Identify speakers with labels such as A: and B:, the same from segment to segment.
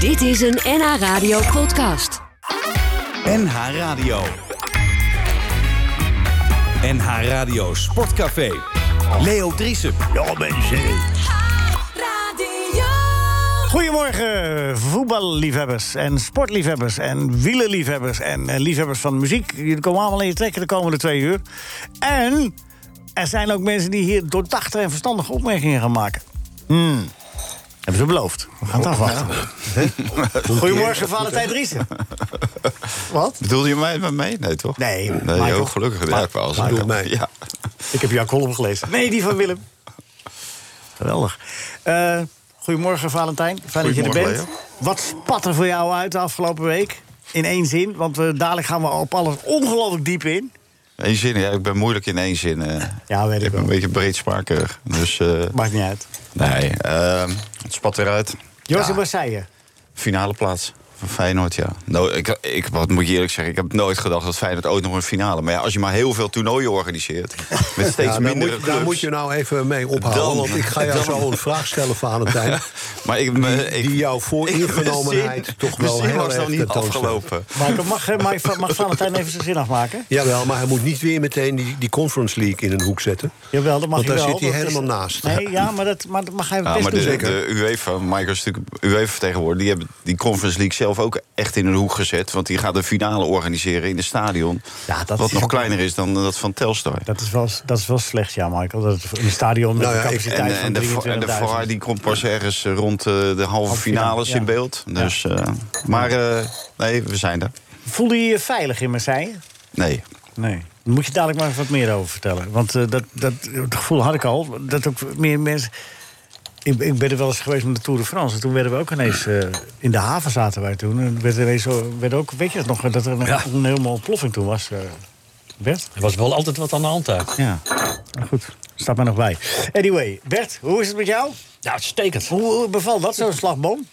A: Dit is een NH Radio podcast.
B: NH Radio. NH Radio Sportcafé. Leo Driessen.
C: Ja, mensen.
D: Goedemorgen, voetballiefhebbers en sportliefhebbers en wielenliefhebbers en eh, liefhebbers van muziek. Jullie komen allemaal in je trekken de komende twee uur. En er zijn ook mensen die hier doordachte en verstandige opmerkingen gaan maken. Hmm. Hebben ze beloofd. We gaan het afwachten. Goedemorgen, Valentijn Driessen. Wat?
E: Bedoelde je mij met mij? Nee, toch?
D: Nee,
E: Nee,
D: Michael.
E: heel gelukkig. Ja, ik wou al zeggen.
C: mij.
E: Ja.
D: Ik heb jouw column gelezen. Nee, die van Willem. Geweldig. Eh, goedemorgen, Valentijn. Fijn dat je er
E: Goedemorgen,
D: bent. Wat spat er voor jou uit de afgelopen week? In één zin, want we, dadelijk gaan we op alles ongelooflijk diep in.
E: Eén zin. Ja, ik ben moeilijk in één zin. eh.
D: Ja, weet
E: ik
D: ik
E: ben een
D: wel.
E: beetje breedsprakerig. Dus, eh,
D: Maakt niet uit.
E: nee. ehm, het spat weer uit.
D: Joost
E: Ja,
D: en Marseille.
E: finale plaats. Van Feyenoord, ja. Nou, ik, ik, wat moet je eerlijk zeggen, ik heb nooit gedacht dat Feyenoord ooit nog een finale... maar ja, als je maar heel veel toernooien organiseert... met steeds
C: Ja, daar,
E: minder
C: moet, daar moet je nou even mee ophouden.
E: Dan-
C: want ik ga
E: dan-
C: jou zo een vraag stellen, Valentijn.
E: maar ik, me- ik,
C: die jouw
E: mijn
C: vooringenomenheid
E: zin-
C: toch wel
E: mijn zin
C: heel
E: was nog
C: erg
E: niet
C: tentoonstelt.
E: afgelopen.
D: Maar mag, eh, mag, mag Valentijn even zijn zin afmaken?
C: Jawel, maar hij moet niet weer meteen die, die Conference League in een hoek zetten.
D: Jawel, dat mag
C: Want
D: je
C: daar
D: wel.
C: zit hij
D: dat is-
C: helemaal naast.
D: Nee, ja, maar dat, maar dat mag hij
E: Ja,
D: best
E: maar
D: doen.
E: de,
C: zeker.
E: de UEFA, Michael is natuurlijk UEFA-vertegenwoordiger... die hebben die Conference League zelf ook echt in een hoek gezet... want die gaat de finale organiseren in het stadion...
D: Ja, dat
E: wat
D: is
E: nog
D: ook-
E: kleiner is dan eh, dat van Telstar.
D: Dat is, wel, dat is wel slecht, ja, Michael. Dat het in het stadion met
C: Nou
D: een
C: ja, ik-
D: capaciteit
E: En, eh,
D: van
E: en, de, Fa-
D: 23.000.
E: en de VAR die komt pas ergens rond eh, de halve
D: finale,
E: finales
D: ja.
E: in beeld. Dus, eh, maar eh, nee, we zijn er.
D: Voelde je je veilig in Marseille?
E: Nee.
D: Nee. Daar moet je dadelijk maar even wat meer over vertellen. Want eh, dat, dat, het gevoel had ik al. Dat ook meer mensen. Ik, ik ben er wel eens geweest met de Tour de France. En toen werden we ook ineens. eh, in de haven zaten wij toen. En werd ineens zo, werd ook, weet je dat nog? Dat er een,
F: Ja.
D: een helemaal ontploffing toen was. eh Bert?
F: Er was wel altijd wat aan de hand daar.
D: Ja. Maar goed, staat mij nog bij. Anyway, Bert, hoe is het met jou?
F: Ja, uitstekend.
D: Hoe, hoe bevalt dat, zo'n slagboom?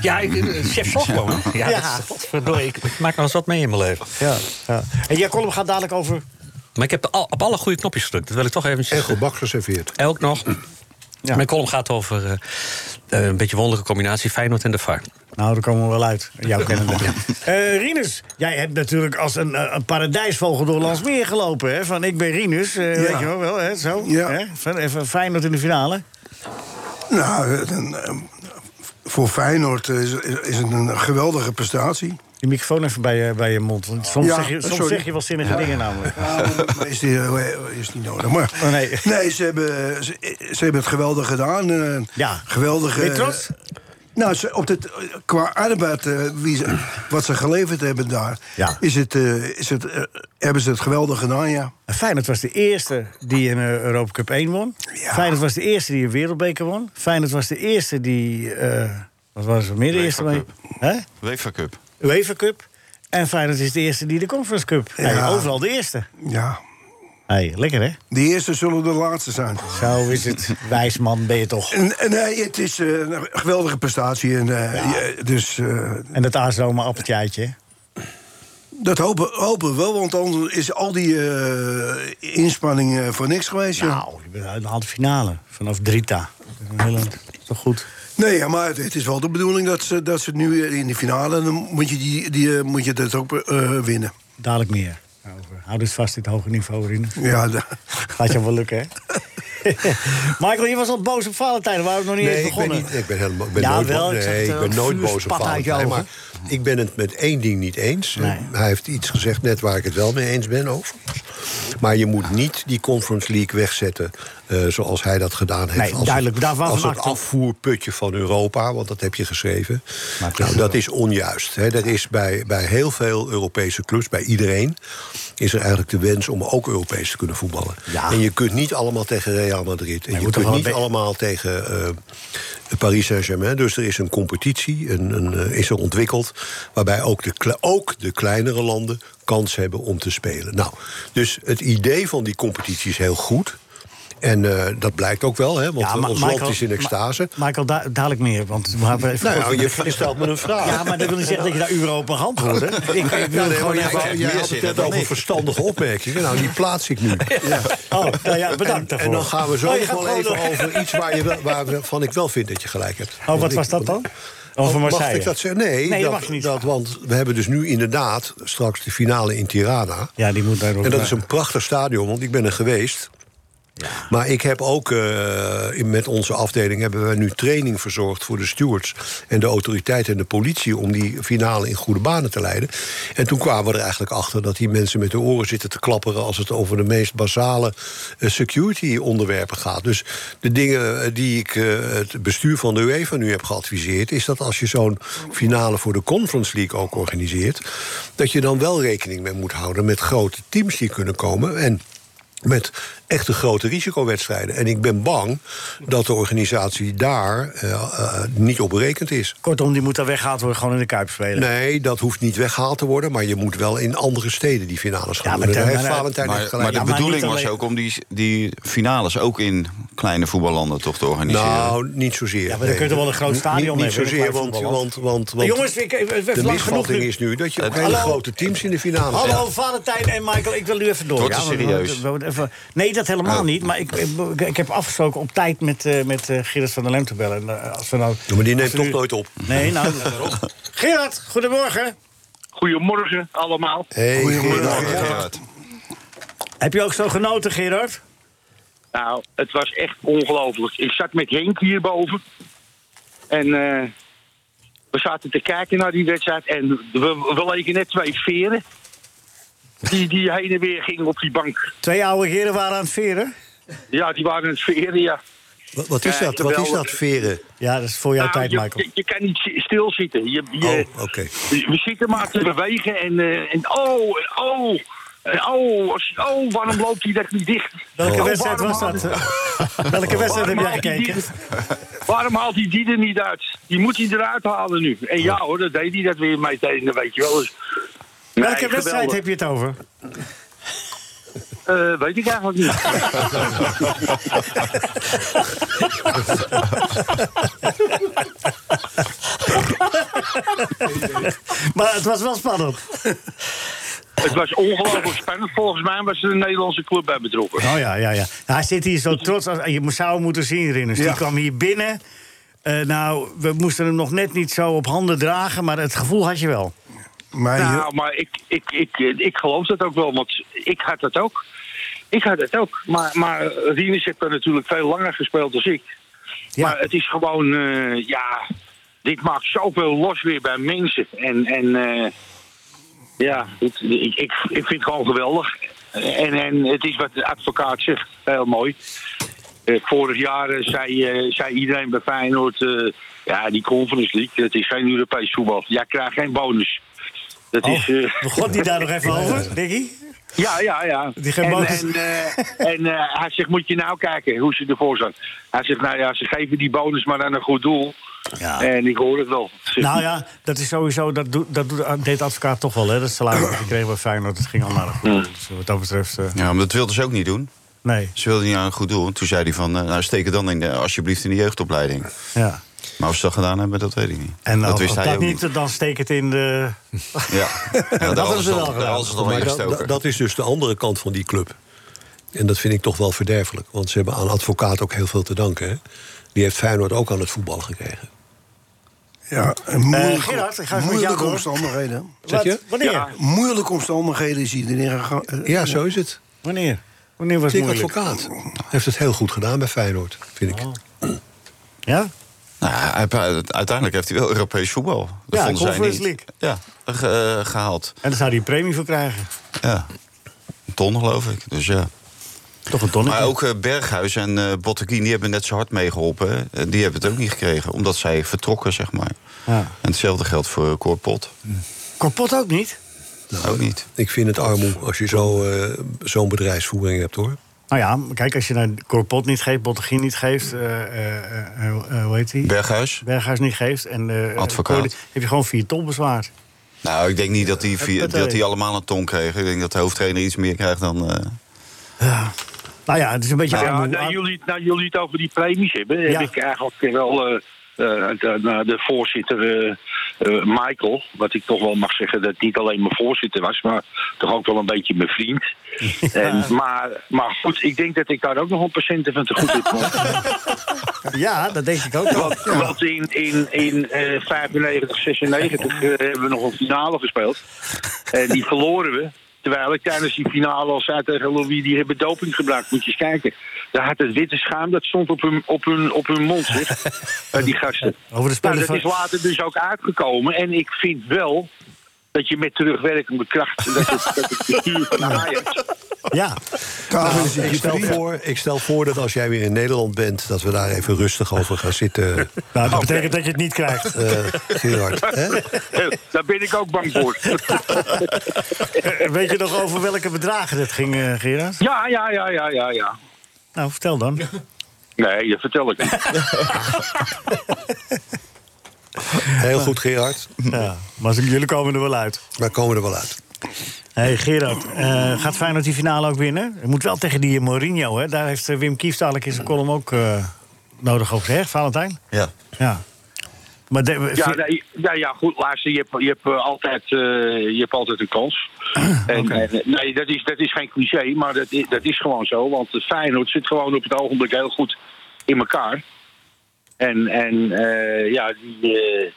F: Ja, ik, eh, chef slagboom. hè? Ja,
D: Ja.
F: dat is- godverdorie, ik, ik maak er eens wat mee in mijn leven.
D: Ja. En jouw column gaat dadelijk over.
F: Maar ik heb al- op alle goede knopjes gedrukt. Dat wil ik toch even...
C: En goed bak geserveerd.
F: Elk nog.
D: Ja.
F: Mijn column gaat over eh, eh, een beetje wonderlijke combinatie Feyenoord en de VAR.
D: Nou, daar komen we wel uit. Jouw kennende. Eh, Rinus, jij hebt natuurlijk als een, eh, een paradijsvogel door Landsmeer gelopen. Hè? Van ik ben Rinus, eh, weet je wel, wel hè? zo.
G: Ja.
D: Hè? Van, even Feyenoord in de finale.
G: Nou, eh, dan, eh, voor Feyenoord eh, is, is het een geweldige prestatie.
D: Die microfoon even bij je, bij je mond. Want soms,
G: Ja,
D: zeg, je, soms
G: sorry.
D: zeg je wel zinnige dingen namelijk.
G: Maar is, die, eh, is niet nodig. Maar,
D: Oh, nee.
G: ze, hebben, ze, ze hebben het geweldig gedaan. eh,
D: Ja.
G: Geweldige.
D: Ben je trots?
G: Nou, ze- op dit, qua arbeid, eh, wie ze- wat ze geleverd hebben daar,
D: Ja.
G: is het, eh, is het, eh, hebben ze het geweldig gedaan, ja.
D: En Feyenoord was de eerste die een eh, Europa Cup 1 won.
G: Ja.
D: Feyenoord was de eerste die een wereldbeker won. Feyenoord was de eerste die... eh, wat was het meer de eerste?
E: UEFA
D: mee- Hè?
E: UEFA Cup.
D: UEFA Cup. En Feyenoord is de eerste die de Conference Cup. Hey, overal de eerste.
G: ja.
D: Hey, lekker hè?
G: De eerste zullen de laatste zijn.
D: Zo is het. Wijsman ben je toch.
G: En, en, eh, het is eh, een geweldige prestatie. En, eh, ja, dus eh,
D: En dat aasdome appeltje eitje, hè?
G: Dat hopen, hopen we wel, want anders is al die eh, inspanning eh, voor niks geweest. ja.
D: Nou, je bent uit de halve finale. Vanaf Drita. Een hele- Toch goed?
G: Nee, ja, maar het, het is wel de bedoeling dat ze, dat ze nu weer in de finale... dan moet je, die, die, eh, moet je dat ook eh, winnen.
D: Dadelijk meer. Over. Hou dus vast dit hoge niveau erin.
G: Ja, da-
D: Gaat je wel lukken, hè? Michael, je was al boos op Valentijn. We waren nog niet
C: Nee,
D: eens
C: ik ben,
D: begonnen.
C: niet, ik ben helemaal ik ben
D: Ja,
C: nooit,
D: wel,
C: bo-
D: ik zag
C: nee,
D: het,
C: ik
D: eh,
C: ben nooit
D: vuur
C: boos op
D: spat uit je
C: Valentijn.
D: ogen.
C: Maar ik ben het met één ding niet eens.
D: Nee.
C: Hij heeft iets gezegd net waar ik het wel mee eens ben over. Maar je moet niet die Conference League wegzetten eh, zoals hij dat gedaan heeft.
D: Nee, duidelijk,
C: Het,
D: daarvan
C: als het
D: maakt het-
C: afvoerputje van Europa, want dat heb je geschreven.
D: Maar het is
C: Nou,
D: zo.
C: dat is onjuist. Hè. Dat is bij, bij heel veel Europese clubs, bij iedereen... is er eigenlijk de wens om ook Europees te kunnen voetballen.
D: Ja.
C: En je kunt niet allemaal tegen Real Madrid. En
D: je
C: je
D: moet toch
C: kunt
D: wel
C: niet
D: een be-
C: allemaal tegen eh, Paris Saint-Germain. Dus er is een competitie, een, een, eh, is er ontwikkeld... waarbij ook de, kle- ook de kleinere landen kans hebben om te spelen. Nou, dus het idee van die competitie is heel goed... En eh, dat blijkt ook wel, hè, want
D: maar
C: ons land is in extase.
D: Ma- Michael, da- dadelijk meer, want we hebben even...
C: Nou, je v- stelt me een vraag.
D: Ja, maar dat wil niet zeggen dat je daar uren op mag antwoorden. Ik, ik wil
C: Ja, nee,
D: gewoon
C: maar jij
D: even...
C: wou- jij had het net over verstandige opmerkingen. Nou, die plaats ik nu.
D: Oh, nou ja, bedankt
C: En,
D: daarvoor.
C: en dan gaan we zo
D: Oh, je
C: nog
D: gaat
C: wel
D: gewoon
C: even
D: door.
C: over iets waar je wel, waarvan ik wel vind dat je gelijk hebt.
D: Oh, wat
C: Want ik-
D: was dat dan? Dan voor
C: mag
D: Marseille.
C: ik dat zeggen? Nee,
D: Nee, dat
C: dat,
D: mag je niet
C: dat, want we hebben dus nu inderdaad straks de finale in Tirana.
D: Ja, die moet daar ook
C: En dat
D: naar.
C: is een prachtig stadion, want ik ben er geweest. Maar ik heb ook eh, in- met onze afdeling hebben we nu training verzorgd voor de stewards en de autoriteiten en de politie om die finale in goede banen te leiden. En toen kwamen we er eigenlijk achter dat die mensen met de oren zitten te klapperen als het over de meest basale eh, security onderwerpen gaat. Dus de dingen eh, die ik eh, het bestuur van de UEFA nu heb geadviseerd, is dat als je zo'n finale voor de Conference League ook organiseert, dat je dan wel rekening mee moet houden met grote teams die kunnen komen. En met echte grote risicowedstrijden. En ik ben bang dat de organisatie daar eh, eh, niet op berekend is.
D: Kortom, die moet daar weggehaald worden, gewoon in de Kuip spelen.
C: Nee, dat hoeft niet weggehaald te worden, maar je moet wel in andere steden die finales gaan
D: Ja, maar
C: doen. Daar
D: ten-
C: heeft
D: maar-
C: Valentijn echt
E: Maar,
C: gelijk.
E: maar de
D: Ja,
C: in.
D: maar
E: bedoeling
D: niet
E: was
D: alleen-
E: ook om die, die finales ook in kleine voetballanden toch te organiseren.
C: nou, niet zozeer.
D: maar dan kun je toch wel een groot
C: Niet-
D: stadion
C: Niet, niet
D: hebben in
C: zozeer,
D: het
C: want,
D: voetbal,
C: want, want, want
D: Jongens, ik, ik- het werd
C: de
D: lang genoeg
C: misvatting
D: nu.
C: is nu dat je ook
E: Hallo.
C: hele grote teams in de finale
D: Hallo, Valentijn en Michael, ik wil u even door.
E: Wordt het
D: want-
E: serieus?
D: want- we moeten even- nee, dat helemaal
C: Oh.
D: niet. Maar ik, ik, ik heb afgesproken op tijd met, eh met eh, Gerard van der Lem te bellen. En, eh, als we nou,
C: Ja, maar die neemt
D: als we
C: toch
D: nu-
C: nooit op.
D: Nee, nou, daarop. Gerard, goedemorgen.
H: Goedemorgen allemaal.
C: Hey,
E: Goedemorgen,
C: Gerard.
E: Gerard.
D: Heb je ook zo genoten, Gerard?
H: Nou, het was echt ongelooflijk. Ik zat met Henk hierboven. En eh, we zaten te kijken naar die wedstrijd. En we, we leken net twee veren. Die, die heen en weer gingen op die bank.
D: Twee oude heren waren aan het veren.
H: Ja, die waren het veren, ja.
C: Wat, wat is
H: Ja,
C: dat? Wat is
H: geweldig.
C: dat, veren?
D: Ja, dat is voor jouw
H: Nou,
D: tijd,
H: je,
D: Michael.
H: Je, je kan niet zi- stilzitten. Je, je,
C: Oh, oké.
H: We zitten maar te bewegen. En, eh, en oh, en oh. En oh, als- oh, waarom loopt hij dat niet dicht?
D: Welke
H: Oh,
D: wedstrijd
H: waarom
D: was
H: haalt-
D: dat? Welke wedstrijd heb
H: Waarom
D: jij
H: haalt hij
D: gekeken?
H: die- Waarom haalt hij die er niet uit? Die moet hij eruit halen nu. En ja hoor, dat deed hij dat weer meteen, dat weet je wel. Dus, Nee,
D: Welke wedstrijd
H: geweldig.
D: heb je het over?
H: Eh, weet ik eigenlijk niet.
D: Maar het was wel spannend.
H: het was ongelooflijk spannend. Volgens mij was er een Nederlandse club bij betrokken.
D: Oh ja, ja, ja. Hij zit hier zo trots. Als, je zou hem moeten zien, Rinners. Die kwam hier binnen. Eh, nou, we moesten hem nog net niet zo op handen dragen, maar het gevoel had je wel.
G: Maar je-
H: Nou, maar ik, ik, ik, ik geloof dat ook wel, want ik had dat ook. Ik had dat ook. Maar, maar Rinus heeft daar natuurlijk veel langer gespeeld dan ik.
D: Ja.
H: Maar het is gewoon, eh, ja, dit maakt zoveel los weer bij mensen. En, en eh, ja, het- ik, ik, ik vind het gewoon geweldig. En, en het is wat de advocaat zegt, heel mooi. Eh, vorig jaar eh, zei, eh, zei iedereen bij Feyenoord... eh, ja, die Conference League, dat is geen Europees voetbal. Jij krijgt geen bonus.
D: Oh,
H: Dat is... eh,
D: Begon die daar nog even over, Dickie?
H: ja, ja, ja.
D: Die geen
H: en
D: bonus.
H: en, eh, en eh, hij zegt, moet je nou kijken hoe ze ervoor zijn. Hij zegt, nou ja, ze geven die bonus maar aan een goed doel. En ik hoor het wel. Zegt,
D: Nou ja, dat is sowieso, dat, doet- dat doet, ah, deed de advocaat toch wel, hè? Dat salaris dat hij kreeg bij Feyenoord, dat ging allemaal naar goed. Dus wat dat betreft, eh,
E: Ja, maar dat wilden ze ook niet doen.
D: nee.
E: Ze wilden niet aan een goed doel. Toen zei hij van, eh, nou steek het dan in de, alsjeblieft in de jeugdopleiding.
D: Ja.
E: Maar of ze dat gedaan hebben, dat weet ik niet.
D: En
E: dat
D: als
E: wist hij
D: dat
E: ook
D: niet, dan steek het in de...
E: Ja. Ja, daar
D: hadden
E: hadden
D: ze
E: ze
D: wel
E: dan-
D: gedaan.
E: Daar hadden ze dan
C: Maar dat-
E: ingestoken.
C: dat, dat is dus de andere kant van die club. En dat vind ik toch wel verderfelijk. Want ze hebben aan advocaat ook heel veel te danken. Hè? Die heeft Feyenoord ook aan het voetbal gekregen.
G: ja, een moeilijke,
D: Eh, Gerard, ik ga eens met jou
G: moeilijke
D: door.
G: omstandigheden.
C: Zeg je?
D: Wat? Wanneer?
G: Moeilijke omstandigheden is iedereen gegaan. eh,
C: Ja, zo is het.
D: Wanneer? Wanneer was het
C: Dick
D: moeilijk?
C: advocaat heeft het heel goed gedaan bij Feyenoord, vind ik.
D: Ja?
E: Nou, hij- hij- uiteindelijk heeft hij wel Europees voetbal. Dat
D: Ja,
E: vonden zij
D: Conference
E: niet- Ja, ge- eh, gehaald.
D: En daar zou hij een premie voor krijgen.
E: Ja. Een ton, geloof ik. Dus ja.
D: Toch een tonnetje.
E: Maar ook eh, Berghuis en eh Botteguin, die hebben net zo hard meegeholpen. hè. Eh, Die hebben het ook niet gekregen, omdat zij vertrokken, zeg maar.
D: Ja.
E: En hetzelfde geldt voor Corpot.
D: Korpot ook niet?
E: ook niet.
C: Ik vind het armoe als je zo, eh, zo'n bedrijfsvoering hebt, hoor.
D: Nou ja, kijk, als je naar Korpot niet geeft, Bottegien niet geeft, eh, eh, eh, eh, hoe heet die?
E: Berghuis?
D: Berghuis niet geeft. En, eh,
E: Advocaat.
D: Cordi- heb je gewoon vier ton bezwaard.
E: Nou, ik denk niet dat die, vier- dat
D: Het
E: die
D: partij.
E: allemaal een ton kregen. Ik denk dat de hoofdtrainer iets meer krijgt dan... eh,
D: Nou ja, het is een beetje
H: Nou ja,
D: armoe.
H: nou, jullie, nou, jullie het over die premies hebben,
D: Ja.
H: heb ik eigenlijk wel eh, eh, de, nou, de voorzitter eh, eh, Michael, wat ik toch wel mag zeggen dat het niet alleen mijn voorzitter was, maar toch ook wel een beetje mijn vriend. En, maar, maar goed, ik denk dat ik daar ook nog een patiënten van te goed heb.
D: Ja, dat denk ik ook wel.
H: Want, want in, in, in eh 95, 96 eh, hebben we nog een finale gespeeld. En die verloren we. Terwijl ik tijdens die finale al zei tegen Louis, die hebben doping gebruikt. Moet je eens kijken. Daar had het witte schaam, dat stond op hun, op hun, op hun mond, zeg. Bij die gasten.
D: Over de
H: Nou,
D: spelers
H: dat
D: van...
H: is later dus ook uitgekomen. En ik vind wel dat je met terugwerkende kracht... dat het, dat het bestuur van Ajax...
D: Ja.
C: Nou, ik, stel voor, ik stel voor dat als jij weer in Nederland bent, dat we daar even rustig over gaan zitten,
D: Nou, dat betekent dat je het niet krijgt.
C: eh Gerard. Hè?
H: Eh, Daar ben ik ook bang voor.
D: Eh, Weet je nog over welke bedragen het ging, eh, Gerard?
H: Ja, ja, ja, ja, ja, ja.
D: Nou, vertel dan.
H: Nee, dat vertel ik niet.
C: Heel goed, Gerard.
D: Ja, maar ze- jullie komen er wel uit.
C: Maar komen we er wel uit.
D: hey, Gerard, eh, gaat Feyenoord die finale ook winnen? Het moet wel tegen die eh, Mourinho, hè? Daar heeft eh, Wim Kieft dadelijk in zijn column ook eh, nodig over gezegd, Valentijn.
E: Ja.
D: Ja. Maar de-
H: Ja, nee, ja, ja, goed, luister, je hebt, je hebt, eh, altijd, eh, je hebt altijd een kans. En, en, nee, dat is, dat is geen cliché, maar dat is, dat is gewoon zo. Want eh, Feyenoord zit gewoon op het ogenblik heel goed in elkaar. En, en eh, ja, die, eh,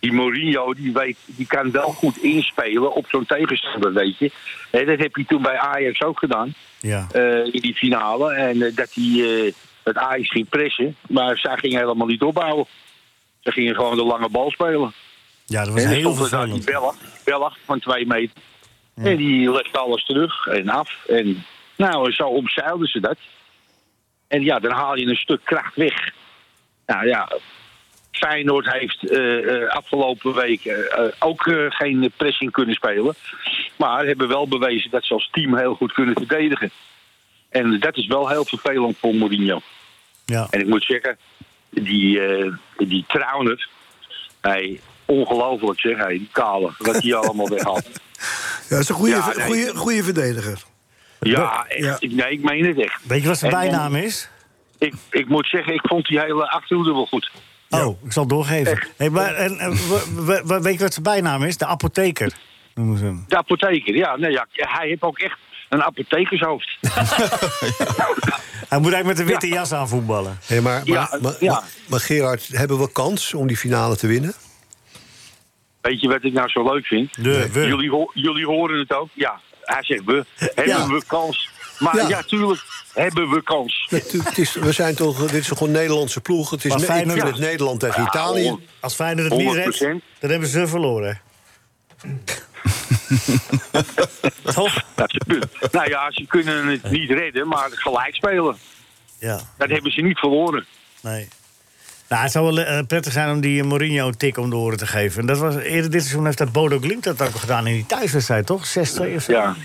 H: die Mourinho, die, weet, die kan wel goed inspelen op zo'n tegenstander, weet je. Hè, dat heb je toen bij Ajax ook gedaan.
D: ja.
H: eh, in die finale. En eh, dat hij eh het Ajax ging pressen. Maar zij gingen helemaal niet opbouwen. Ze gingen gewoon de lange bal spelen.
D: ja, dat was
H: en dan
D: heel
H: stond er daar die
D: vervelend.
H: Belg, Belg van twee meter. En die legde alles terug en af. En nou, en zo omzeilden ze dat. En ja, dan haal je een stuk kracht weg. Nou ja, Feyenoord heeft eh, eh, afgelopen week eh, eh, ook eh, geen pressing kunnen spelen. Maar hebben wel bewezen dat ze als team heel goed kunnen verdedigen. En dat is wel heel vervelend voor Mourinho.
D: Ja.
H: En ik moet zeggen, die, eh die Trauner, hij, ongelooflijk zeg, hij, die kale, wat hij allemaal weghaalt.
G: dat is een goede,
H: Ja, nee.
G: goede, goede verdediger.
H: Ja, echt.
G: Ja.
H: Nee, ik meen het echt.
D: Weet je wat zijn
H: En-
D: bijnaam is?
H: Ik, ik moet zeggen, ik vond die hele achterhoede wel goed.
D: Oh, ik zal het doorgeven. Hey, maar, en, eh, w- w- w- weet je wat zijn bijnaam is? De apotheker. Noemen ze hem.
H: De apotheker, ja, nee, ja hij heeft ook echt een apothekershoofd.
D: Hij moet eigenlijk met een witte jas aan voetballen.
C: Hey, maar, maar,
H: Ja,
C: maar,
H: ja.
C: maar- maar Gerard, hebben we kans om die finale te winnen?
H: Weet je wat ik nou zo leuk vind?
D: De, we.
H: Jullie, ho- jullie horen het ook. Ja, hij zegt we. Hebben
D: Ja.
H: we kans? Maar
C: Ja.
H: ja. tuurlijk hebben we kans.
C: Natuurlijk, het is, we zijn toch, dit is toch een Nederlandse ploeg. Het is
D: Maar
C: ne- ik
D: Feyenoord-
C: vind het Nederland tegen
H: oh,
C: Italië.
D: Als Feyenoord het niet redt,
H: 100%.
D: dan hebben ze verloren. Toch?
H: Dat is het punt. nou ja, ze kunnen het niet redden, maar gelijk spelen.
D: Ja,
H: Dat hebben ze niet verloren.
D: nee. Nou, het zou wel eh, prettig zijn om die eh, Mourinho een tik om de oren te geven. En dat was, eerder dit seizoen heeft dat Bodo Glimt dat ook gedaan in die thuiswedstrijd, toch? 6-2 of zo?
H: Ja.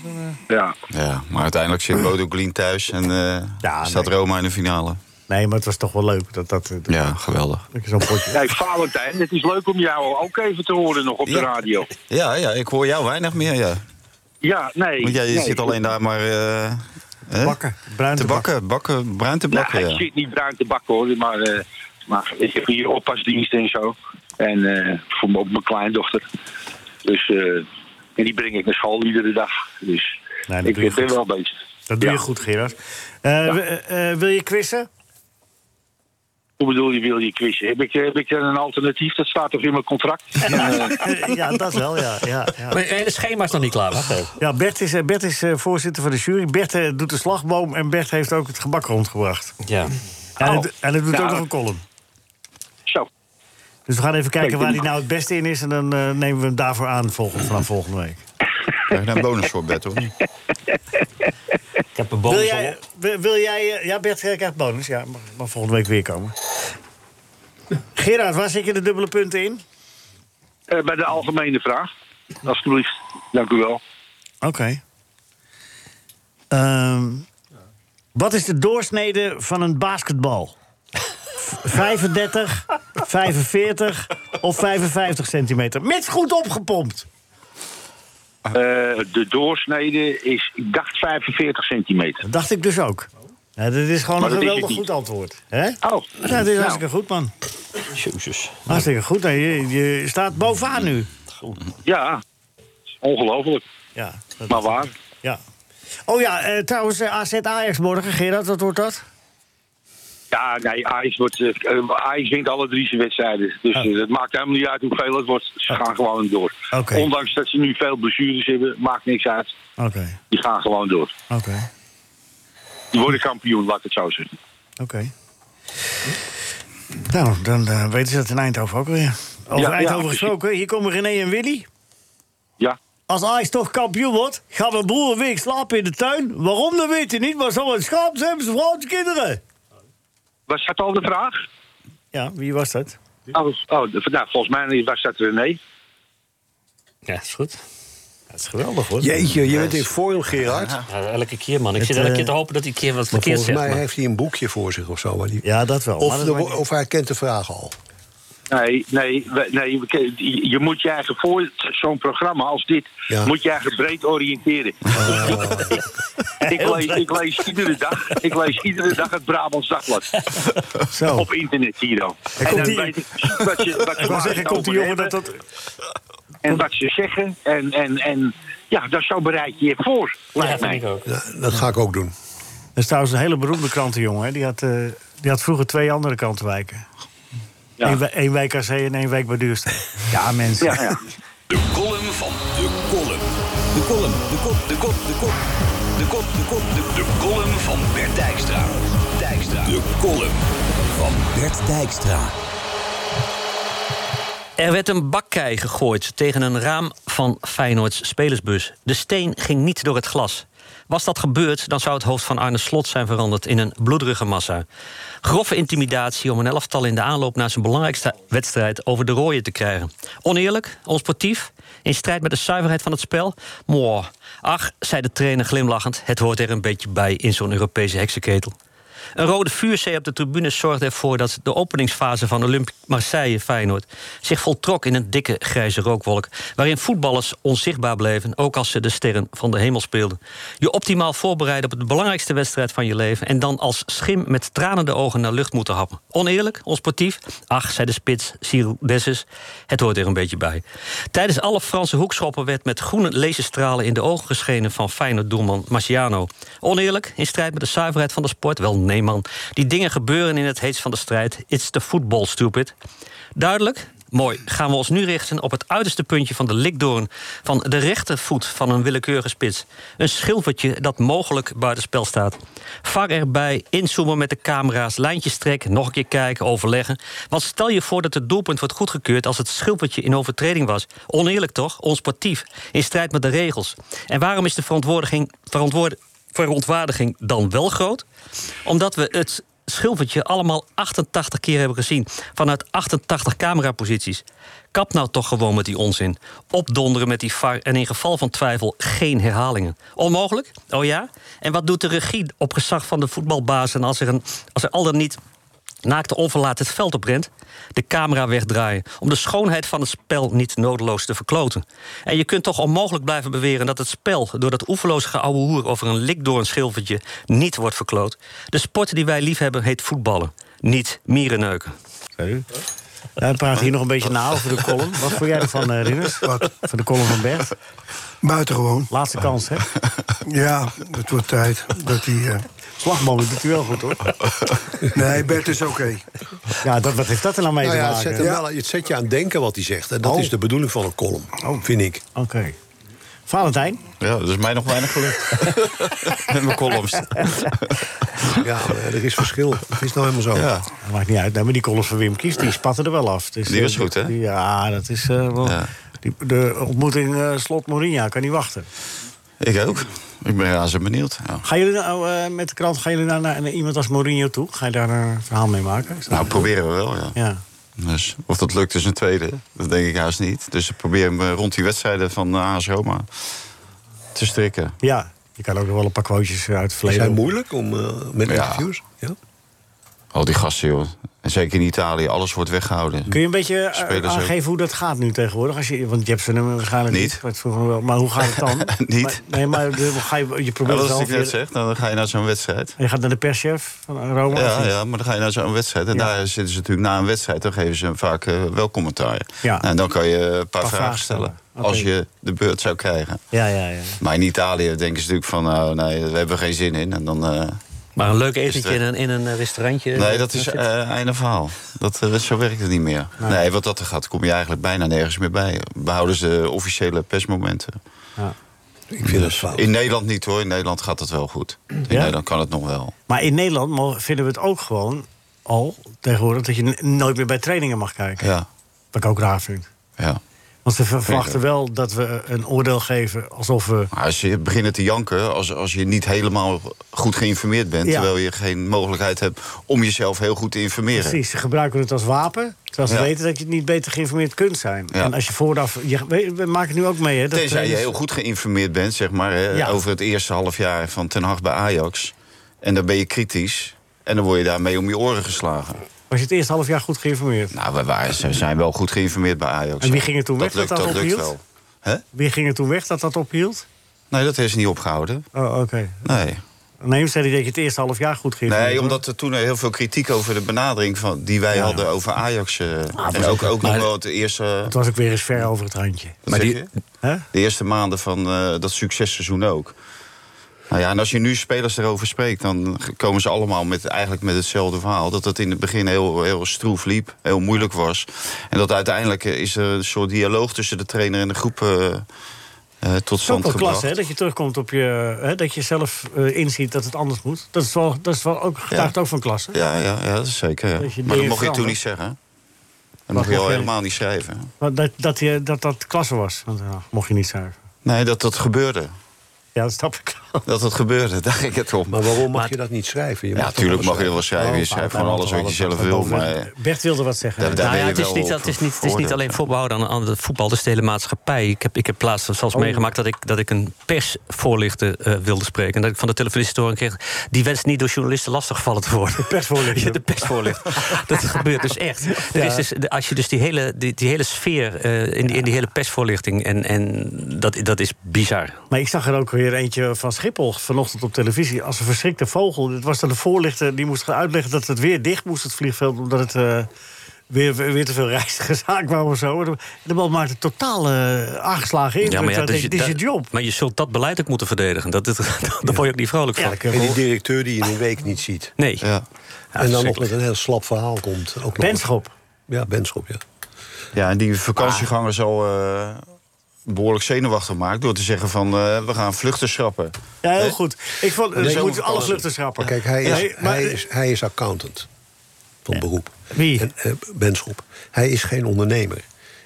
H: ja.
E: Ja, maar uiteindelijk zit Bodo Glien thuis en eh,
D: Ja,
E: staat
D: nee.
E: Roma in de finale.
D: Nee, maar het was toch wel leuk dat dat... eh, dat-
E: Ja, geweldig.
D: dat je zo'n potje...
H: Hey, Valentijn, het is leuk om jou ook even te horen nog op de
E: Ja.
H: radio.
E: Ja, ja, ik hoor jou weinig meer, ja.
H: Ja, nee.
E: Want jij je
H: nee.
E: zit alleen daar maar... eh, hè?
D: Bakken, bruin
E: Te bakken, bakken, bruin te
H: Nou,
E: bakken,
H: Ik
E: ja.
H: zit niet bruin te bakken hoor, maar, eh, maar ik heb hier oppasdienst en zo. En eh, voor m- op mijn kleindochter. Dus, eh, en die breng ik naar school iedere dag. Dus
D: Nee, dat
H: ik
D: doe je
H: ben
D: goed.
H: wel bezig.
D: Dat doe je
H: Ja.
D: goed, Gerard. Eh, w- eh, eh, wil je quizzen?
H: Hoe bedoel je, wil je quizzen? Heb ik, eh, heb ik dan een alternatief? Dat staat toch in mijn contract?
D: Eh, ja, dat wel, ja. ja, ja.
F: Maar het schema is nog niet klaar. Wacht even.
D: ja Bert is, eh, Bert is eh, voorzitter van de jury. Bert eh, doet de slagboom en Bert heeft ook het gebak rondgebracht.
F: Ja.
D: En het, en het doet
H: Nou,
D: ook nog een column.
H: Zo.
D: Dus we gaan even kijken
H: Kijk,
D: waar
H: die-
D: hij nou het beste in is. En dan eh, nemen we hem daarvoor aan volgende, vanaf volgende week.
E: Krijg je daar een bonus voor, Bert, hoor.
F: Ik heb
D: Wil
F: een bonus
D: jij, wil, wil jij eh, ja, Bert eh, krijgt bonus. Ja, mag, mag volgende week weer komen. Gerard, waar zit je de dubbele punten in?
H: Eh, bij de algemene vraag. Alsjeblieft. Dank u wel.
D: Oké. Ehm, wat is de doorsnede van een basketbal? V- 35, 45 of 55 centimeter? Mits goed opgepompt.
H: Eh, de doorsnede is, ik dacht 45 centimeter.
D: Dat dacht ik dus ook. Ja, dit is gewoon
H: Maar
D: een
H: dat is het
D: geweldig
H: niet.
D: goed antwoord. Hè?
H: Oh,
D: Ja, dit is
H: Nou.
D: hartstikke goed, man.
F: Jezus.
D: Hartstikke goed. Nou, je, je staat bovenaan nu.
H: Ja, ongelooflijk,
D: Ja, dat-
H: maar waar.
D: ja. Oh ja, eh, trouwens, eh, AZ Ajax morgen, Gerard, wat wordt dat?
H: Ja, nee, Ajax, wordt, eh, eh, Ajax wint alle drie zijn wedstrijden. Dus eh, het maakt helemaal niet uit hoeveel het wordt. Ze gaan gewoon door.
D: Oké.
H: Ondanks dat ze nu veel blessures hebben, maakt niks uit.
D: Oké,
H: Die gaan gewoon door.
D: oké,
H: Die worden kampioen, laat ik het zo zeggen.
D: oké. Nou, dan eh, weten ze dat in Eindhoven ook weer. Over
H: Ja, ja,
D: Eindhoven
H: precies.
D: gesproken, hier komen René en Willy.
H: Ja,
D: Als Ajax toch kampioen wordt, gaat mijn broer een week slapen in de tuin. Waarom, dat weet hij niet, maar zo een schaap zijn hebben zijn vrouw en zijn kinderen.
H: was dat al de vraag?
D: Ja, wie was dat?
H: Oh, oh, de- nou, volgens mij was dat René.
F: Ja, is goed.
D: Dat is geweldig, hoor.
C: Jeetje, je bent in vorm, Gerard.
F: Ja, elke keer, man. Ik
D: Het,
F: zit elke
D: eh,
F: keer te hopen dat hij een keer wat
C: Maar
F: verkeerd
C: volgens
F: zegt.
C: mij
F: maar-
C: heeft hij een boekje voor zich of zo. waar die-
D: Ja, dat wel. maar
C: of,
D: dat
C: de-
D: maakt niet-
C: of hij kent de vraag al.
H: Nee, nee, we- nee we- je- je moet je eigen voor zo'n programma als dit...
C: Ja.
H: moet je eigen breed oriënteren. ik, lees, ik lees iedere dag, ik lees iedere dag het Brabants Dagblad.
D: Zo.
H: Op internet hier dan. En
D: Oh. komt
H: dan
D: die-
H: weet ik precies wat ze, wat ze
D: Ik wou
H: waar
D: zeggen,
H: het
D: komt die
H: over
D: jongen dat
H: hebben
D: dat...
H: En wat ze zeggen. En, en, en ja, dat zo bereid je je voor,
F: Ja,
H: lijkt
F: vind
H: mij.
F: ik ook.
C: Ja, dat ga ik ook doen.
D: Dat is trouwens een hele beroemde krantenjongen. Hè? Die, had, eh, die had vroeger twee andere krantenwijken.
H: Ja.
D: Eén, wij- één wijk AC en één wijk bij Duurstede. Ja, mensen.
H: Ja, ja.
B: De column van de column. De column, de kop, de kop, de kop. De kop, de kop, de De column van Bert Dijkstra. Dijkstra. De column van Bert Dijkstra.
F: Er werd een bakkei gegooid tegen een raam van Feyenoords spelersbus. De steen ging niet door het glas. Was dat gebeurd, dan zou het hoofd van Arne Slot zijn veranderd in een bloederige massa. Grove intimidatie om een elftal in de aanloop naar zijn belangrijkste wedstrijd over de rooien te krijgen. Oneerlijk, onsportief, in strijd met de zuiverheid van het spel. Mooi. Ach, zei de trainer glimlachend, het hoort er een beetje bij in zo'n Europese heksenketel. Een rode vuurzee op de tribune zorgde ervoor dat de openingsfase van Olympique Marseille Feyenoord zich voltrok in een dikke grijze rookwolk, waarin voetballers onzichtbaar bleven, ook als ze de sterren van de hemel speelden. Je optimaal voorbereiden op de belangrijkste wedstrijd van je leven en dan als schim met tranende ogen naar lucht moeten happen. Oneerlijk, onsportief? Ach, zei de spits Cyril Dessus, het hoort er een beetje bij. Tijdens alle Franse hoekschoppen werd met groene laserstralen in de ogen geschenen van Feyenoord doelman Marciano. Oneerlijk, in strijd met de zuiverheid van de sport? Wel, nee man. Die dingen gebeuren in het heetst van de strijd. It's the football, stupid. Duidelijk? Mooi. Gaan we ons nu richten op het uiterste puntje van de likdoorn... van de rechtervoet van een willekeurige spits. Een schilfertje dat mogelijk buitenspel staat. VAR erbij, inzoomen met de camera's, lijntjes trekken... nog een keer kijken, overleggen. Want stel je voor dat het doelpunt wordt goedgekeurd... als het schilfertje in overtreding was. Oneerlijk toch? Onsportief. In strijd met de regels. En waarom is de verantwoording... verantwoord verontwaardiging dan wel groot. Omdat we het schilfertje allemaal 88 keer hebben gezien. Vanuit 88 cameraposities. Kap nou toch gewoon met die onzin. Opdonderen met die VAR en in geval van twijfel geen herhalingen. Onmogelijk? Oh ja? En wat doet de regie op gezag van de voetbalbazen... als er, een, als er al dan niet naakte onverlaat het veld oprent, de camera wegdraaien... om de schoonheid van het spel niet nodeloos te verkloten. En je kunt toch onmogelijk blijven beweren dat het spel... door dat oeverloos geouwe hoer over een likdoornschilfertje... niet wordt verkloot. De sport die wij liefhebben heet voetballen, niet mierenneuken.
D: Hij praat hier nog een beetje na over de column. Wat vond jij ervan, eh, Rinus?
G: Wat?
D: Van de column van Bert.
G: Buitengewoon.
D: Laatste kans, hè?
G: Ja, het wordt tijd dat hij... eh,
D: Slagmolen doet hij wel goed, hoor.
G: Nee, Bert is oké.
D: Ja, dat, wat heeft dat er nou mee
C: Nou
D: te
C: ja, het,
D: maken?
C: zet hem wel, het zet je aan het denken wat hij zegt. En dat
D: Oh.
C: is de bedoeling van een column, vind ik.
D: Oké. Valentijn?
E: Ja, dat is mij nog weinig gelukt. Met mijn columns.
C: Ja, maar er is verschil. Het is nou helemaal zo.
E: Ja.
D: Dat maakt niet uit. Nee, maar die columns van Wim Kies, die spatten er wel af. Dus,
E: Die
D: eh,
E: was goed, hè?
D: die- Ja, dat is... eh, wel,
E: Ja.
D: die- de ontmoeting eh, slot Mourinho, kan niet wachten.
E: Ik ook. Ik ben razend benieuwd. Ja.
D: Gaan jullie nou, eh, met de krant, gaan jullie nou naar, naar iemand als Mourinho toe? Ga je daar een verhaal mee maken? Is dat-
E: Nou, proberen we wel, ja.
D: Ja.
E: Dus of dat lukt is een tweede. Dat denk ik haast niet. Dus ik probeer hem eh, rond die wedstrijden van eh, AS Roma te strikken.
D: ja, je kan ook nog wel een paar quotejes uit het
C: Is
D: verleden.
C: hij moeilijk om, eh, met
E: Ja.
C: interviews? Ja.
E: Al die gasten, joh. En zeker in Italië, alles wordt weggehouden.
D: Kun je een beetje eh,
E: Spelers ook.
D: aangeven hoe dat gaat nu tegenwoordig? Als je, want je hebt ze nummer waarschijnlijk
E: Niet.
D: niet. dat vroeger wel. Maar hoe gaat het dan?
E: Niet.
D: Maar- nee, maar de- ga je, je
E: Ja,
D: probeert
E: dat is
D: wel
E: wat ik net
D: weer-
E: zeg. Dan ga je naar zo'n wedstrijd.
D: En je gaat naar de perschef van Roma. of
E: Ja,
D: niet?
E: ja, maar dan ga je naar zo'n wedstrijd. En
D: Ja.
E: daar zitten ze natuurlijk na een wedstrijd. Dan geven ze vaak eh, wel commentaar.
D: Ja.
E: Nou, En dan kan je een paar, vragen,
D: vragen
E: stellen.
D: stellen.
E: Als
D: Oké.
E: je de beurt zou krijgen.
D: ja, ja. ja.
E: Maar in Italië denken ze natuurlijk van... nou, nee, daar hebben we geen zin in. En dan eh,
F: Maar een leuk
E: Is
F: etentje
E: het,
F: in
E: eh,
F: een, in een restaurantje.
E: Nee, dat is
F: zit-
E: eh einde verhaal. Dat, eh, zo werkt het niet meer. Nee, wat dat er gaat, kom je eigenlijk bijna nergens meer bij. Behouden ze officiële persmomenten.
C: Ik vind dat fout.
E: In Nederland niet hoor, in Nederland gaat het wel goed. In
D: Ja?
E: Nederland kan het nog wel.
D: Maar in Nederland mo- vinden we het ook gewoon al tegenwoordig... dat je n- nooit meer bij trainingen mag kijken.
E: Ja,
D: Wat ik ook raar vind.
E: ja.
D: Want ze verwachten wel dat we een oordeel geven alsof we...
E: Maar als je begint te janken, als, als je niet helemaal goed geïnformeerd bent...
D: Ja.
E: terwijl je geen mogelijkheid hebt om jezelf heel goed te informeren.
D: Precies, ze gebruiken het als wapen. Terwijl ze
E: Ja.
D: weten dat je niet beter geïnformeerd kunt zijn.
E: Ja.
D: En als je vooraf... Je, we, we maken nu ook mee, hè? dat eh,
E: Tenzij je
D: trainers-
E: heel goed geïnformeerd bent, zeg maar, hè,
D: Ja.
E: over het eerste half jaar van Ten Hag bij Ajax. En dan ben je kritisch. En dan word je daarmee om je oren geslagen.
D: Was je het eerste half jaar goed geïnformeerd?
E: Nou, we waren, ze zijn wel goed geïnformeerd bij Ajax.
D: En wie ging er toen
E: dat
D: weg dat
E: Lukt,
D: dat
E: dat lukt
D: ophield?
E: wel. Hè?
D: Wie ging er toen weg dat dat ophield?
E: Nee, dat is niet opgehouden.
D: Oh, oké.
E: Nee.
D: Nee, zei hij dat je het eerste half jaar goed geïnformeerd
E: Nee,
D: was.
E: omdat er toen heel veel kritiek over de benadering van, die wij
D: Ja. Ah,
E: hadden over Ajax. eh, en ook, ook nog wel het eerste,
D: Het was ook weer eens ver over het randje.
E: wat zeg
F: die-
E: je?
D: Hè?
E: de eerste maanden van eh, dat successeizoen ook. Nou ja, en als je nu spelers erover spreekt, dan komen ze allemaal met, eigenlijk met hetzelfde verhaal. Dat het in het begin heel, heel stroef liep, heel moeilijk was. En dat uiteindelijk eh, is er een soort dialoog tussen de trainer en de groep eh, eh, tot
D: Het is ook
E: stand
D: wel
E: gebracht.
D: klasse, hè? Dat je terugkomt op je... Hè? Dat je zelf eh, inziet dat het anders moet. Dat is wel, dat is wel ook, getuigt ook van klasse.
E: Ja, ja, ja, dat is zeker. ja.
D: Dat je
E: Maar dat
D: dingen
E: mocht je toen
D: verandert.
E: niet zeggen. Dat
D: Mag
E: mocht je al
D: nog, eh,
E: helemaal niet schrijven.
D: Maar Dat, dat, je, dat dat klasse was. Want, ja, mocht je niet zuiveren.
E: Nee, dat dat gebeurde.
D: Ja, dat snap ik wel.
E: Dat dat gebeurde, daar ging het om.
C: Maar waarom mag
F: Maar-
C: je dat niet schrijven? Je
E: Ja,
C: toch
E: natuurlijk
C: alles
E: mag je wel
C: schrijven.
E: schrijven. Je schrijft gewoon Oh, alles wat je zelf wil. Maar eh,
D: Bert wilde wat zeggen.
E: Daar- daar-
F: Nou ja,
E: ben
F: het
E: je
F: is,
E: wel
F: niet,
E: op
F: het, is niet, het is niet
E: veroordeeld.
F: alleen voetbal, aan, aan het voetbal, het is de hele maatschappij. Ik heb, ik heb laatst
D: Oh,
F: zelfs meegemaakt dat ik, dat ik een persvoorlichter eh, wilde spreken. En dat ik van de televisiestoring kreeg... die wenst niet door journalisten lastiggevallen te worden. De
D: persvoorlichter.
F: de persvoorlichter. dat gebeurt dus echt. Er is dus, de- als je dus die hele, die, die hele sfeer eh, in, die, in die hele persvoorlichting... en, en dat, dat is bizar.
D: Maar ik zag er ook weer eentje van Schiphol vanochtend op televisie. Als een verschrikte vogel. Het was dan de voorlichter die moest gaan uitleggen dat het weer dicht moest, het vliegveld. Omdat het eh, weer, weer te veel reizigers aankwamen of zo. De, de bal maakte totaal eh, aangeslagen indruk. Ja,
E: dus
F: dat
D: dit is je job.
F: Maar dus je zult dat beleid ook moeten verdedigen. Dat, dat, daar word je ook niet vrolijk van.
D: Elke
C: En die
D: rol.
C: directeur die je in een week niet ziet.
F: Nee.
E: ja.
C: en dan nog
F: verschrikkelijk.
C: met een heel slap verhaal komt. Ook nog.
D: Benschop.
C: Ja, Benschop, ja.
E: ja, en die vakantiegangers al eh, behoorlijk zenuwachtig gemaakt... door te zeggen van, eh, we gaan vluchten schrappen.
D: Ja, heel
E: Hè?
D: goed. Ik vond, dus je moet
E: zomervakantie.
D: alle vluchten schrappen.
C: Kijk, hij is,
D: Nee, maar-
C: hij is, hij is accountant van beroep.
D: Wie?
C: En, eh, Benschop. Hij is geen ondernemer.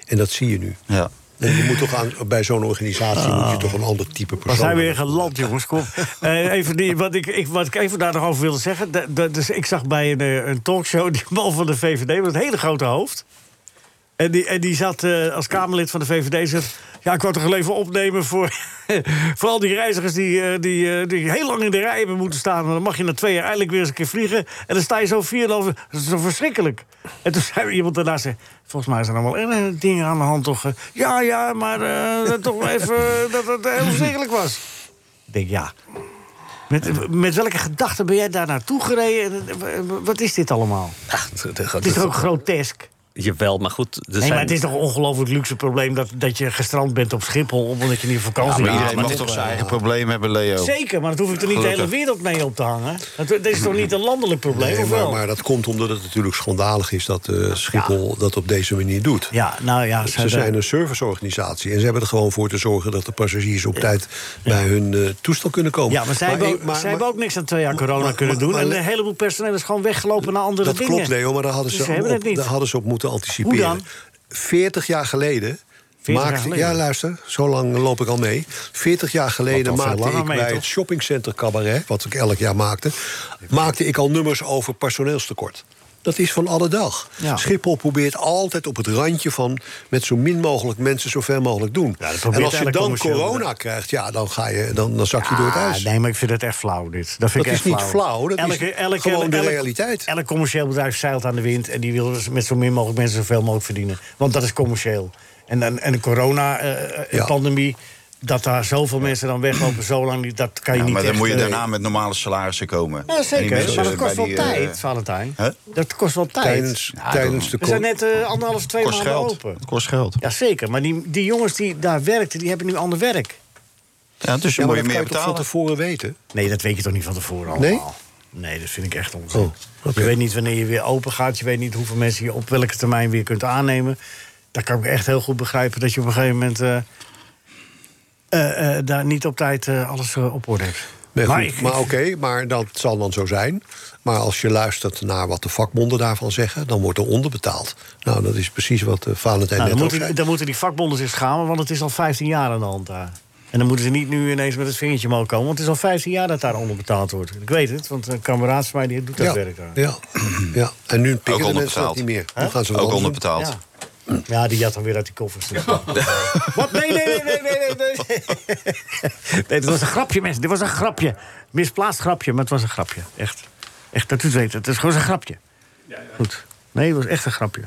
C: En dat zie je nu.
E: Ja.
C: En je moet toch aan, bij zo'n organisatie moet je toch een ander type persoon.
D: We zijn weer
C: hebben.
D: geland, jongens. Kom. Eh, even die, wat, ik, ik, wat ik even daar nog over wilde zeggen. dat- dat- dus ik zag bij een, eh, een talkshow die man van de VVD met een hele grote hoofd. En die, en die zat eh, als Kamerlid van de VVD. Zegt, ja, ik wou toch wel even opnemen voor, voor al die reizigers die, eh, die, eh, die heel lang in de rij hebben moeten staan. Want dan mag je na twee jaar eindelijk weer eens een keer vliegen. En dan sta je zo 4,5. Dat is zo verschrikkelijk. En toen zei iemand daarna: zei, Volgens mij zijn er allemaal erg dingen aan de hand. Toch? eh, Ja, ja, maar eh, dat toch wel even eh, dat het heel verschrikkelijk was. Ik denk ja. Met, met welke gedachten ben jij daar naartoe gereden? En, eh, Wat is dit allemaal?
F: Ach, het- het-
D: Het is toch ook grotesk?
F: Jawel, maar goed. Er
D: Nee,
F: zijn-
D: maar het is toch een ongelooflijk luxe probleem dat, dat je gestrand bent op Schiphol omdat je niet op vakantie
E: Maar
D: bent.
E: iedereen mag
D: dit-
E: toch zijn eigen probleem hebben, Leo.
D: Zeker, maar dat hoef ik er niet de hele
E: Gelukkig.
D: wereld mee op te hangen. Dat, dat is toch niet een landelijk probleem,
C: Nee,
D: of
C: maar,
D: wel?
C: maar dat komt omdat het natuurlijk schandalig is dat eh, Schiphol dat op deze manier doet.
D: Ja, nou ja, ze,
C: Ze
D: hebben-
C: zijn een serviceorganisatie en ze hebben er gewoon voor te zorgen dat de passagiers op tijd bij hun eh, toestel kunnen komen.
D: ja, maar zij hebben, ook,
C: maar-
D: zij hebben
C: maar-
D: ook niks aan twee jaar corona
C: maar-
D: kunnen
C: maar-
D: doen.
C: maar-
D: en een heleboel personeel is gewoon weggelopen naar andere
C: Dat
D: dingen.
C: klopt, Leo, maar daar hadden
D: Dus
C: ze,
D: ze hebben
C: op,
D: het niet.
C: daar hadden ze op moeten anticiperen.
D: Hoe dan?
C: 40 jaar geleden.
D: 40 jaar
C: maakte-
D: geleden?
C: Ja, luister, zo lang loop ik al mee. 40 jaar geleden
D: Wat al veel
C: maakte
D: langer
C: ik
D: mee,
C: bij
D: toch?
C: het shoppingcenter Cabaret, wat ik elk jaar maakte, maakte ik al nummers over personeelstekort. Dat is van alle dag.
D: Ja.
C: Schiphol probeert altijd op het randje van met zo min mogelijk mensen zoveel mogelijk doen.
D: Ja, dat probeert
C: en als je
D: elk
C: dan
D: commercieel
C: corona krijgt, ja, dan, ga je, dan, dan zak je door het
D: Ah,
C: ijs.
D: nee, maar ik vind het echt flauw, dit. Dat, vind
C: Dat
D: ik echt
C: is niet flauw, dat is gewoon de realiteit.
D: Elk commercieel bedrijf zeilt aan de wind... en die wil dus met zo min mogelijk mensen zoveel mogelijk verdienen. Want dat is commercieel. En, en, en de eh,
C: Ja.
D: corona-pandemie... dat daar zoveel mensen dan weglopen, zo lang niet... dat kan je
E: Ja,
D: niet
E: maar dan
D: echt,
E: moet je
D: eh,
E: daarna met normale salarissen komen.
D: Ja,
E: En die
D: zeker.
E: mensen
D: Maar dat
E: bij
D: kost wel
E: die, eh,
D: tijd, Valentijn.
E: Hè?
D: Dat kost wel tijd.
C: Tijdens,
E: Ja,
C: tijdens
E: dan-
D: We
C: de
D: zijn
C: co-
D: net eh, anderhalf, twee
E: kost
D: maanden
E: geld.
D: open.
E: Het kost geld. Ja,
D: Ja, zeker. Maar die, die jongens die daar werkten, die hebben nu ander werk.
E: dus je
C: Ja, maar
E: moet je
C: dat kan
E: meer
C: je toch van
E: betalen.
C: tevoren weten?
D: Nee, dat weet je toch niet van tevoren
C: Nee?
D: allemaal? Nee, dat vind ik echt onzin.
C: Oh, oké.
D: Je weet niet wanneer je weer open gaat. Je weet niet hoeveel mensen je op welke termijn weer kunt aannemen. Daar kan ik echt heel goed begrijpen dat je op een gegeven moment... eh, eh, eh, daar niet op tijd eh, alles eh, op orde hebt.
C: Nee, goed,
D: Maar
C: maar
D: ik-
C: oké, maar dat zal dan zo zijn. Maar als je luistert naar wat de vakbonden daarvan zeggen, dan wordt er onderbetaald. Nou, dat is precies wat eh, Valentijn
D: Nou, dan,
C: net ook
D: moeten,
C: zei.
D: dan moeten die vakbonden zich schamen, want het is al 15 jaar aan de hand daar. En dan moeten ze niet nu ineens met het vingertje omhoog komen... want het is al 15 jaar dat daar onderbetaald wordt. Ik weet het, want een kameraad van mij die doet dat
C: Ja,
D: werk daar.
C: ja, ja, en nu pikken de mensen
E: onderbetaald.
C: dat niet meer. Nu gaan ze wel
E: Ook
C: anders doen.
E: onderbetaald.
D: Ja. ja, die jat dan weer uit die koffers. Wat? Nee, nee, nee, nee, nee, nee. Nee, nee dit was een grapje, mensen. Dit was een grapje. Misplaatst grapje, maar het was een grapje. Echt. Echt, dat u het weet. Het is gewoon een grapje. Goed. Nee, het was echt een grapje.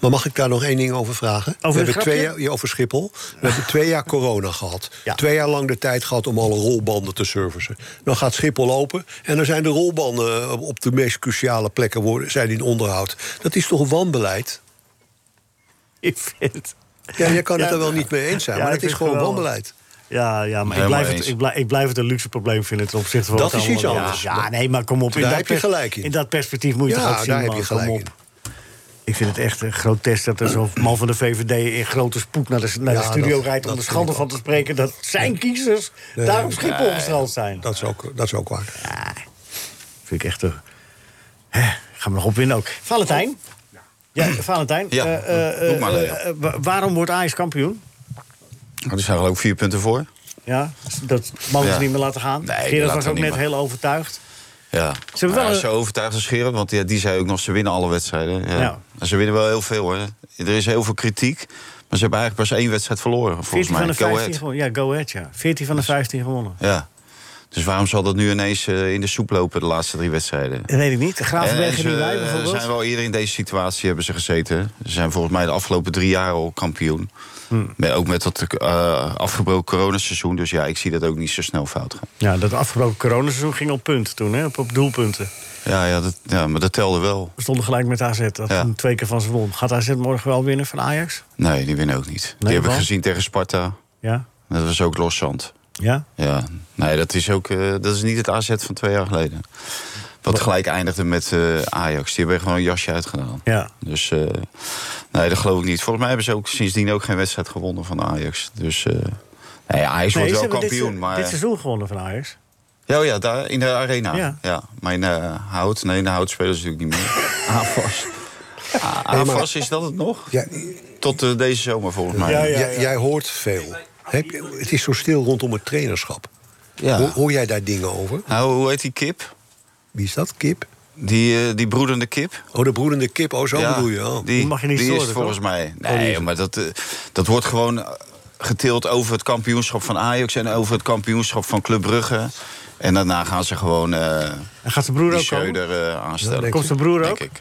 C: Maar mag ik daar nog één ding over vragen?
D: een
C: we hebben
D: grapje?
C: twee jaar, ja, over Schiphol. We hebben twee jaar corona gehad.
D: Ja.
C: Twee jaar lang de tijd gehad om alle rolbanden te servicen. Dan gaat Schiphol open en dan zijn de rolbanden op de meest cruciale plekken worden, zijn in onderhoud. Dat is toch wanbeleid?
D: Ik vind het...
C: Ja, je kan het
D: Ja.
C: er wel niet mee eens zijn,
D: Ja,
C: maar
D: ik
C: het is
D: vind het
C: gewoon
D: wel-
C: wanbeleid.
D: Ja, ja maar ik
E: Helemaal
D: blijf, het,
E: eens.
D: ik, blij- ik blijf het een luxe probleem vinden ten opzichte van
C: Dat
D: wat
C: is iets
D: allemaal-
C: anders.
D: Ja, ja, nee, maar kom op. in
C: Daar
D: dat
C: heb je
D: pers-
C: gelijk in.
D: In dat perspectief moet je
C: Ja,
D: toch ook zien,
C: daar heb
D: man,
C: je gelijk
D: kom op.
C: in.
D: Ik vind het echt eh, grotesk dat er zo'n man van de VVD in grote spoed naar de, naar de
C: Ja,
D: studio
C: dat-
D: rijdt... om de
C: dat vind
D: schande
C: ik
D: van te spreken dat zijn kiezers daar op Schiphol gestrand zijn.
C: Dat is ook, dat is ook waar.
D: Vind ik echt een. Hè, ga me nog opwinden ook. Valentijn. Ja, Valentijn.
E: Ja,
D: eh, eh, eh,
E: doe maar,
D: eh,
E: Leo.
D: eh, wa- waarom wordt Ajax kampioen?
E: Maar Er Oh, zijn wel ook vier punten voor.
D: Ja, dat mogen ze
E: Ja.
D: niet meer laten gaan.
E: Nee, die
D: Gerard
E: laten
D: was
E: we
D: ook
E: niet
D: net
E: meer.
D: heel overtuigd.
E: Ja.
D: Ze hebben
E: Maar
D: wel
E: hij is
D: een-
E: zo overtuigd als Gerard, want die, die zei ook nog, ze winnen alle wedstrijden. Ja.
D: Ja.
E: En ze winnen wel heel veel, hè. Er is heel veel kritiek, maar ze hebben eigenlijk pas één wedstrijd verloren, volgens
D: 14 van
E: mij.
D: de
E: Go
D: 15
E: ahead.
D: gewonnen. Ja, go ahead, ja. 14 van de 15 gewonnen.
E: Ja. Dus waarom zal dat nu ineens eh, in de soep lopen, de laatste drie wedstrijden?
D: Dat weet ik niet. Gravenberg en
E: ze
D: wij
E: eh,
D: bijvoorbeeld.
E: zijn wel eerder in deze situatie hebben ze gezeten. Ze zijn volgens mij de afgelopen drie jaar al kampioen. Met- Ook met dat eh, afgebroken coronaseizoen. Dus ja, ik zie dat ook niet zo snel fout gaan.
D: Ja, dat afgebroken coronaseizoen ging op punt toen, hè? Op, op doelpunten.
E: Ja, ja, dat, ja, maar dat telde wel.
D: We stonden gelijk met AZ. Dat
E: Ja.
D: toen twee keer van ze won. Gaat AZ morgen wel winnen van Ajax?
E: Nee, die winnen ook niet. die heb ik
D: wel?
E: gezien tegen Sparta.
D: Ja?
E: Dat was ook loszand.
D: Ja?
E: Ja, nee, dat is ook eh, dat is niet het AZ van twee jaar geleden. Wat gelijk eindigde met eh, Ajax. Die hebben gewoon een jasje uitgedaan.
D: Ja.
E: Dus eh, nee, dat geloof ik niet. Volgens mij hebben ze ook sindsdien ook geen wedstrijd gewonnen van Ajax. Dus eh, nee, Ajax
D: Nee,
E: wordt
D: ze
E: wel
D: hebben dit
E: kampioen.
D: se-
E: maar, eh,
D: Dit seizoen gewonnen van Ajax.
E: ja, oh ja, daar in de arena.
D: Ja.
E: Ja. Maar in eh, hout. Nee, in de hout spelen ze natuurlijk niet meer. Avas. A- Avas, is dat het nog?
C: Ja,
E: Tot eh, deze zomer volgens mij.
D: ja,
C: jij,
D: ja.
C: jij hoort veel. Heb je- het is zo stil rondom het trainerschap.
E: Ja.
C: Hoor, hoor jij daar dingen over?
E: Nou, hoe heet die kip?
C: Wie is dat? Kip?
E: Die, eh, die broedende kip?
C: Oh, de broedende kip. Oh, zo
E: Ja,
C: bedoel je. Oh.
E: Die,
D: Die mag je niet
E: die
D: storen,
E: is
D: toch? Oh,
E: volgens mij. Nee, maar dat, eh, dat wordt gewoon eh, getild over het kampioenschap van Ajax en over het kampioenschap van Club Brugge. En daarna gaan ze gewoon eh
D: En gaat zijn broer
E: die
D: ook komen?
E: Scheuder eh, aanstellen.
D: Komt zijn broer ook?
E: Denk ik.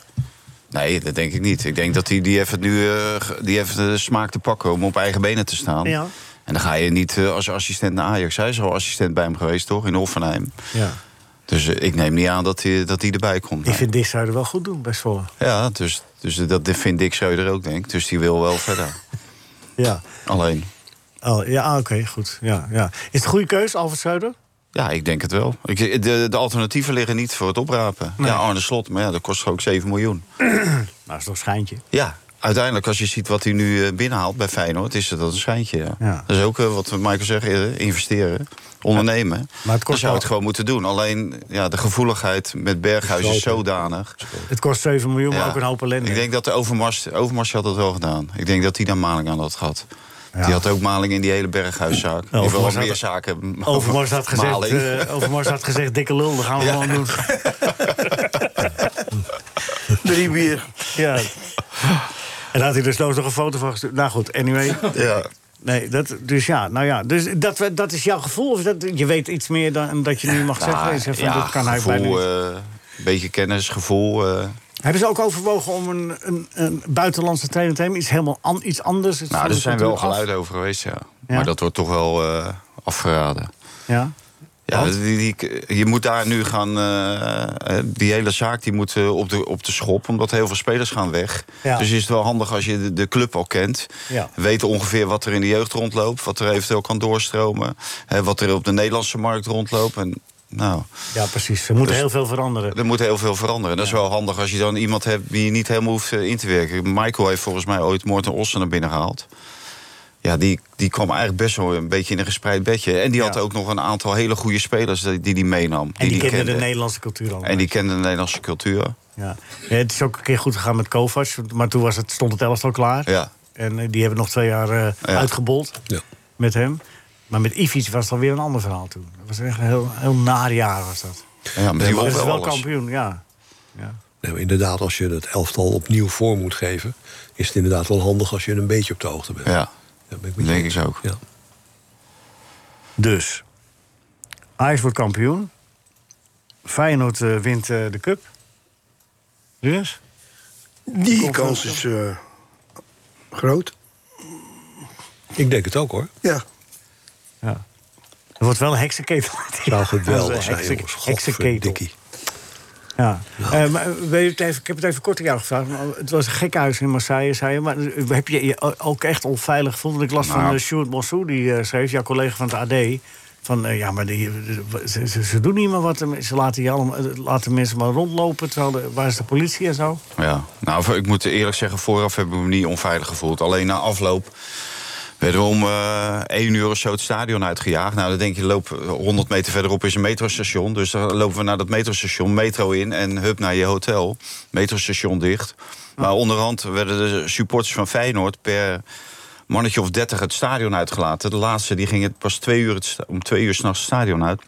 E: Nee, dat denk ik niet. Ik denk dat die, die heeft het nu eh, ge- die heeft de smaak te pakken om op eigen benen te staan.
D: Ja.
E: En dan ga je niet eh, als assistent naar Ajax. Hij is al assistent bij hem geweest, toch? In Hoffenheim.
D: Ja.
E: Dus eh, ik neem niet aan dat hij dat die erbij komt.
D: Ik vind Dissuider wel goed doen bij Zwolle.
E: Ja, dus, dus dat vindt Dick Schreuder ook, denk ik. Dus die wil wel verder.
D: Ja,
E: Alleen,
D: oh, ja ah, oké, goed. Ja, ja. Is het een goede keus, Alfred Zuider?
E: ja, ik denk het wel. Ik, de, de alternatieven liggen niet voor het oprapen. Ja, Arne Slot, maar ja, dat kost ook 7 miljoen.
D: Nou, is toch een schijntje.
E: Ja, uiteindelijk als je ziet wat hij nu eh, binnenhaalt bij Feyenoord... is dat een schijntje, ja.
D: Ja.
E: Dat is ook eh, wat Michael zegt eerder, investeren, ondernemen.
D: Maar het kost
E: Dan zou
D: wel-
E: het gewoon moeten doen. Alleen, ja, de gevoeligheid met Berghuis is
C: Grote.
E: zodanig.
D: Het kost 7 miljoen, maar
E: Ja.
D: ook een hoop ellende.
E: Ik denk dat de Overmars, Overmars had dat wel gedaan. Ik denk dat die dan maling aan had gehad.
D: Ja.
E: Die had ook maling in die hele Berghuiszaak. Die heeft wel
D: Overmars
E: wat
D: had-
E: meer zaken.
D: Overmars had gezegd,
E: Maling.
D: eh, Overmars had gezegd dikke lul, dat gaan we gewoon doen.
G: Drie bier.
D: Ja. En daar had hij dus nog een foto van gestuurd. Nou goed, anyway.
E: Ja.
D: Nee, dat, dus ja, nou ja. Dus dat, we- dat is jouw gevoel? Of dat, je weet iets meer dan dat je nu mag zeggen? Je zegt van, dat kan
E: gevoel,
D: hij bijna niet.
E: eh, beetje kennis, gevoel. eh.
D: Hebben ze ook overwogen om een, een, een buitenlandse trainer te hebben? Iets helemaal an- iets anders? Het
E: nou,
D: voelde
E: er zijn wel
D: natuurlijk af.
E: geluiden over geweest, ja.
D: Ja?
E: Maar dat wordt toch wel eh, afgeraden.
D: Ja.
E: Ja, die, die- je moet daar nu gaan. eh, eh, die hele zaak die moet eh, op, de, op de schop, omdat heel veel spelers gaan weg.
D: Ja.
E: Dus is het wel handig als je de, de club al kent.
D: Ja.
E: Weet ongeveer wat er in de jeugd rondloopt, wat er eventueel kan doorstromen. Hè, wat er op de Nederlandse markt rondloopt. En Nou,
D: Ja, precies. Er moet
E: Dus-
D: heel veel veranderen.
E: er moet heel veel veranderen. Dat is wel handig als je dan iemand hebt die je niet helemaal hoeft eh, in te werken. Michael heeft volgens mij ooit Morten Ossen naar binnen gehaald. Ja, die, die kwam eigenlijk best wel een beetje in een gespreid bedje. En die had
D: Ja.
E: ook nog een aantal hele goede spelers die die, die meenam.
D: En die, kenden de
E: kende.
D: Nederlandse cultuur al.
E: En die kenden de Nederlandse cultuur.
D: ja. Ja, het is ook een keer goed gegaan met Kovacs, maar toen was het, stond het elftal klaar.
E: Ja.
D: En eh, die hebben nog twee jaar eh,
E: Ja.
D: uitgebold
C: Ja.
D: met hem. Maar met Ivic was het alweer een ander verhaal toen. Dat was echt een heel, heel naar jaar was dat.
E: Ja, maar die
D: Maar
E: won
D: het is wel
E: wel alles.
D: kampioen, ja. ja.
C: Nee, maar inderdaad, als je het elftal opnieuw vorm moet geven... is het inderdaad wel handig als je een beetje op de hoogte bent.
E: Ja,
C: Daar ben ik met je
E: denk
C: eens.
E: ik ook.
C: Ja.
D: Dus, Ajax wordt kampioen. Feyenoord eh, wint eh, de cup. Dus?
G: Die kans is eh, groot.
C: Oh, Ik denk het ook, hoor.
G: Ja.
D: Ja. Er wordt wel een heksenketel.
C: Zou
D: Dat
C: geweldig
D: is een
C: zijn,
D: heksen-
C: jongens.
D: Heksenketel.
C: Godverdikkie.
D: Ja. Eh, maar wil je het even, ik heb het even kort aan jou gevraagd. maar Het was een gek huis in Marseille, zei je. Maar eh, heb je je ook echt onveilig gevoeld? Want ik las van
E: Nou.
D: eh, Sjoerd Mossou, die eh, schreef, jouw collega van het AD... van eh, ja, maar die, ze, ze- ze doen niet meer wat. Ze laten, je allemaal, eh, laten mensen maar rondlopen. Terwijl de, waar is de politie en zo?
E: Ja, nou, voor- ik moet eerlijk zeggen, vooraf heb ik me niet onveilig gevoeld. Alleen na afloop werden we om eh 1 uur of zo het stadion uitgejaagd. Nou, dan denk je, loop 100 meter verderop is een metrostation. Dus dan lopen we naar dat metrostation, metro in en hup naar je hotel. Metrostation dicht. Maar onderhand werden de supporters van Feyenoord per mannetje of 30 het stadion uitgelaten. De laatste die gingen pas twee uur het sta- om twee uur s'nachts het stadion uit.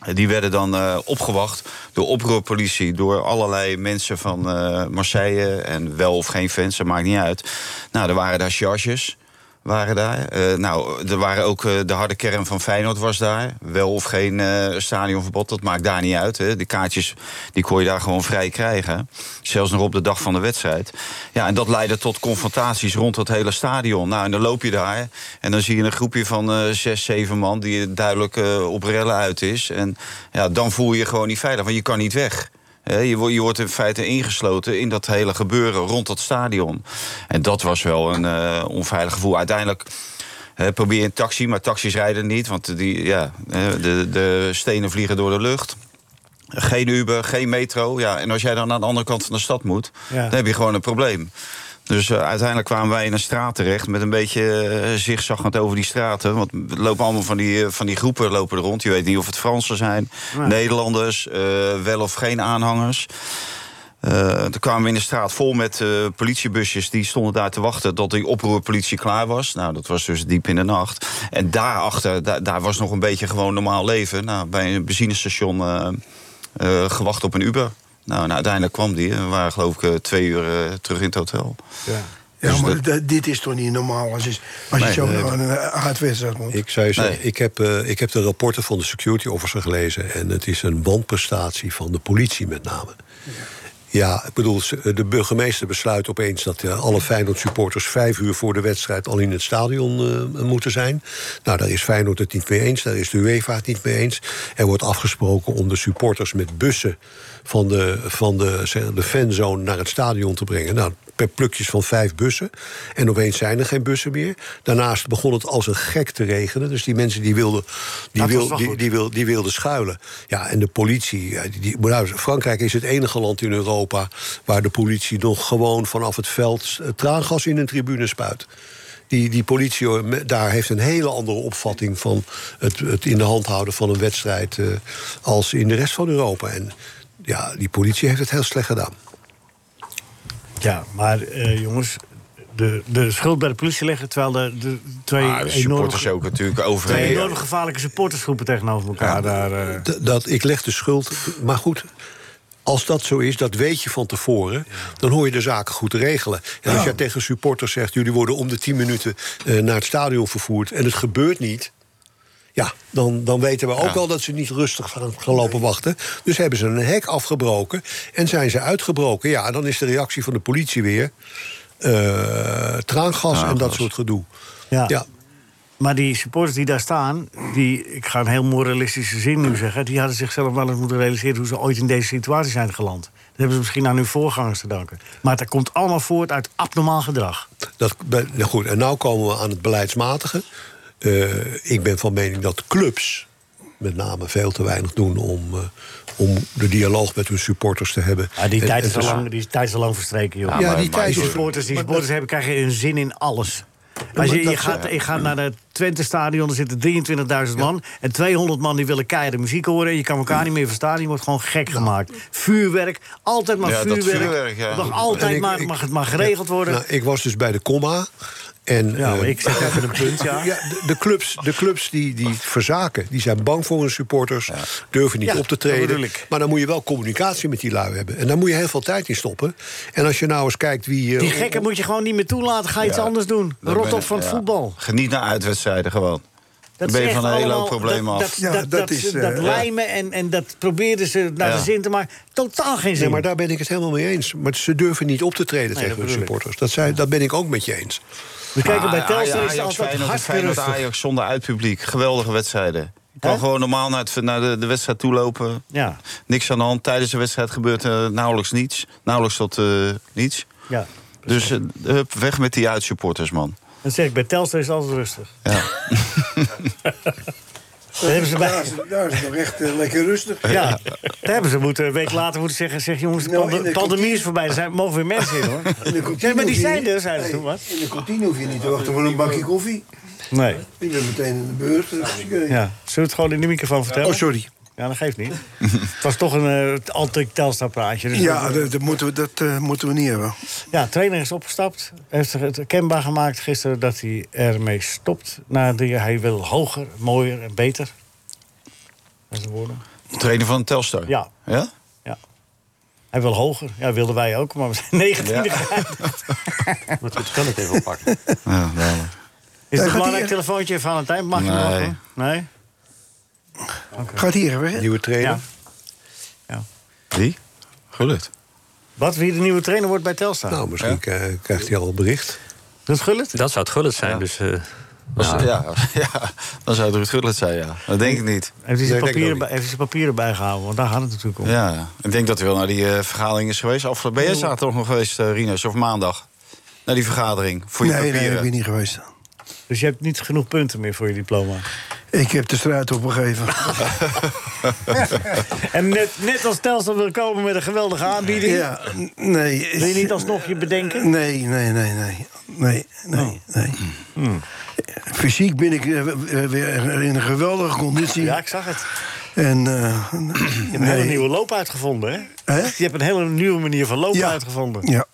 E: Eh, Die werden dan eh, opgewacht door oproerpolitie, door allerlei mensen van eh, Marseille. En wel of geen fans, dat maakt niet uit. Nou, er waren daar charges. Waren daar. Eh, nou, er waren ook eh, de harde kern van Feyenoord was daar. Wel of geen eh, stadionverbod, dat maakt daar niet uit. Hè. De kaartjes die kon je daar gewoon vrij krijgen. Zelfs nog op de dag van de wedstrijd. Ja, en dat leidde tot confrontaties rond het hele stadion. Nou, en dan loop je daar en dan zie je een groepje van eh, zes, zeven man... die duidelijk eh, op rellen uit is. En ja, dan voel je je gewoon niet veilig, want je kan niet weg. Hè, Je, wo- je wordt in feite ingesloten in dat hele gebeuren rond dat stadion. En dat was wel een eh, onveilig gevoel. Uiteindelijk hè, probeer je een taxi, maar taxis rijden niet. Want die, ja, hè, de, de stenen vliegen door de lucht. Geen Uber, geen metro. Ja, en als jij dan aan de andere kant van de stad moet,
D: Ja.
E: dan heb je gewoon een probleem. Dus eh, uiteindelijk kwamen wij in een straat terecht met een beetje eh, zigzaggend over die straten. Want er lopen allemaal van die, eh, van die groepen lopen er rond. Je weet niet of het Fransen zijn, Nederlanders, eh, wel of geen aanhangers. Eh, toen kwamen we in de straat vol met eh, politiebusjes. Die stonden daar te wachten tot die oproerpolitie klaar was. Nou, dat was dus diep in de nacht. En daarachter, da- daar was nog een beetje gewoon normaal leven. Nou, bij een benzinestation eh, eh, gewacht op een Uber. Nou, en uiteindelijk kwam die. En we waren geloof ik eh, twee uur eh, terug in het hotel.
D: Ja.
G: Ja,
E: Dus
G: maar
E: dat-
G: dat- dit is toch niet normaal als je, als je
E: Nee,
G: zo
E: nee.
G: naar een eh, aardwedstrijd moet.
C: Ik zou je zeggen,
E: Nee.
C: ik, heb, eh, ik heb de rapporten van de security officer gelezen... en het is een wanprestatie van de politie met name. Ja, ik bedoel, ze- de burgemeester besluit opeens... dat eh, alle Feyenoord-supporters vijf uur voor de wedstrijd... al in het stadion eh, moeten zijn. Nou, daar is Feyenoord het niet mee eens. Daar is de UEFA het niet mee eens. Er wordt afgesproken om de supporters met bussen... van de, van de, zeg, de fanzone naar het stadion te brengen. Nou, per plukjes van vijf bussen. En opeens zijn er geen bussen meer. Daarnaast begon het als een gek te regenen. Dus die mensen die wilden, die
D: Dat was
C: wil,
D: wel
C: die,
D: goed.
C: die, wil, die wilden schuilen. Ja, en de politie. ja, Die, die- nou, Frankrijk is het enige land in Europa waar de politie nog gewoon vanaf het veld eh, traangas in een tribune spuit. Die, die politie hoor, me- daar heeft een hele andere opvatting van het, het in de hand houden van een wedstrijd eh, als in de rest van Europa. En ja, die politie heeft het heel slecht gedaan.
D: Ja, maar eh, jongens, de, de schuld bij de politie leggen... terwijl de, de twee
E: Maar Ah, de supporters
D: enorme,
E: ook natuurlijk
D: twee
E: overheen.
D: enorme gevaarlijke supportersgroepen tegenover elkaar daar... eh,
C: D- dat ik leg de schuld. Maar goed, als dat zo is, dat weet je van tevoren, dan hoor je de zaken goed te regelen. En als je tegen supporters zegt, jullie worden om de 10 minuten eh, naar het stadion vervoerd en het gebeurt niet. Ja, dan, dan weten we ook al dat ze niet rustig gaan, gaan lopen wachten. Dus hebben ze een hek afgebroken en zijn ze uitgebroken. Ja, dan is de reactie van de politie weer eh, traangas en dat
E: Traangas.
C: soort gedoe.
D: Ja.
C: ja,
D: Maar die supporters die daar staan, die, ik ga een heel moralistische zin nu zeggen, die hadden zichzelf wel eens moeten realiseren hoe ze ooit in deze situatie zijn geland. Dat hebben ze misschien aan hun voorgangers te danken. Maar het komt allemaal voort uit abnormaal gedrag.
C: Dat, ben- nou goed, en nu komen we aan het beleidsmatige. Eh, ik ben van mening dat clubs met name veel te weinig doen om, eh, om de dialoog met hun supporters te hebben.
D: Ja, die,
C: En-
D: tijd
C: en
D: is al
C: te-
D: lang, die tijd is al lang verstreken, joh.
E: Ja,
C: Ja,
E: maar-
C: die
E: maar
C: tijd
D: Als je
C: is
D: supporters, die supporters hebben, krijgen hun zin in alles. Als je,
C: maar
D: je,
C: dat-
D: gaat, je gaat naar het Twente-stadion, er zitten 23.000 man. En 200 man die willen keiharde muziek horen. Je kan elkaar niet meer verstaan, je wordt gewoon gek gemaakt. Vuurwerk, altijd maar
E: Ja, dat
D: vuurwerk.
E: vuurwerk, ja.
D: Het mag
C: En
D: altijd
C: ik-
D: maar,
C: ik-
D: mag het maar geregeld worden.
C: Nou, ik was dus bij de comma. En,
D: Ja, maar
C: eh,
D: ik zeg even een punt, ja.
C: Ja, de, de clubs, de clubs die, die verzaken, die zijn bang voor hun supporters, durven niet
D: Ja,
C: op te
D: dat bedoel
C: treden.
D: ik.
C: Maar dan moet je wel communicatie met die lui hebben. En daar moet je heel veel tijd in stoppen. En als je nou eens kijkt wie. eh,
D: Die gekken moet je gewoon niet meer toelaten, ga iets
E: Ja,
D: anders doen.
E: Dan
D: Rot
E: ben
D: op
E: ik-
D: van het
E: ja.
D: voetbal.
E: Geniet naar uitwedstrijden gewoon.
D: Dat
E: Dan ben je
D: is echt
E: van een hele
D: allemaal-
E: hoop problemen
D: dat,
E: af.
D: Dat, dat, dat,
G: is, eh,
D: dat
G: ja.
D: lijmen en, en dat probeerden ze naar
E: Ja.
D: de zin te maken. Totaal geen zin.
C: Nee, maar daar ben ik het helemaal mee eens. Maar ze durven niet op te treden
D: dat
C: tegen hun
D: bedoel ik.
C: supporters. Dat, zei, dat ben ik ook met je eens.
D: We kijken bij
E: Ah,
D: Telstra is
E: Ajax,
D: het altijd
E: Feyenoord,
D: hartstikke
E: Feyenoord,
D: rustig.
E: Ajax zonder uitpubliek. Geweldige wedstrijden. Je kan
D: Hè?
E: gewoon normaal naar, het, naar de, de wedstrijd toe lopen.
D: Ja.
E: Niks aan de hand. Tijdens de wedstrijd gebeurt eh, nauwelijks niets. Nauwelijks tot eh, niets.
D: Ja.
E: Dus eh, hup, weg met die uitsupporters, man.
D: Dan zeg ik, bij Telstra is het altijd rustig.
E: Ja.
D: Daar hebben ze
G: Daar
D: bij...
G: is, daar is het nog echt eh, lekker rustig.
D: Ja, daar hebben ze moeten, een week later moeten zeggen... zeg jongens, de
G: Nou,
D: pande-
G: in de
D: pandemie
G: kantine-
D: is voorbij, er zijn, mogen weer mensen in hoor.
G: In de kantine
D: Ja, maar die
G: hoef je
D: zijn
G: niet-
D: er, zeiden ze toen, wat?
G: In de kantine hoef je niet te wachten voor een bakje koffie.
D: Nee,
G: Je bent meteen in de beurt. Dus, eh,
D: ja. Zullen we het gewoon in de microfoon vertellen?
G: Oh, sorry.
D: Ja, dat geeft niet. het was toch een eh altijd Telstra praatje. Dus
G: Ja,
D: dat-
G: dat, dat moeten we, dat eh, moeten we niet hebben.
D: ja, trainer is opgestapt. Heeft het kenbaar gemaakt gisteren dat hij ermee stopt. Na drie jaar. hij wil hoger, mooier en beter. Dat zijn woorden.
E: Trainer van Telstar.
D: Ja.
E: ja?
D: Ja. Hij wil hoger. Ja, wilden wij ook, maar we zijn 19
E: Ja.
I: Moet het spel het even oppakken.
E: Ja, wel.
D: Is het een
G: gaat
D: belangrijk
G: hier-
D: telefoontje van Valentijn? Mag je nog?
E: Nee.
D: hè? Nee?
G: Gaat hier weg?
C: Nieuwe
D: Ja.
C: trainer.
D: Ja.
E: Wie? Gelukt.
D: Wat, wie de nieuwe trainer wordt bij Telstar?
C: Nou, misschien k- krijgt hij al een bericht.
D: Dat gullet?
F: Dat zou het gullet zijn, dus... eh,
E: Ja. Ja, dan zou het Ruud Gullit zijn, ja. Dat denk ik niet.
D: Heeft hij zijn
C: denk ik ook
D: papieren,
C: niet.
D: bij- heeft hij zijn papieren bijgehouden? Want daar gaat het natuurlijk om.
E: Ja, ik denk dat hij wel naar die eh, vergadering is geweest. Afgelopen ben jij zaterdag nog geweest, eh, Rinus, of maandag? Naar die vergadering voor je
G: Nee, nee,
E: papieren.
G: ik ben niet geweest.
D: Dus je hebt niet genoeg punten meer voor je diploma.
G: Ik heb de strijd opgegeven.
D: En net, net als Telstar wil komen met een geweldige aanbieding...
G: ja, n- nee.
D: wil je niet alsnog je bedenken?
G: Nee, nee, nee, nee. Nee, nee,
D: Oh.
G: nee.
D: Hmm.
G: Fysiek ben ik eh, w- eh, weer in een geweldige conditie.
D: Ja, ik zag het.
G: En, eh,
D: Je hebt een hele
G: nee.
D: nieuwe loop uitgevonden, hè?
G: Hè?
D: Je hebt een hele nieuwe manier van lopen
G: Ja.
D: uitgevonden.
G: Ja,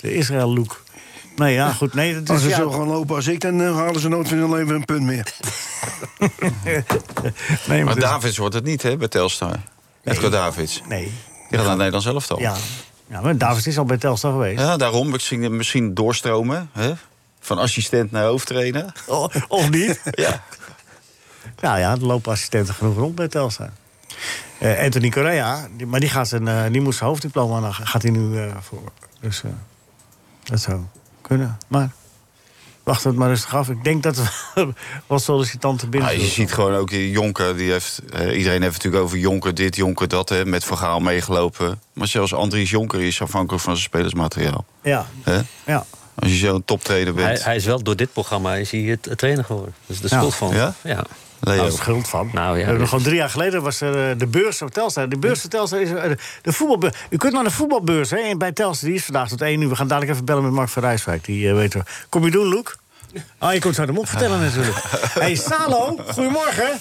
D: De Israël-look. Nee, ja, goed. Nee, dat is,
G: als ze
D: Dus ja,
G: zo gaan lopen als ik, dan eh, halen ze nooit van hun leven een punt meer.
D: nee, maar
E: Maar
D: dat is-
E: Davids wordt het niet, hè, bij Telstar. Edgar Davids.
D: Nee,
E: Die gaat naar Nederland zelf al.
D: ja. ja maar David is al bij Telstar geweest.
E: Ja, daarom misschien, misschien doorstromen. Hè? Van assistent naar hoofdtrainer.
D: O- Oh, Of niet?
E: Ja.
D: Nou ja, er lopen assistenten genoeg rond bij Telstar. Eh, Anthony Correa, die- maar die, gaat zijn, eh, die moet zijn hoofddiploma nog- gaat hij nu eh, voor. Dus eh, dat zou kunnen. Maar wacht het maar rustig af. Ik denk dat we wat sollicitanten binnen
E: Ah, je
D: zullen
E: ziet gewoon ook die Jonker. Die heeft, eh, iedereen heeft natuurlijk over Jonker dit, Jonker dat. Hè, met verhaal meegelopen. Maar zelfs Andries Jonker is afhankelijk van zijn spelersmateriaal.
D: komen. Ja,
E: Hè?
D: ja.
E: Als je zo'n toptrainer
F: hij,
E: bent.
F: hij is wel door dit programma is hij het, het trainer geworden. Dat is de
D: Ja.
F: schuld van.
E: Ja?
F: ja.
E: Leo.
D: Nou, schuld van.
F: Nou, ja,
D: We hebben
F: dus-
D: gewoon drie jaar geleden was er eh, de beurs op Telstar. De beurs op Telstar is eh, de- de voetbalbeurs. U kunt naar de voetbalbeurs hè, en bij Telstar. Die is vandaag tot één uur. We gaan dadelijk even bellen met Mark van Rijswijk. Die eh, weet wel. Kom je doen, Loek? Ah, je komt zo de mop vertellen natuurlijk. hey, Salo, goedemorgen.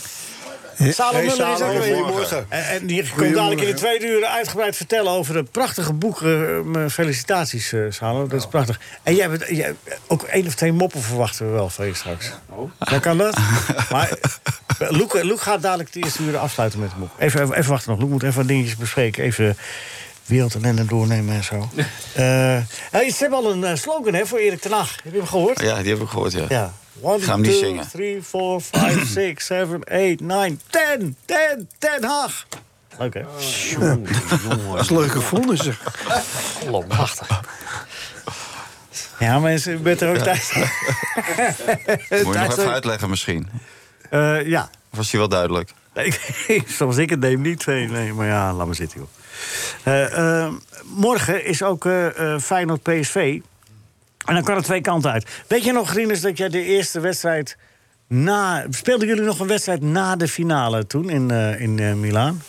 D: Salo
C: Hey,
D: Muller is
C: Salo,
D: ook weer.
C: goedemorgen.
D: En, en die komt dadelijk in de tweede uur uitgebreid vertellen over het prachtige boek. eh, m, felicitaties, eh Salo. Dat is prachtig. En jij hebt jij, ook één of twee moppen verwachten we wel van je straks. Dan kan dat. Maar eh, Loek, eh, Loek gaat dadelijk de eerste uur afsluiten met de mop. Even, even, even wachten nog. Loek moet even wat dingetjes bespreken. Even wereld en ellende doornemen en zo. Eh, hey, ze hebben al een eh, slogan hè, voor Erik ten Hag. Heb je hem gehoord?
E: Ja, die heb ik gehoord, ja.
D: Ja. 1,
E: Ga hem niet zingen.
D: 3, 4, 5, 6, 7, 8, 9, 10, 10, 10 Haag. Leuk, hè?
G: Dat is dus. leuke vonden ze.
D: Ja, mensen, u bent er ook tijd.
E: Moet je nog even uitleggen misschien.
D: Eh, ja.
E: Of was die wel duidelijk?
D: Nee, Soms ik het neem niet. Nee, nee, maar ja, laat maar zitten, joh. Eh, eh, morgen is ook eh eh Feyenoord PSV. En dan kan het twee kanten uit. Weet je nog, Rinus, dat jij de eerste wedstrijd Na, speelden jullie nog een wedstrijd na de finale toen in, eh, in eh, Milaan?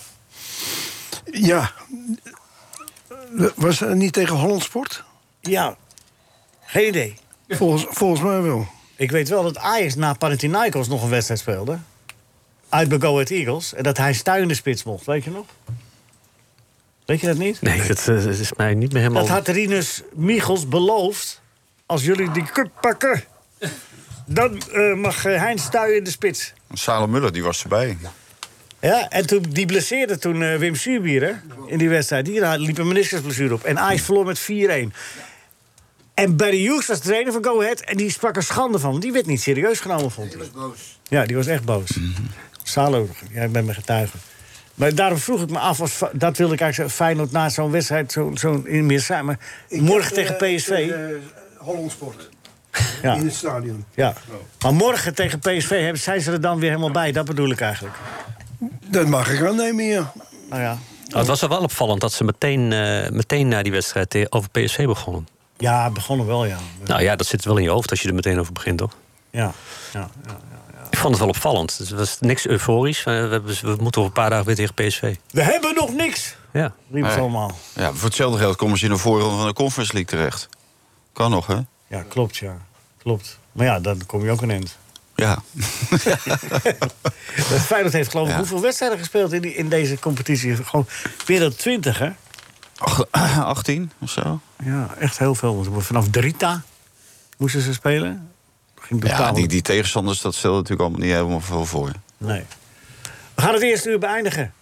G: Ja. Eh, Was dat niet tegen Holland Sport?
D: Ja, geen idee.
G: Volgens, volgens mij wel.
D: Ik weet wel dat Ajax na Panathinaikos nog een wedstrijd speelde. Uit bij Go Ahead Eagles. En dat hij stuin de spits mocht, weet je nog? Weet je dat niet?
F: Nee, dat, eh, dat is mij niet meer helemaal...
D: Dat had Rinus Michels beloofd. Als jullie die cup pakken, dan eh, mag eh, Hein stuien de spits.
E: Salem Muller, die was erbij.
D: Ja, en toen, die blesseerde toen eh, Wim Suurbier hè, in die wedstrijd. Die had- liep een meniscusblessure op. En Ajax verloor met 4-1. En Barry Hughes was trainer van Go Ahead. En die sprak er schande van. want Die werd niet serieus genomen, vond hij. Ja, die was echt boos. Salo, jij bent mijn getuige. Maar daarom vroeg ik me af, als, Fa- dat wilde ik eigenlijk zeggen... Feyenoord na zo'n wedstrijd zo'n zo in meer samen. Morgen tegen PSV.
G: eh, Holland Sport.
D: ja.
G: In het stadion.
D: ja. Maar morgen tegen PSV hebben, zijn ze er dan weer helemaal bij. Dat bedoel ik eigenlijk.
G: Dat mag ik aannemen, ja.
D: Nou ja.
F: Oh, het was wel opvallend dat ze meteen, eh, meteen na die wedstrijd te- over PSV begonnen.
D: Ja, begonnen wel, ja.
F: Nou ja, dat zit wel in je hoofd als je er meteen over begint, toch?
D: Ja, ja, ja.
F: Ik vond het wel opvallend. Het was niks euforisch. Eh, We, hebben- we moeten over een paar dagen weer tegen PSV.
D: We hebben nog niks,
F: Ja.
D: riepen ze
E: Nee.
D: allemaal.
E: Ja, voor hetzelfde geld komen ze in de voorronde van de Conference League terecht. Kan nog, hè?
D: Ja, klopt, ja. Klopt. Maar ja, dan kom je ook een eind.
E: Ja.
D: Feyenoord heeft geloof ik
E: Ja.
D: hoeveel wedstrijden gespeeld in, die, in deze competitie? Gewoon meer dan twintig, hè?
E: Ach- 18 of zo.
D: Ja, echt heel veel. Want vanaf Drita moesten ze spelen. Ging
E: Ja,
D: totaal-
E: die, die tegenstanders, dat stelde natuurlijk allemaal niet helemaal veel voor.
D: Nee. We gaan het eerste uur beëindigen.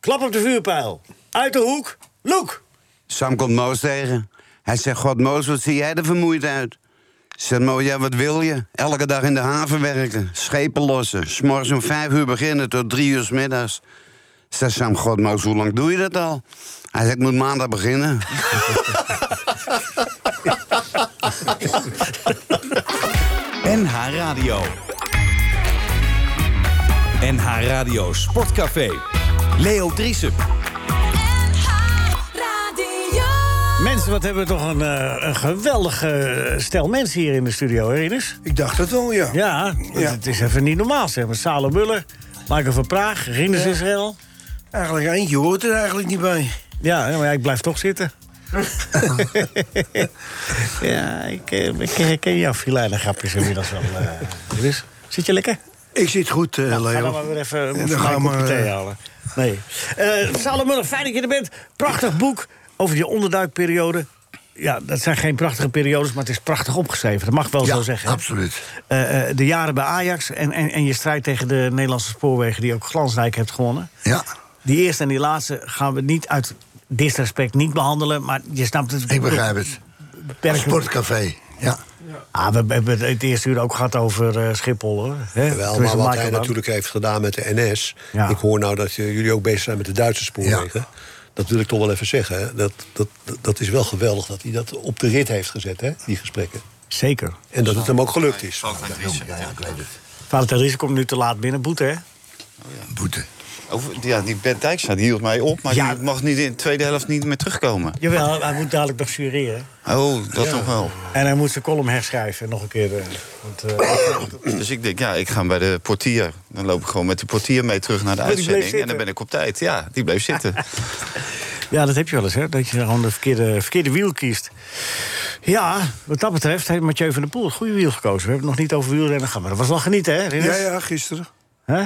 D: Klap op de vuurpijl. Uit de hoek. Loek.
J: Sam komt Moos tegen. Hij zegt, god Moos, wat zie jij er vermoeid uit? Zegt Mo, ja, wat wil je? Elke dag in de haven werken, schepen lossen... s'morgens om vijf uur beginnen tot drie uur 's middags. Zegt Sam, god Moos, hoe lang doe je dat al? Hij zegt, ik moet maandag beginnen.
B: NH Radio. NH Radio Sportcafé. Leo Driesen.
D: Mensen, wat hebben we toch een, eh, een geweldige stel mensen hier in de studio, hè, Rinus?
G: Ik dacht het wel, ja.
D: Ja,
G: Ja.
D: het is even niet normaal, zeg maar. Salem Muller, Michael van Praag, Rinus Israël.
G: Eigenlijk eentje hoort er eigenlijk niet bij.
D: Ja, maar ja, ik blijf toch zitten. ja, ik, eh, ik, ik ken jouw filijne grapjes inmiddels wel. eh, Rinus. Zit je lekker?
G: Ik zit goed, eh,
D: Ga
G: Leo.
D: dan maar weer even
G: dan
D: een
G: gaan we
D: kopje
G: maar,
D: thee
G: eh,
D: halen. Nee. Eh Salem Muller, fijn dat je er bent. Prachtig boek over je onderduikperiode. Ja, dat zijn geen prachtige periodes, maar het is prachtig opgeschreven. Dat mag wel zo zeggen. hè?
G: absoluut.
D: Eh, eh, de jaren bij Ajax en, en, en je strijd tegen de Nederlandse spoorwegen... die ook glansrijk hebt gewonnen.
G: Ja,
D: Die eerste en die laatste gaan we niet uit disrespect niet behandelen... maar je snapt het.
K: Ik begrijp het.
D: beperkt-
K: Sportcafé. Ja.
D: Ah, we hebben het eerste uur ook gehad over eh, Schiphol, hoor. Hè?
C: Wel, maar
D: Tenminste,
C: wat
D: Michael
C: hij
D: dan.
C: natuurlijk heeft gedaan met de NS.
D: Ja.
C: Ik hoor nou dat eh, jullie ook bezig zijn met de Duitse spoorwegen. Dat wil ik toch wel even zeggen. hè. Dat, dat, dat- dat is wel geweldig dat hij dat op de rit heeft gezet, hè, die gesprekken.
D: Zeker.
C: En dat het hem ook gelukt is.
D: Valentijn Riesen komt nu te laat binnen, boete, hè?
K: Boete.
E: Over, ja, die Ben Dijkstra die hield mij op, maar
D: Ja.
E: die mag niet in de tweede helft niet meer terugkomen.
D: Jawel, hij moet dadelijk nog jureren.
E: Oh, dat nog wel.
D: En hij moet zijn column herschrijven, nog een keer. eh, want, eh,
E: Dus ik denk, ja, ik ga bij de portier. Dan loop ik gewoon met de portier mee terug naar de
D: die bleef
E: uitzending. En
D: zitten.
E: dan ben ik op tijd. Ja, die bleef zitten.
D: Ja, dat heb je wel eens, hè? Dat je gewoon de verkeerde, verkeerde wiel kiest. Ja, wat dat betreft heeft Mathieu van der Poel het goede wiel gekozen. We hebben het nog niet over wielrennen gehad, maar dat was wel genieten, hè, Rinus?
G: ja, ja gisteren.
D: Hè?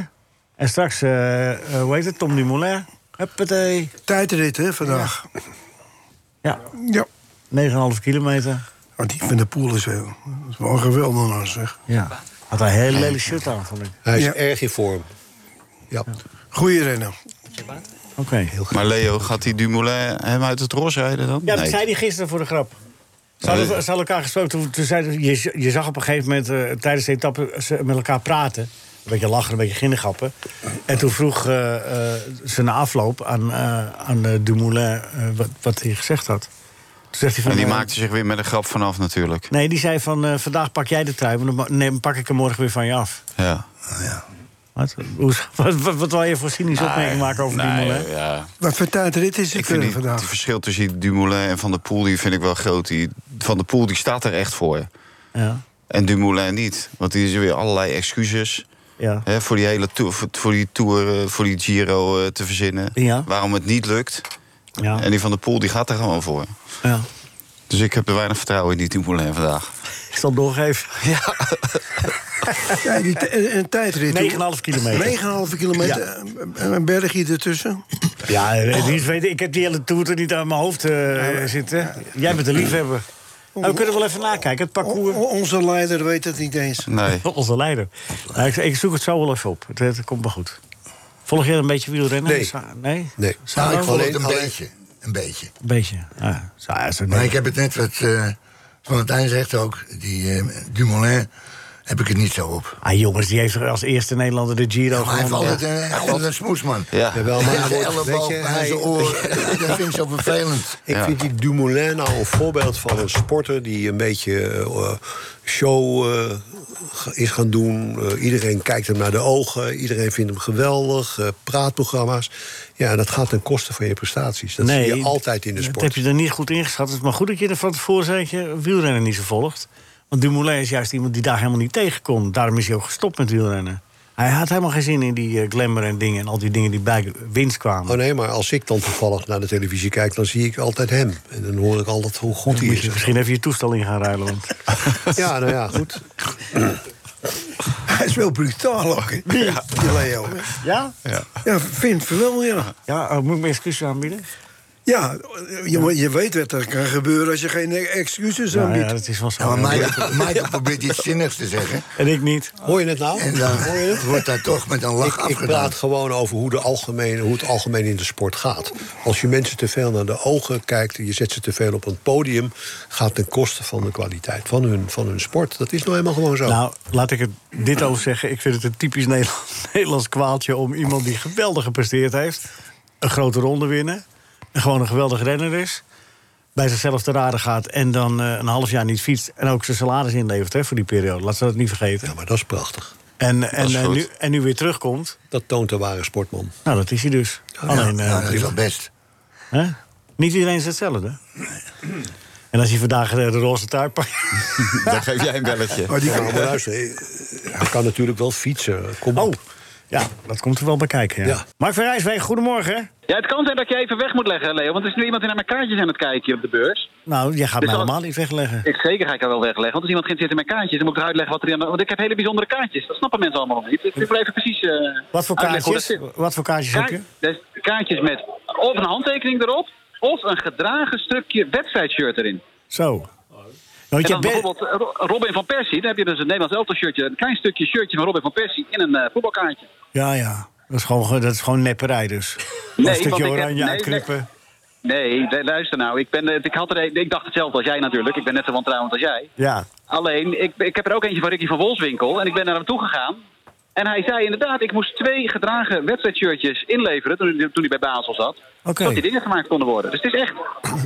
D: En straks, eh, eh, hoe heet het, Tom Dumoulin. Huppatee.
G: Tijdrit, hè, vandaag.
D: Ja,
G: Ja.
D: 9,5 kilometer.
G: Maar die van de poel is heel. Dat is wel een geweldig nou, zeg.
D: Ja. Had een heel lelijk shirt aan, vond ik.
C: Hij is
G: Ja.
C: erg in vorm. Ja.
G: Goeie rennen.
D: Oké.
E: Maar Leo, gaat die Dumoulin hem uit het ros rijden dan?
D: Ja, dat
E: Nee.
D: zei hij gisteren voor de grap. Ze hadden, ze hadden elkaar gesproken. Toen, toen zeiden ze- je, je zag op een gegeven moment eh, tijdens de etappe ze met elkaar praten. Een beetje lachen, een beetje ginnegappen. En toen vroeg eh, eh, ze na afloop aan, eh, aan eh, Dumoulin eh, wat, wat hij gezegd had. Toen zegt hij van,
E: En die
D: eh,
E: maakte zich weer met een grap vanaf natuurlijk.
D: Nee, die zei van eh, vandaag pak jij de trui, maar dan ma- neem, pak ik hem morgen weer van je af.
E: Ja.
D: Wat, Hoe- wat, wat, wat wil je voor cynische opmerking maken over
E: Ah, Nee,
D: Dumoulin?
E: ja.
G: Wat voor tijdrit is
E: Ik
G: het
E: vind
G: eh,
E: die, het
G: vandaag?
E: verschil tussen Dumoulin en Van der Poel die vind ik wel groot. Die, van der Poel die staat er echt voor.
D: Ja.
E: En Dumoulin niet. Want die is weer allerlei excuses.
D: Ja.
E: Hè, voor die hele tour, voor, voor die tour, eh, voor die Giro eh, te verzinnen.
D: Ja.
E: Waarom het niet lukt.
D: Ja.
E: En die van de Poel die gaat er gewoon voor.
D: Ja.
E: Dus ik heb er weinig vertrouwen in die Dumoulin vandaag.
D: Ik zal doorgeven.
E: Ja.
K: Ja, die t- een, een tijdrit.
D: 9,5 kilometer.
K: 9,5 kilometer.
D: Ja.
K: En Een bergje ertussen.
D: Ja, eh, die is weten- ik heb die hele toer er niet aan mijn hoofd eh, zitten. Jij bent een liefhebber. Nou, we kunnen wel even nakijken, het
L: Oh,
D: parcours.
K: onze leider weet het niet eens.
E: Nee.
D: Onze leider. Nou, ik, ik zoek het zo wel even op. Het, het komt maar goed. Volg jij een beetje wielrennen?
L: Nee.
D: Sa- nee?
L: Nee.
D: Sa-
L: Nou, ik volg
D: Alleen-
L: het een
D: alleen-
L: beetje. Een beetje.
D: Een beetje. Ah, zo, ja, zo-
L: Maar ik heb het net wat eh, Valentijn zegt ook. Die eh, Dumoulin heb ik het niet zo op.
D: Ah, jongens, die heeft als eerste Nederlander de Giro
L: Maar hij heeft
D: gewonnen.
L: altijd een, hij heeft altijd een smoesman.
E: Ja.
C: Jawel, maar
L: Ja, de
C: hij wordt-
L: elleboog
C: weet je,
L: bij zijn
C: hij-
L: oor. dat vind ik zo vervelend.
C: Ik
E: Ja.
C: vind die Dumoulin nou een voorbeeld van een sporter die een beetje eh, show eh, is gaan doen. Eh, iedereen kijkt hem naar de ogen, iedereen vindt hem geweldig. eh, praatprogramma's. Ja, dat gaat ten koste van je prestaties. Dat zie je altijd in de
D: dat
C: sport.
D: heb je er niet goed ingeschat. Het is maar goed dat je er van tevoren zei dat je wielrennen niet zo volgt. Want Dumoulin is juist iemand die daar helemaal niet tegenkomt. Daarom is hij ook gestopt met wielrennen. Hij had helemaal geen zin in die eh, glamour en dingen... en al die dingen die bij winst kwamen.
C: Oh nee, maar als ik dan toevallig naar de televisie kijk, dan zie ik altijd hem. En dan hoor ik altijd hoe goed hij
D: Moet je
C: is.
D: misschien even je toestel in gaan ruilen. Want...
C: Ja, nou ja, goed.
K: Hij is wel brutaal ook. hè? Die Leo.
D: Ja?
K: Ja, vind ik wel, ja.
D: Ja, eh, moet ik mijn excuses aanbieden?
K: Ja, je, je weet wat er kan gebeuren als je geen excuses
D: Ja,
K: aanbiedt.
D: ja, dat is wel zo.
L: Ja, maar Michael, Michael probeert iets zinnigs te zeggen.
D: En ik niet.
C: Hoor je het nou?
L: En dan
C: Hoor je het?
L: wordt daar toch met een lach
C: Ik, ik
L: afgedaan.
C: praat gewoon over hoe, de algemeen, hoe het algemeen in de sport gaat. Als je mensen te veel naar de ogen kijkt... en je zet ze te veel op een podium... gaat ten koste van de kwaliteit van hun, van hun sport. Dat is nou helemaal gewoon zo.
D: Nou, laat ik het dit over zeggen. Ik vind het een typisch Nederlands, Nederlands kwaaltje om iemand die geweldig gepresteerd heeft, een grote ronde winnen, en gewoon een geweldig renner is, bij zichzelf te raden gaat en dan eh, een half jaar niet fietst en ook zijn salaris inlevert hè, voor die periode. Laten we dat niet vergeten.
C: ja, maar dat is prachtig.
D: En, en,
E: is
D: eh,
E: goed.
D: nu, en nu weer terugkomt.
C: Dat toont de ware sportman.
D: Nou, dat is hij dus.
C: Oh,
D: Alleen, eh,
L: Ja, dat Nou, is wel best.
D: hè? niet iedereen is hetzelfde. En als je vandaag eh, de roze tuin pakt.
E: Dan geef jij een belletje.
C: Maar die kan maar luisteren. eh, Hij kan natuurlijk wel fietsen. Kom
L: Oh,
C: op.
D: Ja, dat komt er wel bij kijken. Ja.
C: Ja.
D: Mark van Rijswijk, goedemorgen.
H: Ja, het kan zijn dat je even weg moet leggen, Leo. Want er is nu iemand die naar mijn kaartjes aan het kijken hier op de beurs.
D: Nou, jij gaat
H: Dus
D: mij
H: dat-
D: helemaal niet wegleggen.
H: Ik zeker ga ik er wel wegleggen. Want als iemand gaat zitten met kaartjes, dan moet ik eruit leggen wat er aan... Want ik heb hele bijzondere kaartjes. Dat snappen mensen allemaal nog niet. Dus ik wil even precies... eh,
D: Wat voor
H: uitleggen hoe dat
D: kaartjes?
H: zit.
D: Wat voor kaartjes heb je?
H: Kaart- dus kaartjes met of een handtekening erop... of een gedragen stukje wedstrijdshirt erin.
D: Zo. Want
H: Oh. En
D: je
H: dan
D: hebt
H: bijvoorbeeld eh, Ro- Robin van Persie. Dan heb je dus een Nederlands elftal shirtje. Een klein stukje shirtje van Robin van Persie in een eh, voetbalkaartje.
D: Ja, ja. Dat is gewoon, dat is gewoon nepperij dus. een
H: want
D: stukje
H: ik heb-
D: oranje
H: nee,
D: uitknippen.
H: Nee, de- luister nou. Ik, ben, eh, ik, had er, ik dacht hetzelfde als jij natuurlijk. Ik ben net zo wantrouwend als jij.
D: Ja.
H: Alleen, ik, ik heb er ook eentje van Ricky van Wolfswinkel. En ik ben naar hem toe gegaan. En hij zei inderdaad, ik moest twee gedragen wedstrijdshirtjes inleveren toen, toen hij bij Basel zat.
D: Oké.
H: Dat die dingen gemaakt konden worden. Dus het is echt...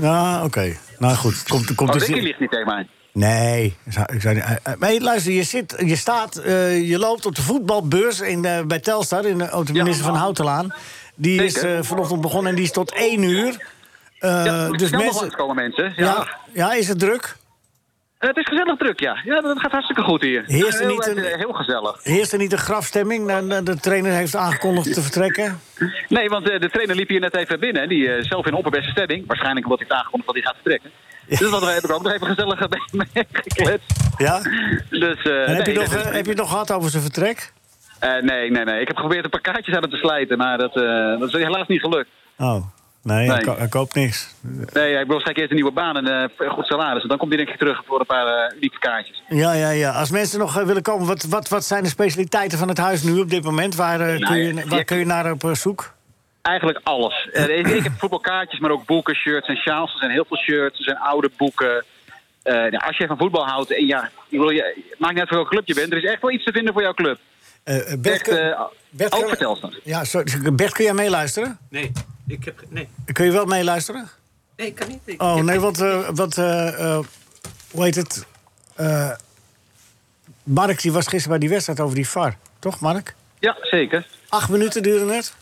D: Nou, oké. Nou goed. Komt, komt
H: Oh,
D: dus-
H: Ricky ligt niet tegen mij.
D: Nee. Ik zou- ik zou niet- eh, eh, Maar luister, je, zit, je staat, eh, je loopt op de voetbalbeurs in, eh, bij Telstar, in, de- op de
H: Ja.
D: minister van Houtelaan. Die is
H: Zeker.
D: eh, vanochtend begonnen en die is tot één uur. Eh,
H: ja,
D: dus mensen,
H: mensen... komen mensen. Ja.
D: ja, ja, is het druk?
H: Eh, het is gezellig druk, ja. Ja, dat gaat hartstikke goed hier.
D: Heerst er
H: heel,
D: niet een-
H: eh, heel gezellig.
D: Heerst er niet een grafstemming? Na- na- De trainer heeft aangekondigd te vertrekken.
H: Nee, want eh, de trainer liep hier net even binnen. Die eh, zelf in opperbeste stemming. Waarschijnlijk omdat hij het aangekondigd had dat hij gaat vertrekken. Dus dat heb ik ook nog even gezellig mee- mee gekletst.
D: Ja?
H: Dus, eh,
D: En heb, je
H: nee,
D: nog,
H: dat is-
D: eh, heb je het nog gehad over zijn vertrek?
H: Eh, nee, nee, nee. Ik heb geprobeerd een paar kaartjes aan hem te slijten, maar dat, eh, dat is helaas niet gelukt.
D: Oh, nee, Hij,
H: Nee.
D: ko- hij koopt niks.
H: Nee, ik wil waarschijnlijk eerst een nieuwe baan en eh, een goed salaris. En dan komt hij denk ik terug voor een paar eh, unieke kaartjes.
D: Ja, ja, ja. Als mensen nog eh, willen komen, wat, wat, wat zijn de specialiteiten van het huis nu op dit moment? Waar, eh, kun, je,
H: Nou, ja,
D: waar
H: je-
D: kun je naar op eh, zoek?
H: Eigenlijk alles. Eh, ik, ik heb voetbalkaartjes, maar ook boeken, shirts en sjaals. Er zijn heel veel shirts, er zijn oude boeken. Eh, nou, als je van voetbal houdt, en ja, ik wil, je, het maakt niet uit voor welk club je bent. Er is echt wel iets te vinden voor jouw club.
D: Eh, eh,
H: Echt,
D: kun-
H: eh,
D: Bert,
H: ook
D: kun-
H: vertel eens dan.
D: ja, sorry, Bert, kun jij meeluisteren?
M: Nee, ik heb... ge- Nee,
D: Kun je wel meeluisteren?
M: nee ik kan niet. Ik-
D: Oh,
M: ik-
D: nee, want, eh, want eh, eh, hoe heet het? Eh, Mark die was gisteren bij die wedstrijd over die VAR. Toch, Mark?
H: Ja, zeker.
D: Acht minuten duurde het.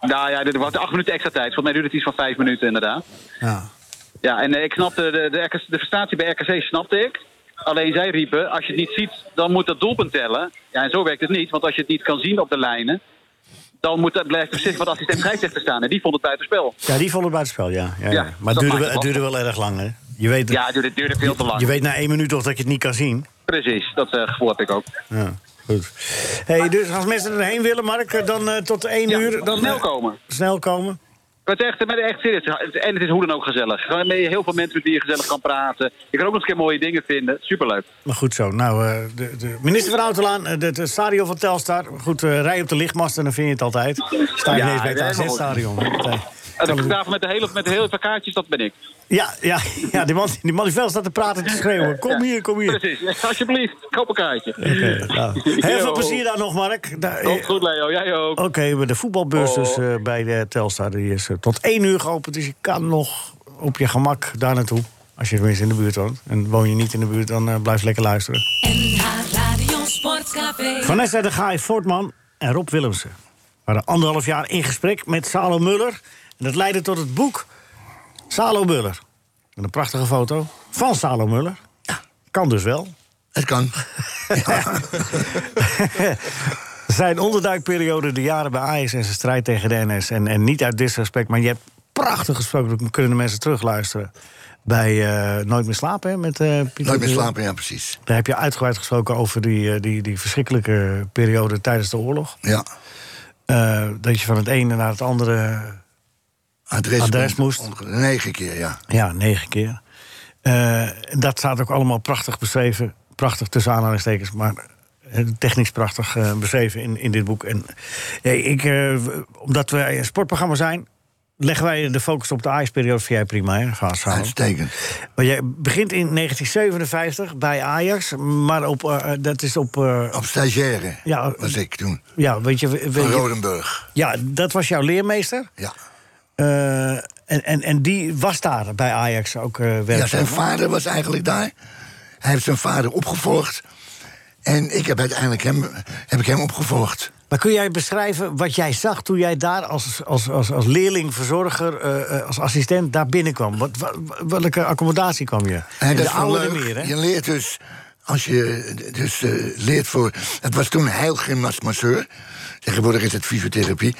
H: Nou ja, er was acht minuten extra tijd. Volgens mij duurde het iets van vijf minuten inderdaad.
D: Ja.
H: Ja, en eh, ik snapte de, de, RKC de frustratie bij RKC snapte ik.
N: Alleen zij riepen, als je het niet ziet, dan moet dat doelpunt tellen. Ja, en zo werkt het niet, want als je het niet kan zien op de lijnen... dan moet dat, blijft er zich wat assistent scheidsrechter staan. En die vond het buitenspel.
D: Ja, die vonden buitenspel, ja. ja, ja.
N: Ja,
D: Maar het
N: dat
D: duurde,
N: maakt
D: wel-
N: het
D: het duurde wel erg lang, hè? Je weet,
N: Ja, het duurde- het duurde veel te lang.
D: Je weet na één minuut toch dat je het niet kan zien.
N: Precies, dat eh, gevoel heb ik ook.
D: Ja, goed. Hey, dus als mensen erheen willen, Mark, eh, dan eh, tot één uur. Dan,
N: snel
D: eh,
N: komen.
D: Snel komen.
N: Maar het is echt, maar echt serieus. En het is hoe dan ook gezellig. Gewoon met heel veel mensen met wie je gezellig kan praten. Je kan ook nog eens een keer mooie dingen vinden. Superleuk.
D: Maar goed zo. Nou, eh, de, de minister van Autolaan, eh, het stadion van Telstar. Goed, eh, rij op de lichtmast en dan vind je het altijd. Sta je
N: Ja,
D: ineens bij het
N: helemaal goed.
D: AZ-stadion.
N: En de fotograaf met de hele, met de hele plakkaatjes, dat ben ik.
D: Ja, ja, ja die, man, die man die veel staat te praten en te schreeuwen. Oh, Kom hier, kom hier.
N: Precies, alsjeblieft, koop een kaartje.
D: nou, Heel veel plezier daar nog, Mark. Daar- eh,
N: Komt goed, Oh. Leo. Jij ook.
D: Oké, maar de voetbalbeurs dus, eh, bij de Telstar die is eh, tot één uur geopend. Dus je kan nog op je gemak daar naartoe. Als je tenminste in de buurt woont. En woon je niet in de buurt, dan eh, blijf lekker luisteren.
A: NH Radio Sportcafé.
D: Vanessa de Gaai Voortman en Rob Willemsen waren anderhalf jaar in gesprek met Salo Muller. En dat leidde tot het boek Salo Muller. Met een prachtige foto van Salo Muller. Kan dus wel.
K: Het kan.
D: zijn onderduikperiode, de jaren bij Ajax en zijn strijd tegen de NS. En, en niet uit disrespect, maar je hebt prachtig gesproken. Dan kunnen de mensen terugluisteren. Bij eh, Nooit meer slapen, hè? Met, eh, Pieter
K: Nooit meer
D: Buur.
K: slapen, ja, precies.
D: Daar heb je uitgebreid gesproken over die, eh, die, die verschrikkelijke periode tijdens de oorlog.
K: Ja.
D: Eh, dat je van het ene naar het andere
K: Adres,
D: adres moest.
K: onge- Negen keer, ja.
D: Ja, negen keer. Eh, dat staat ook allemaal prachtig beschreven. Prachtig tussen aanhalingstekens, maar eh, technisch prachtig eh, beschreven in, in dit boek. En, ja, ik, eh, w- omdat we een sportprogramma zijn, leggen wij de focus op de Ajax-periode. Vind jij prima, hè? Gaas Samen?
K: Uitstekend.
D: Maar jij begint in 1957 bij Ajax, maar op, eh, dat is op... eh,
K: Op stagiaire
D: ja,
K: was ik toen.
D: ja, weet je... Weet
K: Van
D: je-
K: Rodenburg.
D: ja, dat was jouw leermeester.
K: Ja.
D: Eh, en, en, en die was daar bij Ajax ook eh werkzaam.
K: Ja, zijn vader was eigenlijk daar. Hij heeft zijn vader opgevolgd. En ik heb uiteindelijk hem, heb ik hem opgevolgd.
D: Maar kun jij beschrijven wat jij zag toen jij daar als, als, als, als leerling, verzorger, eh, eh, als assistent daar binnenkwam? Wat, wa- wa- welke accommodatie kwam je?
G: Eh,
K: En
D: In
K: dat
D: de
K: is wel
D: Oude
K: leuk.
D: Meer, hè?
K: Je leert dus, als je dus eh, leert voor. Het was toen heilgymnast masseur. Tegenwoordig is het fysiotherapie.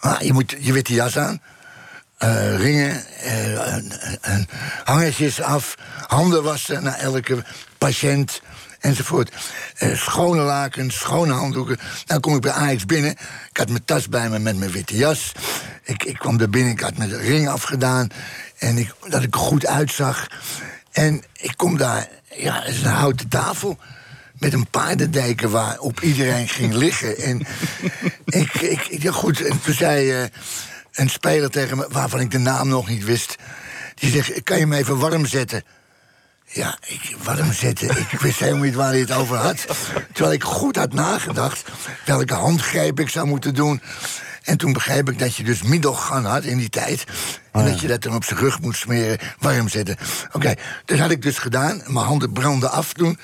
K: Maar je, moet, je witte jas aan. eh, ringen, eh, en- en hangertjes af, handen wassen naar elke patiënt enzovoort. Eh, schone lakens, schone handdoeken. Dan kom ik bij Ajax binnen. Ik had mijn tas bij me met mijn witte jas. Ik, ik kwam er binnen, ik had mijn ring afgedaan. En ik, dat ik er goed uitzag. En ik kom daar, ja, het is een houten tafel. Met een paardendeken waarop iedereen ging liggen. En ik, ik, ik ja, goed, en toen zei eh, een speler tegen me, waarvan ik de naam nog niet wist. Die zegt, kan je me even warm zetten? Ja, ik, warm zetten. Ik wist helemaal niet waar hij het over had. Terwijl ik goed had nagedacht welke handgreep ik zou moeten doen. En toen begreep ik dat je dus middelgan had in die tijd. En dat je dat dan op zijn rug moet smeren, warm zetten. Oké, dat had ik dus gedaan. Mijn handen brandden af toen.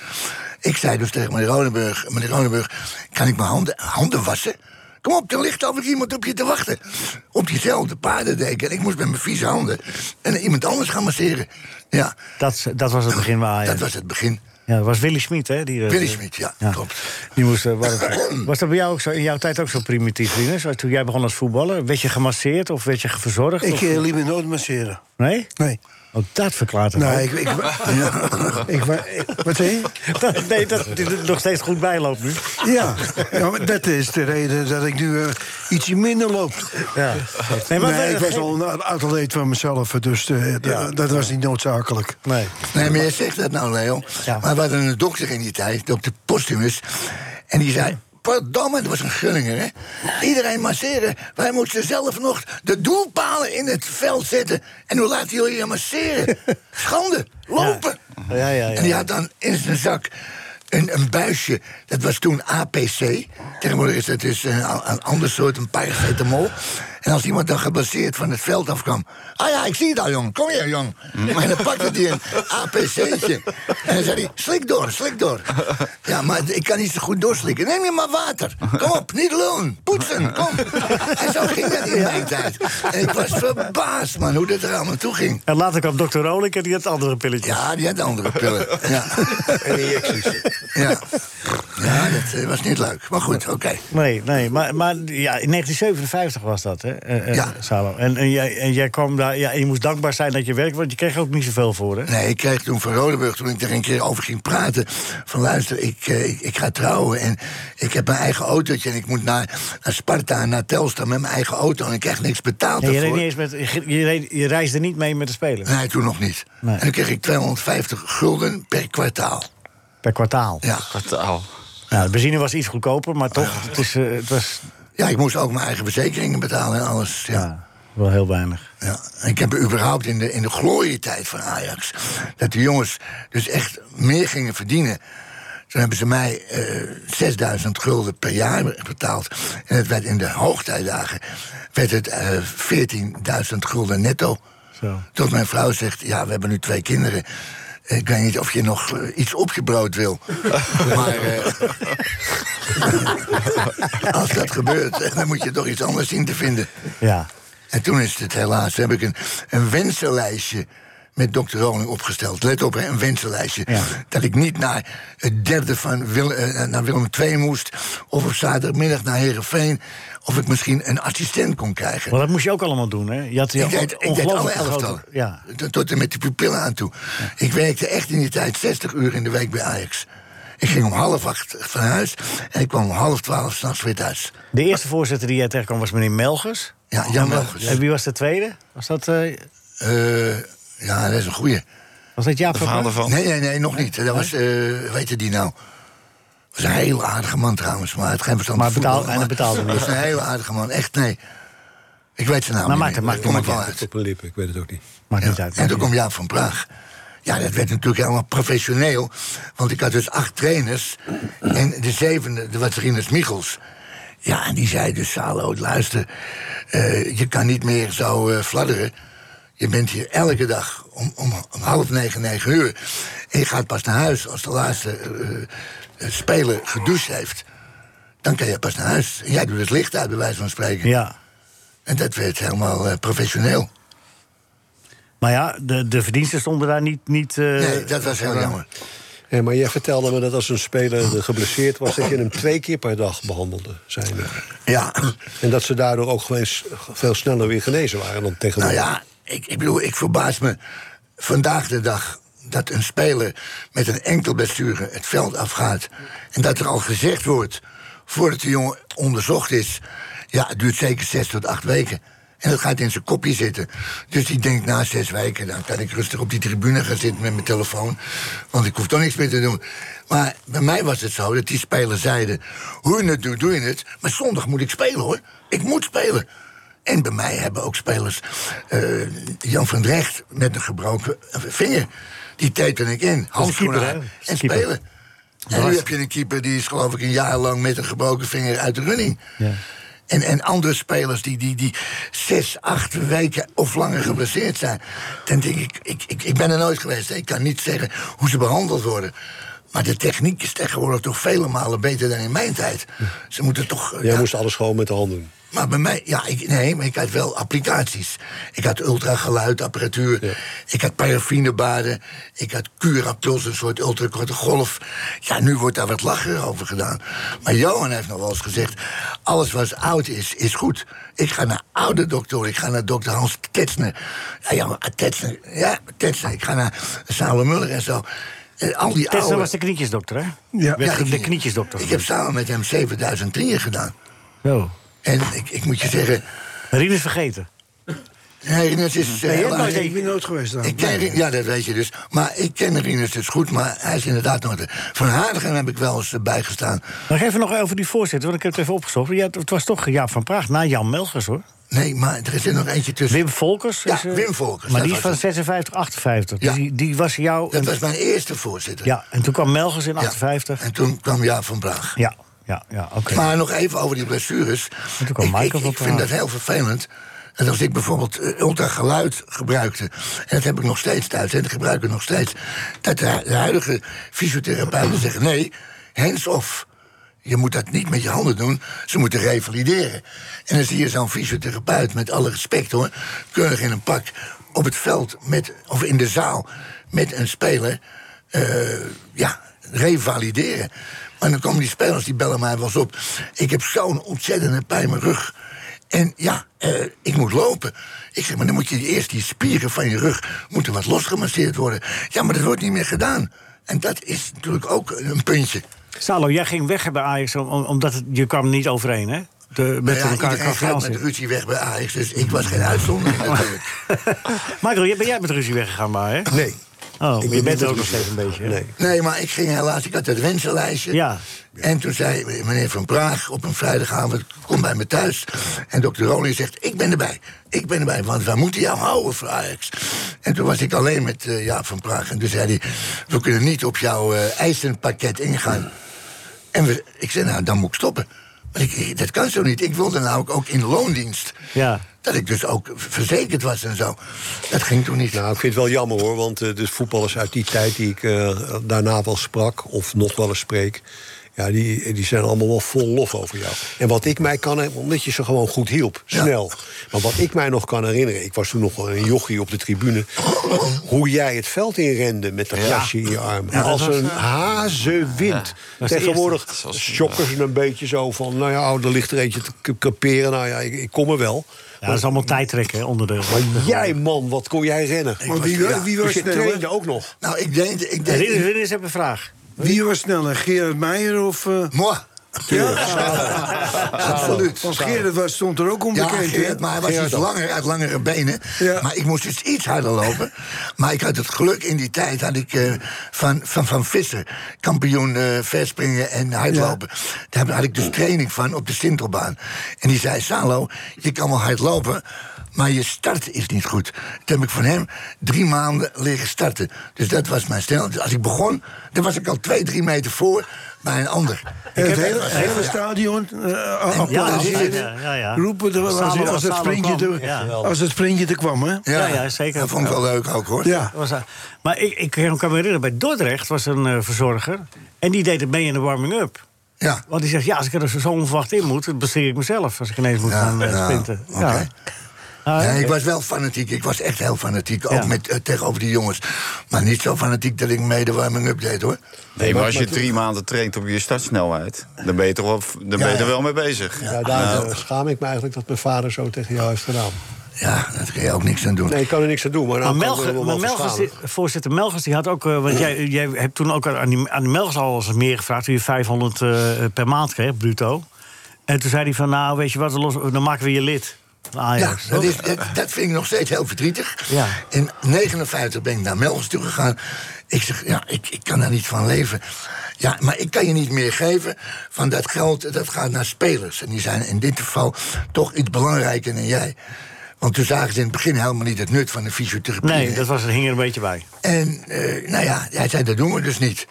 K: Ik zei dus tegen meneer Ronenburg... meneer Ronenburg, kan ik mijn handen, handen wassen? Kom op, er ligt altijd iemand op je te wachten. Op diezelfde paardendeken. En ik moest met mijn vieze handen en iemand anders gaan masseren. Ja,
D: Dat, is- dat was het begin bij
G: Ah,
D: Ajax.
K: dat was het begin.
D: Ja, dat was Willy Smit, hè? Die, eh,
K: Willy Smit, ja, klopt.
D: Die moest, eh, warm- was dat bij jou ook zo, in jouw tijd ook zo primitief, Rinus? Als Toen jij begon als voetballer, werd je gemasseerd of werd je verzorgd?
G: Ik
D: of-
G: eh, liet me nooit masseren.
D: Nee?
G: Nee.
D: Ook dat verklaart het.
G: Nou,
D: ook.
G: ik, ik, ja, ik, wa- ik- Wat zei je?
D: Dat- nee, dat dit er nog steeds goed bijloopt nu.
G: Ja, ja maar dat is de reden dat ik nu eh, ietsje minder loop.
D: Ja.
G: Nee,
D: maar
G: ik was al een atleet van mezelf, dus eh, d- dat was niet noodzakelijk.
D: Nee.
K: Nee, maar jij zegt dat nou, Leo. Maar we hadden een dokter in die tijd, dokter Postumus. En die zei... Pardon, het was een Gunninger, hè? Iedereen masseren. Wij moeten zelf nog de doelpalen in het veld zetten. En hoe laten jullie je masseren? Schande, lopen.
D: Ja, ja,
K: En die had dan in zijn zak een, een buisje. Dat was toen APC. Tegenwoordig is dat dus een, a- een ander soort, een paracetamol. En als iemand dan geblesseerd van het veld afkwam. Ah ja, ik zie het al, jong. Kom hier, jong.
D: Mm.
K: Maar dan pakte hij een APC'tje. En dan zei hij, slik door, slik door. Ja, maar ik kan niet zo goed doorslikken. Neem je maar water. Kom op, niet loon. Poetsen, kom. En zo ging dat in mijn tijd. En ik was verbaasd, man, hoe dit er allemaal toe ging.
D: En later kwam dokter Rolik en die had andere pilletjes.
K: Ja, die had andere pillen. Ja.
C: En injecties.
K: Ja. ja, dat eh, was niet leuk. Maar goed, oké.
D: Nee, nee, maar, maar ja, in 1957 was dat, hè? eh, eh,
K: Ja.
D: Salo. En, en, jij, en jij kwam daar, ja, en je moest dankbaar zijn dat je werkte, want je kreeg er ook niet zoveel voor, hè?
K: Nee, ik kreeg toen van Rodeburg, toen ik er een keer over ging praten... van luister, ik, eh, ik, ik ga trouwen en ik heb mijn eigen autootje... en ik moet naar, naar Sparta en naar Telstar met mijn eigen auto... en ik krijg niks betaald
D: Nee, je, reed
K: daarvoor.
D: niet eens met, je, reed- je reisde niet mee met de spelers.
K: Nee, toen nog niet. En dan kreeg ik 250 gulden per kwartaal.
D: Per kwartaal?
K: Ja.
E: Kwartaal.
D: Nou, de benzine was iets goedkoper, maar toch, het, is, eh, het was
K: Ja, ik moest ook mijn eigen verzekeringen betalen en alles. Ja.
D: wel heel weinig.
K: Ja, en ik heb überhaupt in de, in de glorietijd van Ajax... dat de jongens dus echt meer gingen verdienen. Toen hebben ze mij eh 6000 gulden per jaar betaald. En het werd in de hoogtijdagen werd het eh 14.000 gulden netto.
D: Zo.
K: Tot mijn vrouw zegt, ja, we hebben nu twee kinderen... Ik weet niet of je nog eh, iets op je brood wil. maar eh, als dat gebeurt, dan moet je toch iets anders zien te vinden.
D: Ja.
K: En toen is het helaas, heb ik een, een wensenlijstje met dokter Roning opgesteld. Let op, hè, een wensenlijstje. Dat ik niet naar het derde van Wil- eh, naar Willem II moest... of op zaterdagmiddag naar Herenveen, of ik misschien een assistent kon krijgen.
D: Maar dat moest je ook allemaal doen, hè? Je had
K: Ik
D: je
K: deed, ik deed alle elftallen.
D: Ja.
K: Tot- Tot en met de pupillen aan toe. Ik werkte echt in die tijd 60 uur in de week bij Ajax. Ik ging om half acht van huis en ik kwam om half twaalf s'nachts weer thuis.
D: De eerste voorzitter die jij tegenkwam was meneer Melgers.
K: Ja, Jan Melgers.
D: En wie was de tweede? Was dat... eh,
K: Eh, ja, dat is een goeie.
D: was dat Jaap Verbraak?
K: Nee, nee, nee, nog niet. Dat was, eh weet je die nou? was een heel aardige man trouwens, maar het geen verstand
D: Maar
K: van
D: betaal-
K: voetbal,
D: en dat betaalde
K: maar
D: niet.
K: was een heel aardige man, echt, nee. Ik weet zijn naam
D: Maar
K: niet
D: maakt-
K: meer,
D: maakt-
K: kom
D: maakt
K: ik wel
D: niet
K: uit.
C: Op mijn lippen, ik weet het ook niet.
D: Maakt niet
K: En toen kwam Jaap van Praag. Ja, dat werd natuurlijk helemaal professioneel. Want ik had dus acht trainers. En de zevende, dat was Rinus Michels. Ja, en die zei dus, Salo, luister... eh, je kan niet meer zo eh, fladderen. Je bent hier elke dag om, om, om half negen, negen uur. En je gaat pas naar huis als de laatste eh, eh, speler gedoucht heeft. Dan kan je pas naar huis. En jij doet het licht uit, bij wijze van spreken.
D: Ja.
K: En dat werd helemaal eh, professioneel.
D: Maar ja, de, de verdiensten stonden daar niet... niet eh,
K: Nee, dat was heel jammer.
C: Ja, maar jij vertelde me dat als een speler geblesseerd was... dat je hem twee keer per dag behandelde, zijn er.
K: Ja.
C: En dat ze daardoor ook gewoon s- veel sneller weer genezen waren dan
K: Nou
C: tegenwoordig.
K: ja, ik, ik bedoel, ik verbaas me vandaag de dag dat een speler met een enkel blessure het veld afgaat. En dat er al gezegd wordt, voordat de jongen onderzocht is... ja, het duurt zeker zes tot acht weken. En dat gaat in zijn kopje zitten. Dus die denkt, na zes weken, dan kan ik rustig op die tribune gaan zitten met mijn telefoon. Want ik hoef toch niks meer te doen. Maar bij mij was het zo dat die spelers zeiden... hoe je het doet, doe je het. Maar zondag moet ik spelen, hoor. Ik moet spelen. En bij mij hebben ook spelers. eh, Jan van Drecht met een gebroken vinger. Die tapen ik in. Handschoenen
D: keeper,
K: aan
D: hè? Dat is
K: en
D: keeper.
K: spelen. En nu heb je een keeper die is geloof ik een jaar lang met een gebroken vinger uit de running.
D: Ja.
K: En, en andere spelers die, die, die zes, acht weken of langer geblesseerd zijn. Dan denk ik, ik, ik, ik ben er nooit geweest. hè. Ik kan niet zeggen hoe ze behandeld worden. Maar de techniek is tegenwoordig toch vele malen beter dan in mijn tijd. Ze moeten toch... eh,
C: Jij
K: ja.
C: moest alles gewoon met de hand doen.
K: Maar bij mij, ja, ik, nee, maar ik had wel applicaties. Ik had ultrageluidapparatuur, ik had paraffinebaden, ik had Curapuls, een soort ultrakorte golf. Ja, nu wordt daar wat lacher over gedaan. Maar Johan heeft nog wel eens gezegd, alles wat oud is, is goed. Ik ga naar oude dokter, ik ga naar dokter Hans Tetsner. Ja, ja, maar Tetsner, ja, Tetsner. Ik ga naar Samuel Muller en zo. Eh, Al die
D: Tessa
K: oude...
D: was de knietjesdokter, hè?
K: Ja.
D: Werd
K: Ja,
D: ge-
K: ik-
D: de knietjesdokter.
K: Ik heb samen met hem 7000 knieën gedaan.
D: Zo.
K: En ik, ik moet je zeggen...
D: Rien is vergeten.
K: Nee, dat is... eh,
G: Nee,
K: heel aardig.
G: ik ben nooit geweest daar.
K: Ik ken, Rien- ja, dat weet je dus. Maar ik ken Rinus dus goed, maar hij is inderdaad nooit... Van Haardigem heb ik wel eens eh, bijgestaan.
D: Maar even nog over die voorzitter, want ik heb het even opgezocht. Ja, het was toch Jaap van Praag na Jan Melgers, hoor.
K: Nee, maar er zit nog eentje tussen.
D: Wim Volkers?
K: Ja,
D: is, eh,
K: Wim Volkers.
D: Maar
K: dat
D: die is
K: was
D: van 56, 58. Dus
K: Ja.
D: die, die was jou...
K: het. Dat
D: een-
K: was mijn eerste voorzitter.
D: Ja, en toen kwam Melgers in
K: Ja.
D: 58.
K: En toen kwam Jaap van Praag.
D: Ja. ja. Ja, ja oké.
K: Maar nog even over die blessures. Ik, ik, ik vind dat heel vervelend. En als ik bijvoorbeeld eh, ultrageluid gebruikte, en dat heb ik nog steeds thuis, en dat gebruik ik nog steeds, dat de, hu- de huidige fysiotherapeuten zeggen: nee, hands off. Je moet dat niet met je handen doen, ze moeten revalideren. En dan zie je zo'n fysiotherapeut, met alle respect hoor, keurig in een pak op het veld met, of in de zaal met een speler, eh, ja, revalideren. Maar dan komen die spelers, die bellen mij wel eens op. Ik heb zo'n ontzettende pijn in mijn rug. En ja, eh, ik moet lopen. Ik zeg, maar dan moet je eerst die spieren van je rug moeten wat losgemasseerd worden. Ja, maar dat wordt niet meer gedaan. En dat is natuurlijk ook een puntje.
D: Salo, jij ging weg bij Ajax om- om- omdat het, je kwam niet overeen, hè? De, met
K: Nou ja,
D: elkaar
K: iedereen
D: qua
K: gaat met
D: verhaal
K: ruzie weg bij Ajax, dus ik was geen uitzondering natuurlijk.
D: Michael, jij- ben jij met ruzie weggegaan, maar hè?
K: Nee.
D: Oh,
K: Ik ben
D: je bent
K: niet
D: er ook
K: met
D: nog steeds een beetje. Nee.
K: Nee, maar ik ging helaas, ik had het wensenlijstje. En toen zei meneer Van Praag op een vrijdagavond, kom bij me thuis. En dokter Roling zegt, ik ben erbij. Ik ben erbij, want wij moeten jou houden voor Ajax. En toen was ik alleen met eh, Jaap van Praag. En toen zei hij, we kunnen niet op jouw eh, eisenpakket ingaan. En we, ik zei, nou, dan moet ik stoppen. Want ik- ik, dat kan zo niet. Ik wilde namelijk ook in loondienst.
D: Ja.
K: Dat ik dus ook verzekerd was en zo. Dat ging toen niet.
C: Nou, ik vind het wel jammer hoor, want eh, de voetballers uit die tijd die ik eh, daarna wel sprak, of nog wel eens spreek, ja, die, die zijn allemaal wel vol lof over jou. En wat ik mij kan, her- omdat je ze gewoon goed hielp, snel. Maar wat ik mij nog kan herinneren, ik was toen nog een jochie op de tribune, hoe jij het veld inrende met dat
B: Ja.
C: jasje in je arm.
B: Ja, dat
C: Als
B: was,
C: een
B: eh,
C: hazenwind.
B: dat is de
C: Tegenwoordig
B: eerste. Dat was- eh,
C: schokken ze een beetje zo van, nou ja, oh, er ligt er eentje te k- creperen, nou ja, ik, ik kom er wel.
D: Ja, dat is allemaal tijdrekken, hè, onderdeel.
C: Maar jij, man, wat kon jij rennen?
G: Maar wie- wie was
C: dus je
G: sneller?
C: trainde ook nog.
K: Nou, ik denk... Ik
G: denk-
D: Rinus, Rinus heeft een vraag.
G: Wie was sneller, Gerard Meijer of... eh
K: Moi.
G: Ja,
K: Absoluut.
G: Want Gerard was, stond er ook
K: Ja,
G: onbekend. hè?
K: Gerard, maar hij was iets langer, uit langere benen. Maar ik moest dus iets harder lopen. maar ik had het geluk in die tijd had ik, eh, van, van Van Visser, kampioen eh, verspringen en hardlopen. Daar had ik dus training van op de Sintelbaan. En die zei, Salo, je kan wel hard lopen, maar je start is niet goed. Toen heb ik van hem drie maanden liggen starten. Dus dat was mijn stijl. Dus als ik begon, dan was ik al twee, drie meter voor bij een ander.
G: En het
K: Dat
G: hele,
K: was-
G: het hele
K: ja.
G: stadion eh,
K: absoluut.
G: applaudisseerde.
K: Ja, ja.
G: Roepen er wel als,
K: Samen-
G: als, het
K: samen
G: sprintje
K: kwam.
G: te,
K: Ja.
G: als het sprintje te kwam, hè?
D: Ja, ja, zeker.
K: Dat vond ik wel leuk ook, hoor.
D: Dat was, eh, maar ik, ik kan me herinneren, bij Dordrecht was een eh, verzorger. En die deed het mee in de warming-up.
K: Ja.
D: Want die zegt, ja, als ik er dus zo onverwacht in moet... dan besteed ik mezelf als ik ineens moet gaan eh,
K: ja,
D: sprinten. Ja.
K: oké.
D: Ah,
K: Ja,
D: oké.
K: ik was wel fanatiek. Ik was echt heel fanatiek. Ook met, eh, tegenover die jongens. Maar niet zo fanatiek dat ik mee de warming-up deed, hoor.
E: Nee, maar als je
K: toen-
E: drie maanden traint op je startsnelheid, dan ben je, toch wel, dan ben je er wel mee bezig.
C: Ja, daar
E: Nou,
C: eh, schaam ik me eigenlijk dat mijn vader zo tegen jou heeft gedaan.
K: Ja, daar kan je ook niks aan doen.
C: Nee, ik kan er niks aan doen. Maar,
D: Maar
C: nou kan ik er
D: Melger,
C: wel
D: maar
C: wat
D: Melgers,
C: verstaan.
D: die- voorzitter Melgers, die had ook... eh, want jij, jij hebt toen ook aan die, aan die Melgers al eens meer gevraagd... toen je 500 eh, per maand kreeg, bruto. En toen zei hij van, nou, weet je wat, dan, los- dan maken we je lid. van
K: Ja,
D: Ajax.
K: dat, is, dat, dat vind ik nog steeds heel verdrietig.
D: Ja.
K: In 59 ben ik naar Melgens toe gegaan. Ik zeg, ja, ik, ik kan daar niet van leven. Ja, maar ik kan je niet meer geven van dat geld. Dat gaat naar spelers. En die zijn in dit geval toch iets belangrijker dan jij. Want toen zagen ze in het begin helemaal niet het nut van de fysiotherapie.
D: Nee, dat was, hing er een beetje bij.
K: En eh, nou ja, hij zei, dat doen we dus niet.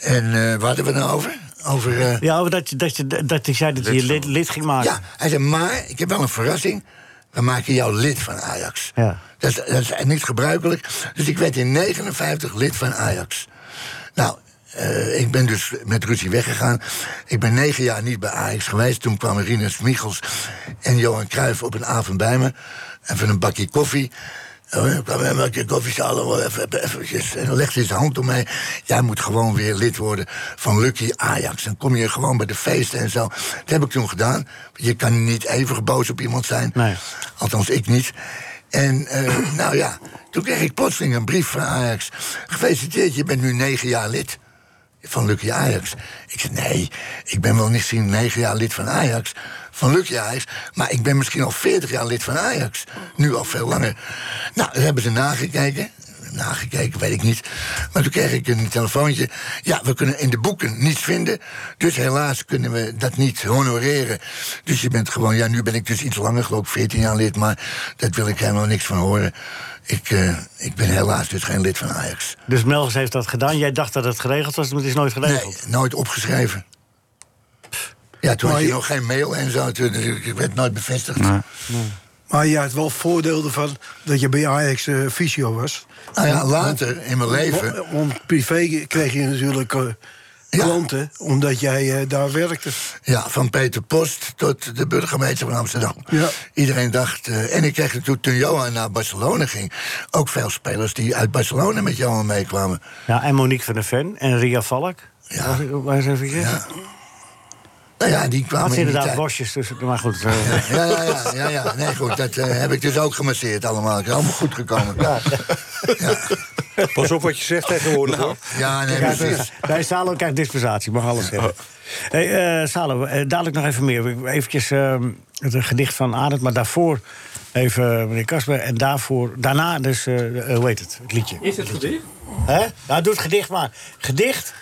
K: En eh, waar hadden we het nou over? Over... eh,
D: Ja, maar dat, je- dat, je- dat hij zei dat hij je lid, lid ging maken.
K: ja, hij zei, maar ik heb wel een verrassing. We maken jou lid van Ajax.
D: Ja.
K: Dat, is- dat is niet gebruikelijk. Dus ik werd in 59 lid van Ajax. Nou, eh, ik ben dus met ruzie weggegaan. Ik ben negen jaar niet bij Ajax geweest. Toen kwamen Rinus Michels en Johan Cruijff op een avond bij me. Even een bakje koffie. Eh, Ik kwam een bakje koffie halen, wel even, even, eventjes. En dan legde hij zijn hand om mij. Jij moet gewoon weer lid worden van Lucky Ajax. Dan kom je gewoon bij de feesten en zo. Dat heb ik toen gedaan. Je kan niet even boos op iemand zijn. Althans, ik niet. En eh, nou ja, toen kreeg ik plotseling een brief van Ajax. Gefeliciteerd, je bent nu negen jaar lid van Lucky Ajax. Ik zei, nee, ik ben wel niet zien negen jaar lid van Ajax, van Lucky Ajax... maar ik ben misschien al veertig jaar lid van Ajax. Nu al veel langer. Nou, dat hebben ze nagekeken. Nagekeken, weet ik niet. Maar toen kreeg ik een telefoontje. Ja, we kunnen in de boeken niets vinden. Dus helaas kunnen we dat niet honoreren. Dus je bent gewoon... Ja, nu ben ik dus iets langer, geloof ik, 14 jaar lid... maar dat wil ik helemaal niks van horen. Ik, eh, ik ben helaas dus geen lid van Ajax.
D: Dus Melgers heeft dat gedaan. Jij dacht dat het geregeld was, maar het is nooit geregeld.
K: Nooit opgeschreven. Ja, toen
G: Maar
K: had je
G: je-
K: nog geen mail en zo. Toen, dus ik werd nooit bevestigd.
G: Maar je had wel voordeel ervan dat je bij Ajax eh, fysio was.
K: Nou ja, later in mijn leven.
G: Want, want privé kreeg je natuurlijk eh, klanten, omdat jij eh, daar werkte.
K: Ja, van Peter Post tot de burgemeester van Amsterdam. Iedereen dacht. eh, en ik kreeg toen, toen Johan naar Barcelona ging. ook veel spelers die uit Barcelona met Johan meekwamen.
D: Ja, en Monique van der Ven en Ria Valk.
K: Ja.
D: Waar is even ja.
K: Nou ja, die kwamen
D: Had
K: in die
D: inderdaad
K: tijd.
D: bosjes tussen, maar goed. eh.
K: Ja, ja, ja, ja, ja. Nee, goed, dat eh, heb ik dus ook gemasseerd allemaal. Het is allemaal goed gekomen. Ja.
C: Pas op wat je zegt tegenwoordig, hoor.
K: Ja, dus- nee,
D: Kijk,
K: precies. Oh.
D: eh, Bij Salo krijgt dispensatie, mag alles zeggen. Hey, eh, Salo, eh, dadelijk nog even meer. Even ehm, het gedicht van Arendt, maar daarvoor even eh, meneer Kasper. En daarvoor, daarna dus, eh, eh, hoe heet het, het liedje.
I: Is het gedicht?
D: Hè? Nou, doe het gedicht maar. Gedicht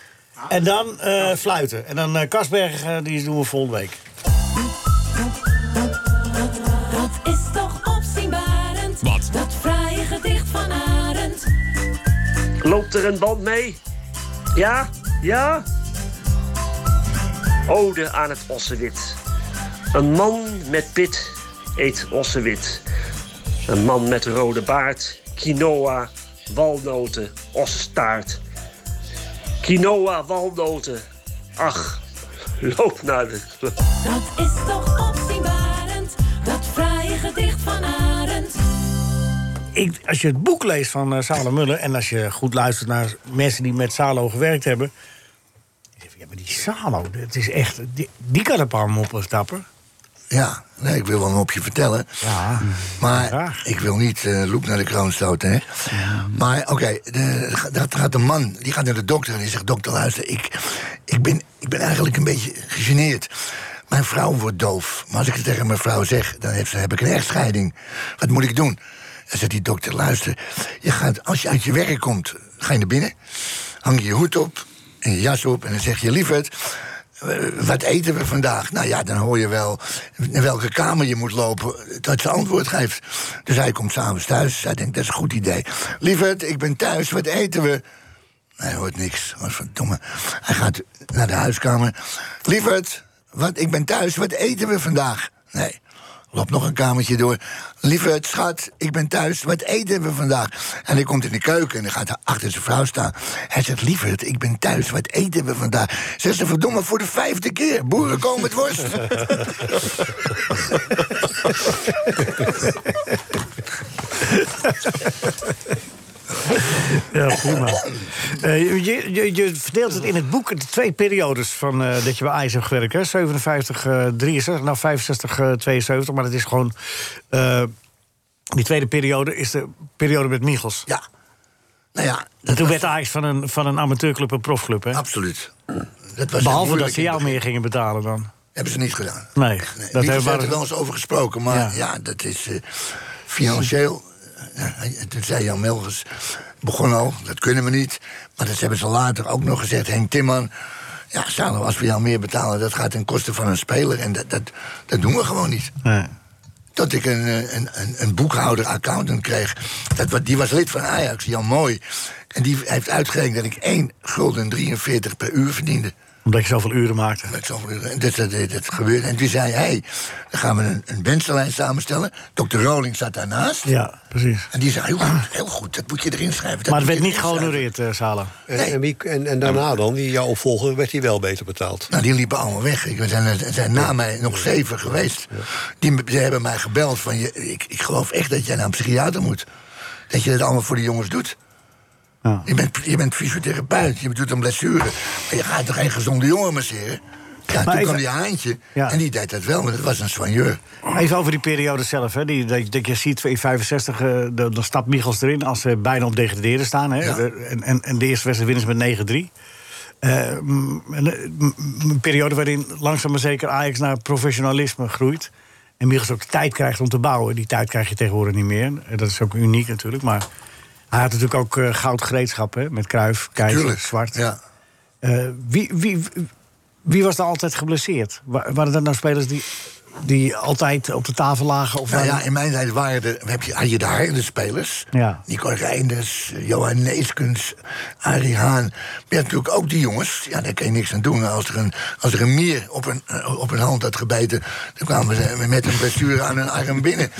D: en dan eh, fluiten. En dan eh, Kasberg, eh, die doen we volgende week.
A: Dat is toch opzienbarend.
D: Wat?
A: Dat fraaie gedicht van Arend.
O: Loopt er een band mee? Ja? Ja? Ode aan het ossewit. Een man met pit eet ossewit. Een man met rode baard, quinoa, walnoten, ossenstaart. Quinoa, walnoten. Ach, loop naar de...
A: Dat is toch opzienbarend. Dat fraaie gedicht van Arend.
D: ik, als je het boek leest van eh, Salo Muller... en als je goed luistert naar mensen die met Salo gewerkt hebben... dan denk je, ja, maar die Salo, dat is echt, die, die kan een paar moppen stappen.
K: Ja, nee, ik wil wel een mopje vertellen. Maar ik wil niet eh Loep naar de kroon stoten, hè. Maar oké, de- dat gaat een man, die gaat naar de dokter en die zegt... dokter, luister, ik, ik, ben, ik ben eigenlijk een beetje gegeneerd. Mijn vrouw wordt doof. Maar als ik het tegen mijn vrouw zeg, dan heeft ze, heb ik een echtscheiding. Wat moet ik doen? Dan zegt die dokter, luister, je gaat, als je uit je werk komt, ga je naar binnen... hang je je hoed op en je jas op en dan zeg je, lieverd... Eh, wat eten we vandaag? Nou ja, dan hoor je wel in welke kamer je moet lopen. Dat ze antwoord geeft. Dus hij komt s'avonds thuis. Hij denkt, dat is een goed idee. Lieverd, ik ben thuis. Wat eten we? Hij hoort niks. Wat verdomme. Hij gaat naar de huiskamer. Lieverd, wat, ik ben thuis. Wat eten we vandaag? Nee. Loopt nog een kamertje door. Lieverd, schat, ik ben thuis. Wat eten we vandaag? En hij komt in de keuken en hij gaat achter zijn vrouw staan. Hij zegt, lieverd, ik ben thuis. Wat eten we vandaag? Ze zegt, verdomme, voor de vijfde keer. Boeren komen met worst.
D: Ja, prima. Eh, je, je, je verdeelt het in het boek in twee periodes van, eh, dat je bij IJs hebt gewerkt. Hè? 57, eh 63, nou 65, eh, 72. Maar dat is gewoon... eh, die tweede periode is de periode met Michels.
K: Ja. Nou ja,
D: en toen werd Ajax van een, van een amateurclub een profclub, hè?
K: Absoluut. Dat was
D: Behalve
K: moeilijk
D: dat ze
K: in
D: jou meer gingen betalen dan.
K: Hebben ze niet gedaan.
D: Nee,
K: Nee,
D: dat
K: Michels
D: hebben
K: heeft
D: we...
K: er wel eens over gesproken, maar ja, dat is eh, financieel. eh, Toen zei Jan Melgers, begon al, dat kunnen we niet. Maar dat hebben ze later ook nog gezegd. Henk Timman, ja, Salo, als we jou meer betalen, dat gaat ten koste van een speler. En dat, dat, dat doen we gewoon niet. Dat ik een, eh, een, een, een boekhouder, accountant kreeg. Dat, wa- die was lid van Ajax, Jan Mooi. En die heeft uitgerekend dat ik 1 gulden 43 per uur verdiende.
D: Omdat je zoveel uren maakte.
K: Met zoveel uren. En dat, dat, dat, dat gebeurde. En toen zei hij, hey, dan gaan we een, een wensenlijst samenstellen. Dr. Roling zat daarnaast.
D: Ja, precies.
K: En die zei, heel goed, heel goed dat moet je erin schrijven. dat
D: Maar het
K: moet
D: werd
K: je
D: niet
K: erin schrijven.
D: gehonoreerd, eh Sala.
C: En, en, wie- en, en daarna dan, die jouw opvolger, werd hij wel beter betaald.
K: Nou, die liepen allemaal weg. Ik- Er zijn, er zijn na mij nog zeven geweest. Die, die hebben mij gebeld van, je, ik, ik geloof echt dat jij naar een psychiater moet. Dat je dat allemaal voor de jongens doet. Je, bent, je bent fysiotherapeut, je doet een blessure. Maar je gaat toch geen gezonde jongen masseren? Ja,
D: Maar
K: toen
D: even-
K: kwam die haantje.
D: Ja.
K: En die deed dat wel, maar dat was een soigneur.
D: Even over die periode zelf. Hè. Die, dat, dat je ziet in 65, eh, dan dan stapt Michels erin als ze bijna op degraderen staan. Hè. De- En, en, en de eerste wedstrijd winnen ze met 9-3. Eh, mm, een, mm, een periode waarin langzaam maar zeker Ajax naar professionalisme groeit. En Michels ook de tijd krijgt om te bouwen. Die tijd krijg je tegenwoordig niet meer. Eh, Dat is ook uniek natuurlijk. Maar hij had natuurlijk ook eh, goud gereedschap hè, met Kruif, Keizer,
K: Tuurlijk,
D: Zwart.
K: ja.
D: Eh, wie, wie, wie was er altijd geblesseerd? Wa- Waren dat nou spelers die die altijd op de tafel lagen? Of
K: Nou ja, in mijn tijd waren er, heb je, had je daar de spelers.
D: Ja.
K: Nico Reinders, Johan Neeskens, Arie Haan. Maar je hebt natuurlijk ook die jongens. Ja, daar kan je niks aan doen. Als er een, als er een mier op een, eh, op een hand had gebeten... dan kwamen ze met een blessure aan hun arm binnen.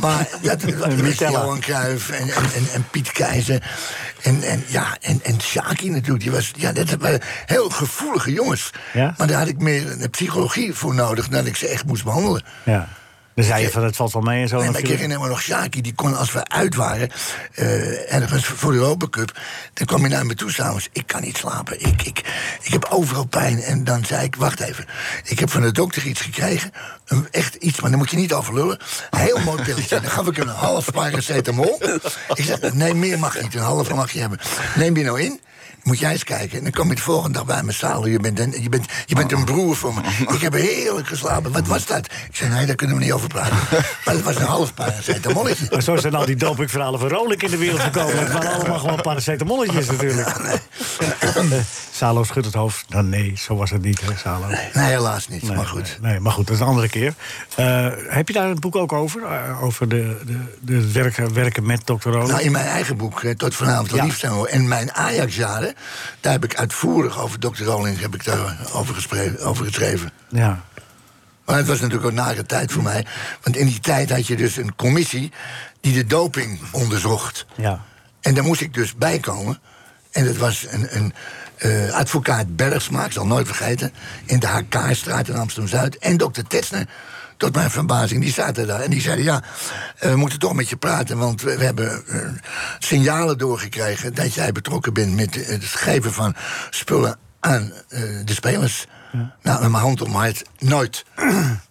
K: maar ja, dat met
D: Mitella.
K: Johan Cruijff en, en, en, en Piet Keizer. En, en, ja, en, en Shaki natuurlijk. Die was, ja, dat waren heel gevoelige jongens.
D: Ja?
K: Maar daar had ik meer een psychologie voor nodig... dan ik ze echt moest behandelen.
D: Ja. Dan zei je van het valt wel mee en zo.
K: Nee, maar ik
D: natuurlijk.
K: herinner me nog Sjaki, die kon als we uit waren, eh, ergens voor de Europa Cup, dan kwam hij naar me toe s'avonds. Ik kan niet slapen, ik, ik, ik heb overal pijn. En dan zei ik, wacht even, ik heb van de dokter iets gekregen, een- echt iets, maar dan moet je niet over lullen. Een heel mooi pilletje, dan gaf ik hem een half paracetamol. Ik zeg, nee, meer mag niet, een halve mag je hebben. Neem die nou in? Moet jij eens kijken. En dan kom je de volgende dag bij me salen. Je bent, een, je, bent, je bent een broer voor me. Ik heb heerlijk geslapen. Wat was dat? Ik zei, nee, daar kunnen we niet over praten. Maar het was een half paracetamolletje.
D: Maar zo zijn al die dopingverhalen van Rolik in de wereld gekomen. Het waren allemaal gewoon paracetamolletjes natuurlijk. Eh, Salo schudt het hoofd. Nou, nee, zo was het niet, hè, Salo.
K: Nee, helaas niet.
D: maar goed. Nee, nee, maar goed, dat is een andere keer. Eh, heb je daar het boek ook over? Eh, over de, de, de werken, werken met Dr. Rolik?
K: Nou, in mijn eigen boek, eh, Tot vanavond al
D: Ja.
K: lief zijn we. En mijn Ajax-jaren, daar heb ik uitvoerig over Dr. Rollins heb ik daar over, gespre- over geschreven.
D: Ja.
K: Maar het was natuurlijk ook een nare tijd voor mij. Want in die tijd had je dus een commissie die de doping onderzocht.
D: Ja.
K: En daar moest ik dus bij komen. En dat was een, een eh, advocaat Bergsma, ik zal nooit vergeten... in de HK-straat in Amsterdam-Zuid. En dokter Tetsner, tot mijn verbazing, die zaten daar. En die zeiden, ja, eh, we moeten toch met je praten... want we, we hebben eh, signalen doorgekregen dat jij betrokken bent... met eh, het geven van spullen aan eh, de spelers. Nou, met mijn hand om mijn hart, nooit.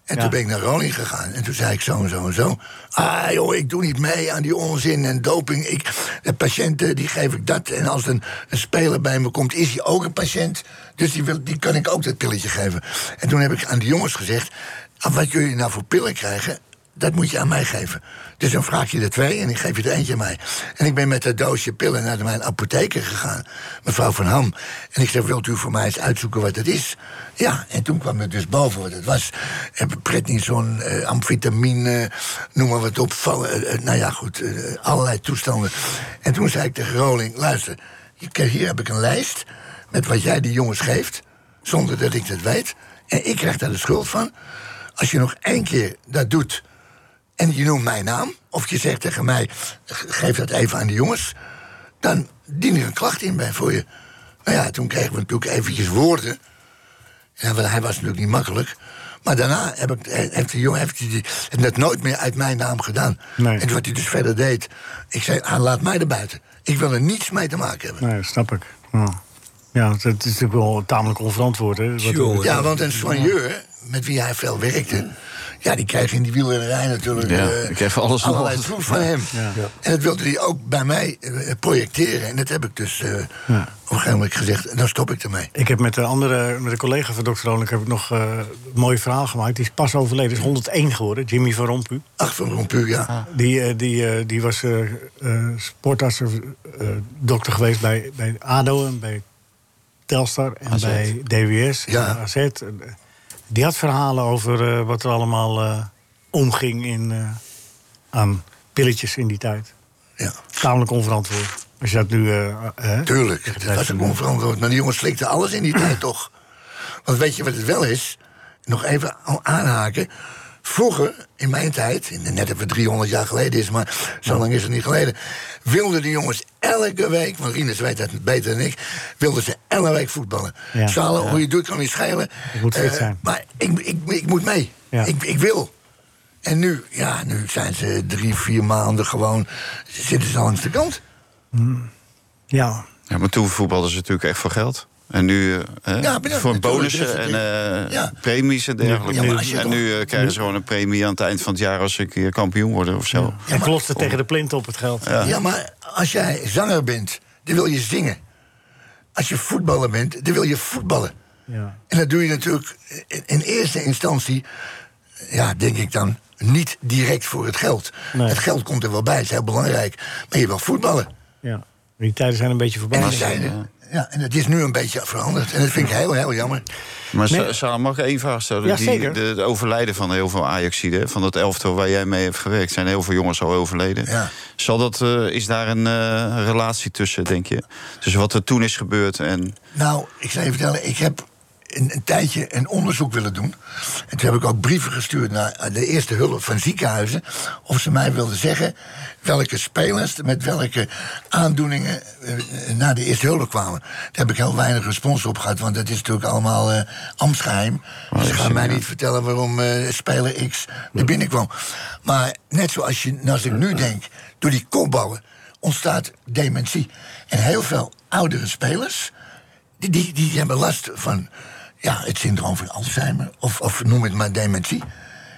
K: En toen ben ik naar Ronin gegaan. En toen zei ik zo en zo en zo. Ah joh, ik doe niet mee aan die onzin en doping. Ik, de patiënten, die geef ik dat. En als een, een speler bij me komt, is hij ook een patiënt. Dus die, wil, die kan ik ook dat pilletje geven. En toen heb ik aan die jongens gezegd... "Ah, wat jullie nou voor pillen krijgen, dat moet je aan mij geven. Dus dan vraag je er twee en ik geef je er eentje aan mij. En ik ben met dat doosje pillen naar mijn apotheker gegaan. Mevrouw Van Ham. En ik zei, wilt u voor mij eens uitzoeken wat het is? Ja, en toen kwam het dus boven wat het was. Eh, Prednison, eh amfetamine, eh, noem maar wat op. val- eh, eh, nou ja, goed, eh, allerlei toestanden. En toen zei ik tegen Roling, luister... je kan- hier heb ik een lijst met wat jij die jongens geeft... zonder dat ik dat weet. En ik krijg daar de schuld van. Als je nog één keer dat doet en je noemt mijn naam, of je zegt tegen mij: "Ge- geef dat even aan de jongens, dan dien ik een klacht in bij voor je. Nou ja, toen kregen we natuurlijk eventjes woorden. Ja, want hij was natuurlijk niet makkelijk. Maar daarna heb ik, he- heeft die jongen heeft hij die- heeft dat nooit meer uit mijn naam gedaan. En wat hij dus verder deed, ik zei: ah, laat mij er buiten. Ik wil er niets mee te maken hebben.
D: Nee, snap ik. Ja. ja, dat is natuurlijk wel tamelijk onverantwoord. Hè, wat-
K: Ja, want een soigneur met wie hij veel werkte. Ja, die kreeg in die wielerij natuurlijk.
E: Ja,
K: eh,
E: ik kreeg van alles
K: allerlei
E: nog.
K: troep van hem. En dat wilde hij ook bij mij eh, projecteren. En dat heb ik dus eh, op een gegeven moment gezegd. Dan stop ik ermee.
D: Ik heb met een andere, met een collega van Dr. Rolik heb ik nog eh, een mooi verhaal gemaakt. Die is pas overleden, is 101 geworden, Jimmy van Rompu.
K: Ach, van Rompu, ja.
D: Die, eh, die, eh, die was eh eh, sportarts of, eh, dokter geweest bij, bij ADO en bij Telstar en
P: AZ.
D: bij DWS en
P: Ja.
D: AZ. En, eh, Die had verhalen over eh, wat er allemaal eh, omging in, eh, aan pilletjes in die tijd.
K: Ja.
D: Tamelijk onverantwoord. Als je dat nu... eh,
K: Tuurlijk, dat was ook onverantwoord. Maar die jongens slikten alles in die tijd toch. Want weet je wat het wel is? Nog even a- aanhaken. Vroeger, in mijn tijd, in de- net even 300 jaar geleden is, maar zo lang is het niet geleden. Wilden de jongens elke week, want Rinus weet dat beter dan ik, wilden ze elke week voetballen.
D: Ja.
K: Zalen,
D: Ja.
K: hoe je het doet, kan niet schelen.
D: Ik moet fit
K: Eh,
D: zijn.
K: Maar ik, ik, ik moet mee.
D: Ja.
K: Ik, ik wil. En nu, ja, nu zijn ze drie, vier maanden gewoon, zitten ze langs de kant.
D: Ja.
E: Ja, maar toen voetbalden ze natuurlijk echt voor geld. En nu eh, hè,
K: Ja, bedankt,
E: voor
K: natuurlijk, dat
E: bonussen
K: is
E: en
K: het
E: eh, premies en dergelijke.
K: Ja, maar als je
E: en
K: dan-
E: nu eh, krijgen ze gewoon een premie aan het eind van het jaar als ze een keer kampioen worden of zo.
D: Hij klotste tegen de plint op het geld.
K: Ja. maar als jij zanger bent, dan wil je zingen. Als je voetballer bent, dan wil je voetballen.
D: Ja.
K: En dat doe je natuurlijk in- in eerste instantie, ja, denk ik dan, niet direct voor het geld. Het geld komt er wel bij, het is heel belangrijk. Maar je wil voetballen.
D: Ja. Die tijden zijn een beetje voorbij.
K: En die zijn er. ja, en het is nu een beetje veranderd. En dat vind ik heel, heel jammer.
E: Maar Sa-
K: Nee.
E: Sarah, mag ik één vraag stellen?
K: Ja,
E: Die-
K: zeker.
E: de- het overlijden van heel veel Ajaxiden, van dat elftal waar jij mee hebt gewerkt, zijn heel veel jongens al overleden. Zal dat, eh, is daar een eh, relatie tussen, denk je? Tussen wat er toen is gebeurd en...
K: Nou, ik zal je vertellen, ik heb een, een tijdje een onderzoek willen doen. En toen heb ik ook brieven gestuurd naar eh, de eerste hulp van ziekenhuizen. Of ze mij wilden zeggen welke spelers met welke aandoeningen eh, naar de eerste hulp kwamen. Daar heb ik heel weinig respons op gehad, want dat is natuurlijk allemaal eh ambtsgeheim. Dus ze gaan mij niet vertellen waarom eh, speler X er binnenkwam. Maar net zoals je, als ik nu denk, door die kopbouwen ontstaat dementie. En heel veel oudere spelers, die, die, die hebben last van ja, het syndroom van Alzheimer. Of, of noem het maar dementie.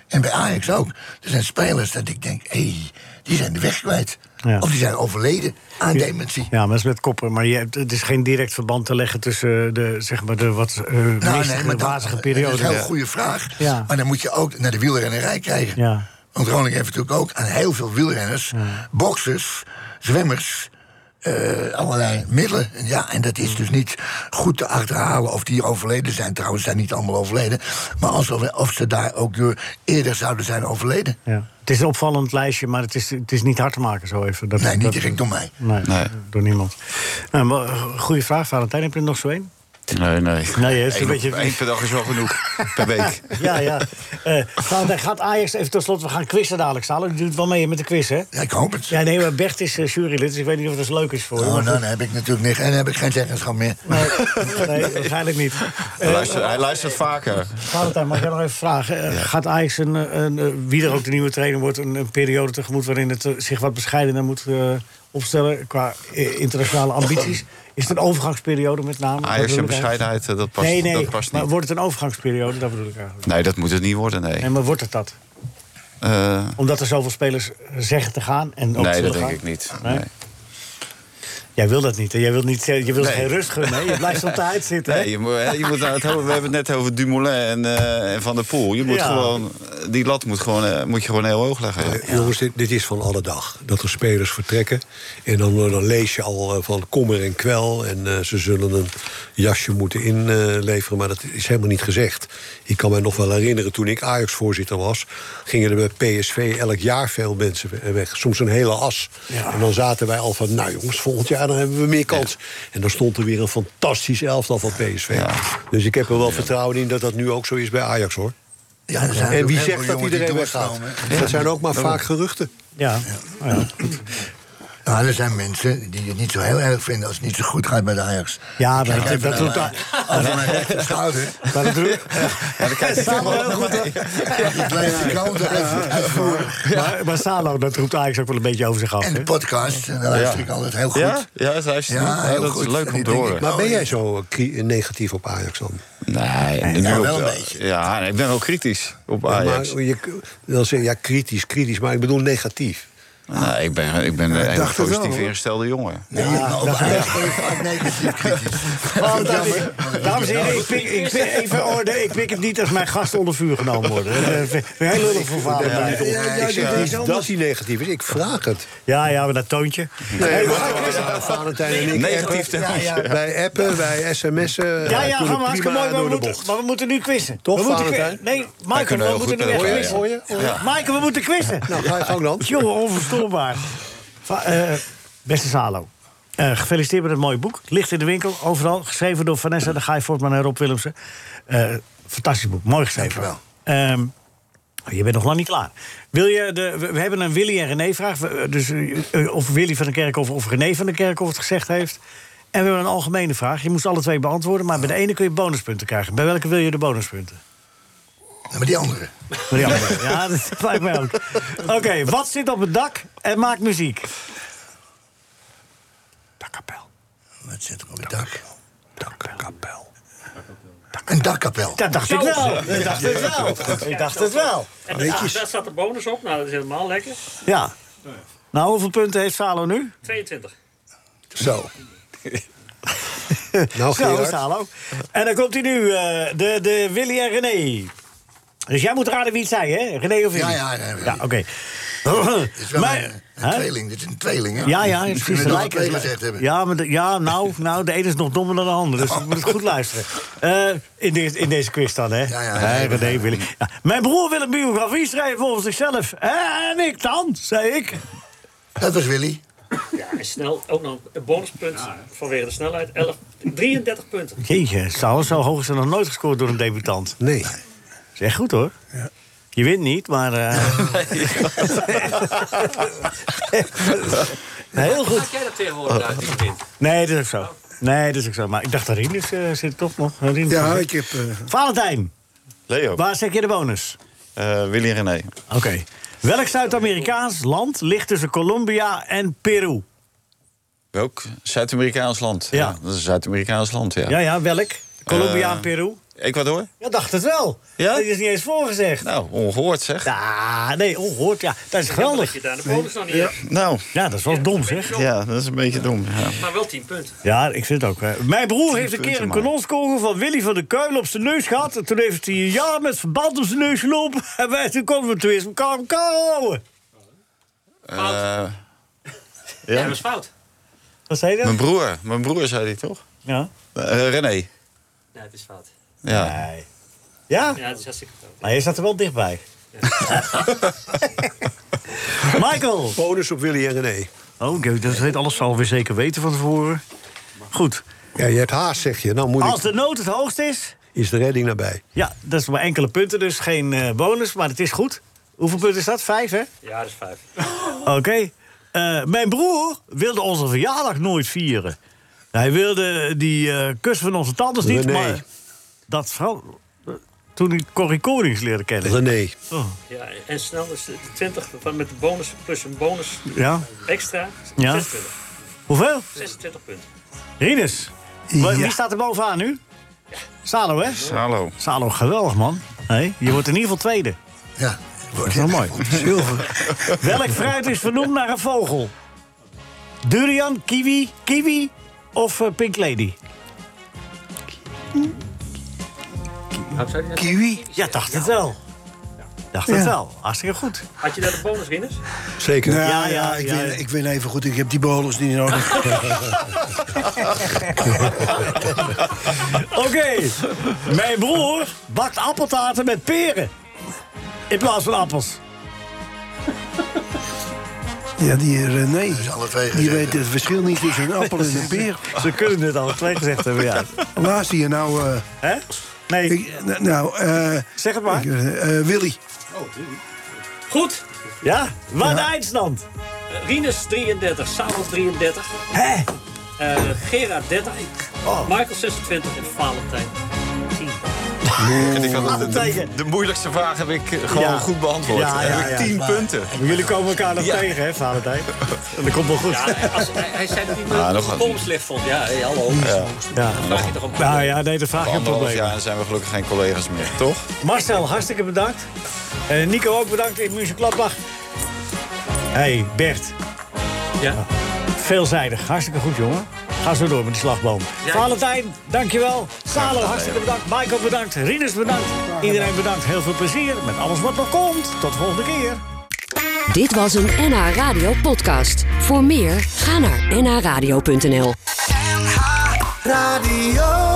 K: En bij Ajax ook. Er zijn spelers dat ik denk, hé, die zijn de weg kwijt.
D: Ja.
K: Of die zijn overleden aan dementie.
D: Ja, maar dat is met koppen. Maar je hebt, het is geen direct verband te leggen tussen de, zeg maar, de wat eh meest
K: dan-
D: wazige periode.
K: Nou, Dat is een heel goede vraag.
D: Ja.
K: Maar dan moet je ook naar de wielrennerij kijken.
D: Ja.
K: Want Groningen heeft natuurlijk ook aan heel veel wielrenners, boxers, zwemmers, eh, allerlei middelen. En Ja, en dat is dus niet goed te achterhalen of die overleden zijn. Trouwens, zijn niet allemaal overleden. Maar alsof, of ze daar ook door eerder zouden zijn overleden.
D: Ja. Het is een opvallend lijstje, maar het is, het is niet hard te maken zo even. Dat,
K: Nee, niet
D: dat-
K: direct door mij.
D: Nee, door niemand. Nou, maar, eh, goeie vraag, Valentijn. Heb je er nog zo een?
E: Nee, nee.
D: Nee, het is een
E: Eén op-
D: beetje-
E: één per dag is wel genoeg. per week.
D: Ja, ja. Eh, Valentijn, gaat Ajax even tot slot. We gaan quizzen dadelijk staan. U doet wel mee met de quiz, hè?
K: Ja, ik hoop het.
D: Ja, nee, maar Bert is eh, jurylid, dus ik weet niet of dat leuk is voor u.
K: Oh,
D: maar
K: nou,
D: goed.
K: dan heb ik natuurlijk niet, en dan heb ik geen zeggenschap meer.
D: nee, waarschijnlijk niet.
E: Hij luistert, hij luistert vaker.
D: Valentijn, mag ik jou nog even vragen? Eh, Gaat Ajax, een, een, een- wie er ook de nieuwe trainer wordt, een, een periode tegemoet waarin het eh, zich wat bescheidener moet eh, opstellen qua eh, internationale ambities? Is het een overgangsperiode met name? Dat
E: Ajax
D: bedoel
E: en
D: ik eigenlijk.
E: bescheidenheid, eh, dat past,
D: nee, nee,
E: dat past
D: maar
E: niet.
D: wordt het een overgangsperiode? Dat bedoel ik eigenlijk.
E: Nee, dat moet het niet worden, nee.
D: Nee, maar wordt het dat?
E: Eh,
D: Omdat er zoveel spelers eh, zeggen te gaan en ook
E: nee,
D: zullen
E: dat denk
D: gaan?
E: ik niet.
D: Nee?
E: Nee.
D: Jij wil dat niet. hè? Jij wilt, niet, eh, je wilt
E: Nee.
D: geen rust gunnen. hè? Je blijft op tijd zitten. hè?
E: Nee, je moet, hè, je moet nou het hebben- we hebben het net over Dumoulin en, eh, en Van der Poel. Je moet
D: Ja.
E: gewoon, die lat moet, gewoon, eh, moet je gewoon heel hoog leggen.
C: Jongens, dit, dit is van alle dag. Dat er spelers vertrekken. En dan, eh, dan lees je al eh, van kommer en kwel. En eh, ze zullen een jasje moeten inleveren. Maar dat is helemaal niet gezegd. Ik kan mij nog wel herinneren, toen ik Ajax-voorzitter was... gingen er bij PSV elk jaar veel mensen we- weg. Soms een hele as. En dan zaten wij al van, nou jongens, volgend jaar dan hebben we meer kans. En dan stond er weer een fantastisch elftal van PSV. Dus ik heb er wel vertrouwen in dat dat nu ook zo is bij Ajax, hoor.
K: Ja, er zijn
C: en
K: ook
C: wie
K: heel
C: zegt dat
K: veel jongens die
C: iedereen weggaat?
K: doorkomen, hè?
C: Dat zijn ook maar
K: Ja.
C: vaak geruchten.
D: Ja.
K: Nou, er zijn mensen die het niet zo heel erg vinden als het niet zo goed gaat met de Ajax.
D: Ja, maar
K: Kijk
D: dat-
K: even
D: dat
K: naar
D: doet
K: mij. Als ik mijn rechterschouder.
D: Maar dat doe ik.
K: Ja, dan kijk ik
D: Samen
K: wel
D: heel goed, hè?
K: Die kleine kant uitvoeren.
D: Maar, maar Salo, dat roept Ajax ook wel een beetje over zich af.
K: En de
D: hè?
K: podcast, daar luister ik altijd heel goed.
E: Ja? Ja, dat luister je
K: Ja,
E: goed. Ja,
K: heel
E: dat
K: goed.
E: is leuk
K: En
E: om
K: ik
E: te
K: denk,
E: horen.
C: Maar ben jij zo eh, cri- negatief op Ajax dan?
E: Nee, ik
C: nou,
E: ben
C: wel
E: ook,
C: een
E: eh, Ja, nee, ik ben wel kritisch op
C: Ja,
E: Ajax.
C: Maar je, dan zeg je, ja, kritisch, kritisch, maar ik bedoel negatief.
E: Nee, ik ben, ik ben een hele
C: dacht het wel,
E: positief
C: hoor.
E: ingestelde jongen.
K: Nee, maar op Ajax ben je vaak negatief kritisch.
D: Oh, dat is- Dames en heren, ik pik, ik pik- even orde. Ik pik het niet als mijn gasten onder vuur genomen worden. Dat eh, is een heel lullig voor
C: Ja, ja,
D: Valentijn.
C: ja, ja, ja, dat hij negatief is. Ik vraag het.
D: Ja, ja, maar dat toontje.
C: Nee,
D: Hey,
C: maar,
D: we gaan quizzen.
C: eh, Valentijn en ik
D: Negatief
C: appen.
D: telefoontje.
C: Ja, ja. Wij appen, wij sms'en.
D: Ja,
C: wij
D: ja, gaan
C: doen het
D: we hartstikke
C: prima
D: mooi, maar
C: door
D: we,
C: de
D: moeten,
C: bocht.
D: maar we moeten nu quizzen.
C: Toch,
D: we moeten
C: Valentijn?
D: Nee,
E: Wij
D: Maaike,
E: kunnen
D: we
E: heel
D: moeten
E: goed
D: nu echt
E: met elkaar, ja. Hoor
D: quizzen.
E: je? Hoor je? Ja.
D: Maaike, eh, we moeten quizzen.
C: Nou, ga je gang dan.
D: Jongen, onverstoorbaar. Va- eh, beste Salo. eh, gefeliciteerd met het mooie boek. Ligt in de winkel, overal. Geschreven door Vanessa de Gaai Voortman en Rob Willemsen. Eh, fantastisch boek, mooi geschreven. Ehm, je bent nog lang niet klaar. Wil je de, we, we hebben een Willy en René vraag. We- eh, Dus, eh, eh, of Willy van de Kerkhof of René van de Kerkhof het gezegd heeft. En we hebben een algemene vraag. Je moest alle twee beantwoorden, maar bij de ene kun je bonuspunten krijgen. Bij welke wil je de bonuspunten?
K: Ja, maar die andere.
D: Maar die andere, ja, dat lijkt mij ook. Oké, wat zit op het dak en maakt muziek?
K: Wat zit er op het dak? Dakkapel. Een dakkapel.
D: Dat dacht ik wel. Dat dacht ik wel. Ik dacht het wel.
O: En
D: Weet
O: daar
D: je-
O: daar staat de bonus op. Nou, dat is helemaal lekker.
D: Ja. Nou, hoeveel punten heeft Salo nu?
O: 22.
C: Zo. nou,
D: Zo,
C: Gerard.
D: Salo. En dan komt hij nu, eh, de, de Willy en René. Dus jij moet raden wie het zei, hè? René of Willy?
K: Ja, ja, ja, Willy.
D: oké.
Q: Dit is wel
D: Maar-
Q: een, een
D: Hè?
Q: tweeling, dit is een tweeling. Hè?
D: Ja, ja,
Q: Die
D: precies.
Q: kunnen
D: Ze
Q: dat
D: lijken-
Q: twee gezegd hebben.
D: Ja, maar de- ja nou, nou, de ene is nog dommer dan de ander, dus je moet het goed luisteren. Eh, in, de- in deze quiz dan, hè? Ja,
Q: ja,
D: Hè, René, Willy. Ja. Mijn broer wil een biografie schrijven over zichzelf. Hè, en ik dan, zei ik.
Q: Dat was Willy.
H: Ja, en snel ook nog een bonuspunt vanwege de snelheid. 11, 33 punten.
D: Jeetje, zo, zo hoog is er nog nooit gescoord door een debutant. Nee. Dat is echt goed, hoor. Je wint niet, maar... eh, heel goed.
H: Maak jij dat tegenwoordig uit, die wint?
D: Nee, dat is ook zo. Nee, dat is ook zo. Maar ik dacht dat Rinus eh, zit toch nog. Rinus
K: Ja,
D: zit-
K: ik heb... eh,
D: Valentijn,
E: Leo.
D: waar zet je de bonus?
E: Eh, Willy en René.
D: Oké. Welk Zuid-Amerikaans land ligt tussen Colombia en Peru?
E: Welk Zuid-Amerikaans land? Ja. Dat is een Zuid-Amerikaans land, ja.
D: Ja, ja, welk? Colombia
E: Eh,
D: en Peru?
E: Ecuador?
D: Ja, dacht het wel.
E: Ja?
D: Dat is niet eens voorgezegd.
E: Nou, ongehoord zeg.
D: Ja, nee, ongehoord. Ja, dat is geweldig.
H: Dat je daar de bonus nog niet
E: Ja.
H: hebt.
E: Nou.
D: Ja, dat is wel dom, zeg.
E: Ja, dat is een beetje dom. Ja.
H: Maar wel 10 punten.
D: Ja, ik vind het ook. hè. Mijn broer heeft een
E: punten,
D: keer een
E: man.
D: kanonskogel van Willy van der Kuil op zijn neus gehad. En toen heeft hij een jaar met verband op zijn neus gelopen. En wij toen konden we toen eens elkaar elkaar houden.
E: Eh,
H: Ja,
E: ja.
H: dat is fout.
D: Wat zei je?
E: Mijn broer. Mijn broer zei die toch?
D: Ja.
E: Eh, René.
H: Nee, het is fout.
E: Ja.
D: Nee. Ja?
H: Ja, het is hartstikke fout.
D: Maar je zat er wel dichtbij. Michael!
C: Bonus op Willy en René.
D: Oh, dat weet alles zal weer zeker weten van tevoren. Goed.
C: Ja, je hebt haast, zeg je. Nou moet ik-
D: Als de nood het hoogst is...
C: is de redding nabij.
D: Ja, dat is maar enkele punten, dus geen eh, bonus, maar het is goed. Hoeveel punten is dat? Vijf, hè?
H: Ja, dat is fout.
D: Oké. Eh, mijn broer wilde onze verjaardag nooit vieren. Hij wilde die eh, kus van onze tandarts niet,
C: René.
D: maar... Dat vrouw... Toen ik Corrie Konings leerde kennen.
C: René.
D: Oh,
H: Ja, en snel is de 20 van met de bonus plus een bonus
D: ja.
H: extra.
D: Ja.
H: 26 punten.
D: Hoeveel?
H: 26 punten.
D: Rinus. Wa- Wie staat er bovenaan nu? Salo, hè?
E: Hallo.
D: Salo, geweldig, man. Hé, je wordt in ieder geval tweede.
Q: Ja.
D: Dat is wel mooi. Welk fruit is vernoemd naar een vogel? Durian, kiwi, kiwi of eh, pink lady?
K: kiwi?
D: Ja, dacht het wel. Dacht het
K: Ja.
D: wel. Hartstikke goed.
H: Had je daar de bonus in? is?
C: Zeker.
K: Nou,
D: Ja,
K: ja,
D: ja,
K: ik,
D: ja,
K: Win,
D: ja.
K: ik win even goed. Ik heb die bolus niet nodig.
D: Oké. Mijn broer bakt appeltaarten met peren. In plaats van appels.
K: ja, die René.
Q: Dus alle twee
K: Die
Q: gezegd.
K: weet het verschil niet tussen een appel en een peer.
D: Ze kunnen het al twee gezegd hebben, ja.
K: Laatst hier nou... eh,
D: Hè? Nee,
K: ik- nou, nou, eh,
D: zeg het maar.
K: ik, eh, eh, Willy.
H: Goed.
D: Ja? Wat eindstand?
H: Rinus 33, Samuel 33,
D: Hè?
H: eh Gerard 30, Michael 26 en Valentijn 10.
E: Ik had de, de,
D: tegen.
E: de moeilijkste vraag heb ik gewoon
D: Ja.
E: goed beantwoord.
D: Ja, ja,
E: heb ik
D: ja,
E: tien
D: maar-
E: punten.
D: Jullie komen elkaar nog
E: Ja.
D: tegen, hè, Valentijn? Dat komt wel goed.
H: Ja, hij- als, hij, hij zei dat hij
E: Ah,
H: ah,
E: nog
H: nog
E: wat.
H: column slecht vond. Ja, hey, hallo.
E: Ja.
D: Ja.
H: Vraag je toch om.
D: Nou ja, nee, dat vraag je een
E: Anderhalf
D: probleem.
E: jaar en zijn we gelukkig geen collega's meer, toch?
D: Marcel, hartstikke bedankt. Eh, Nico ook bedankt in Muziek Gladbach. hey, Bert, Ah,
H: Ja.
D: veelzijdig. Hartstikke goed, jongen. Ga zo door met die slagboom.
H: Ja.
D: Valentijn, dankjewel. Salo, hartstikke bedankt. Michael, bedankt. Rinus, bedankt. Iedereen bedankt. Heel veel plezier met alles wat nog komt. Tot de volgende keer.
A: Dit was een NH Radio podcast. Voor meer, ga naar nhradio.nl.
R: Radio.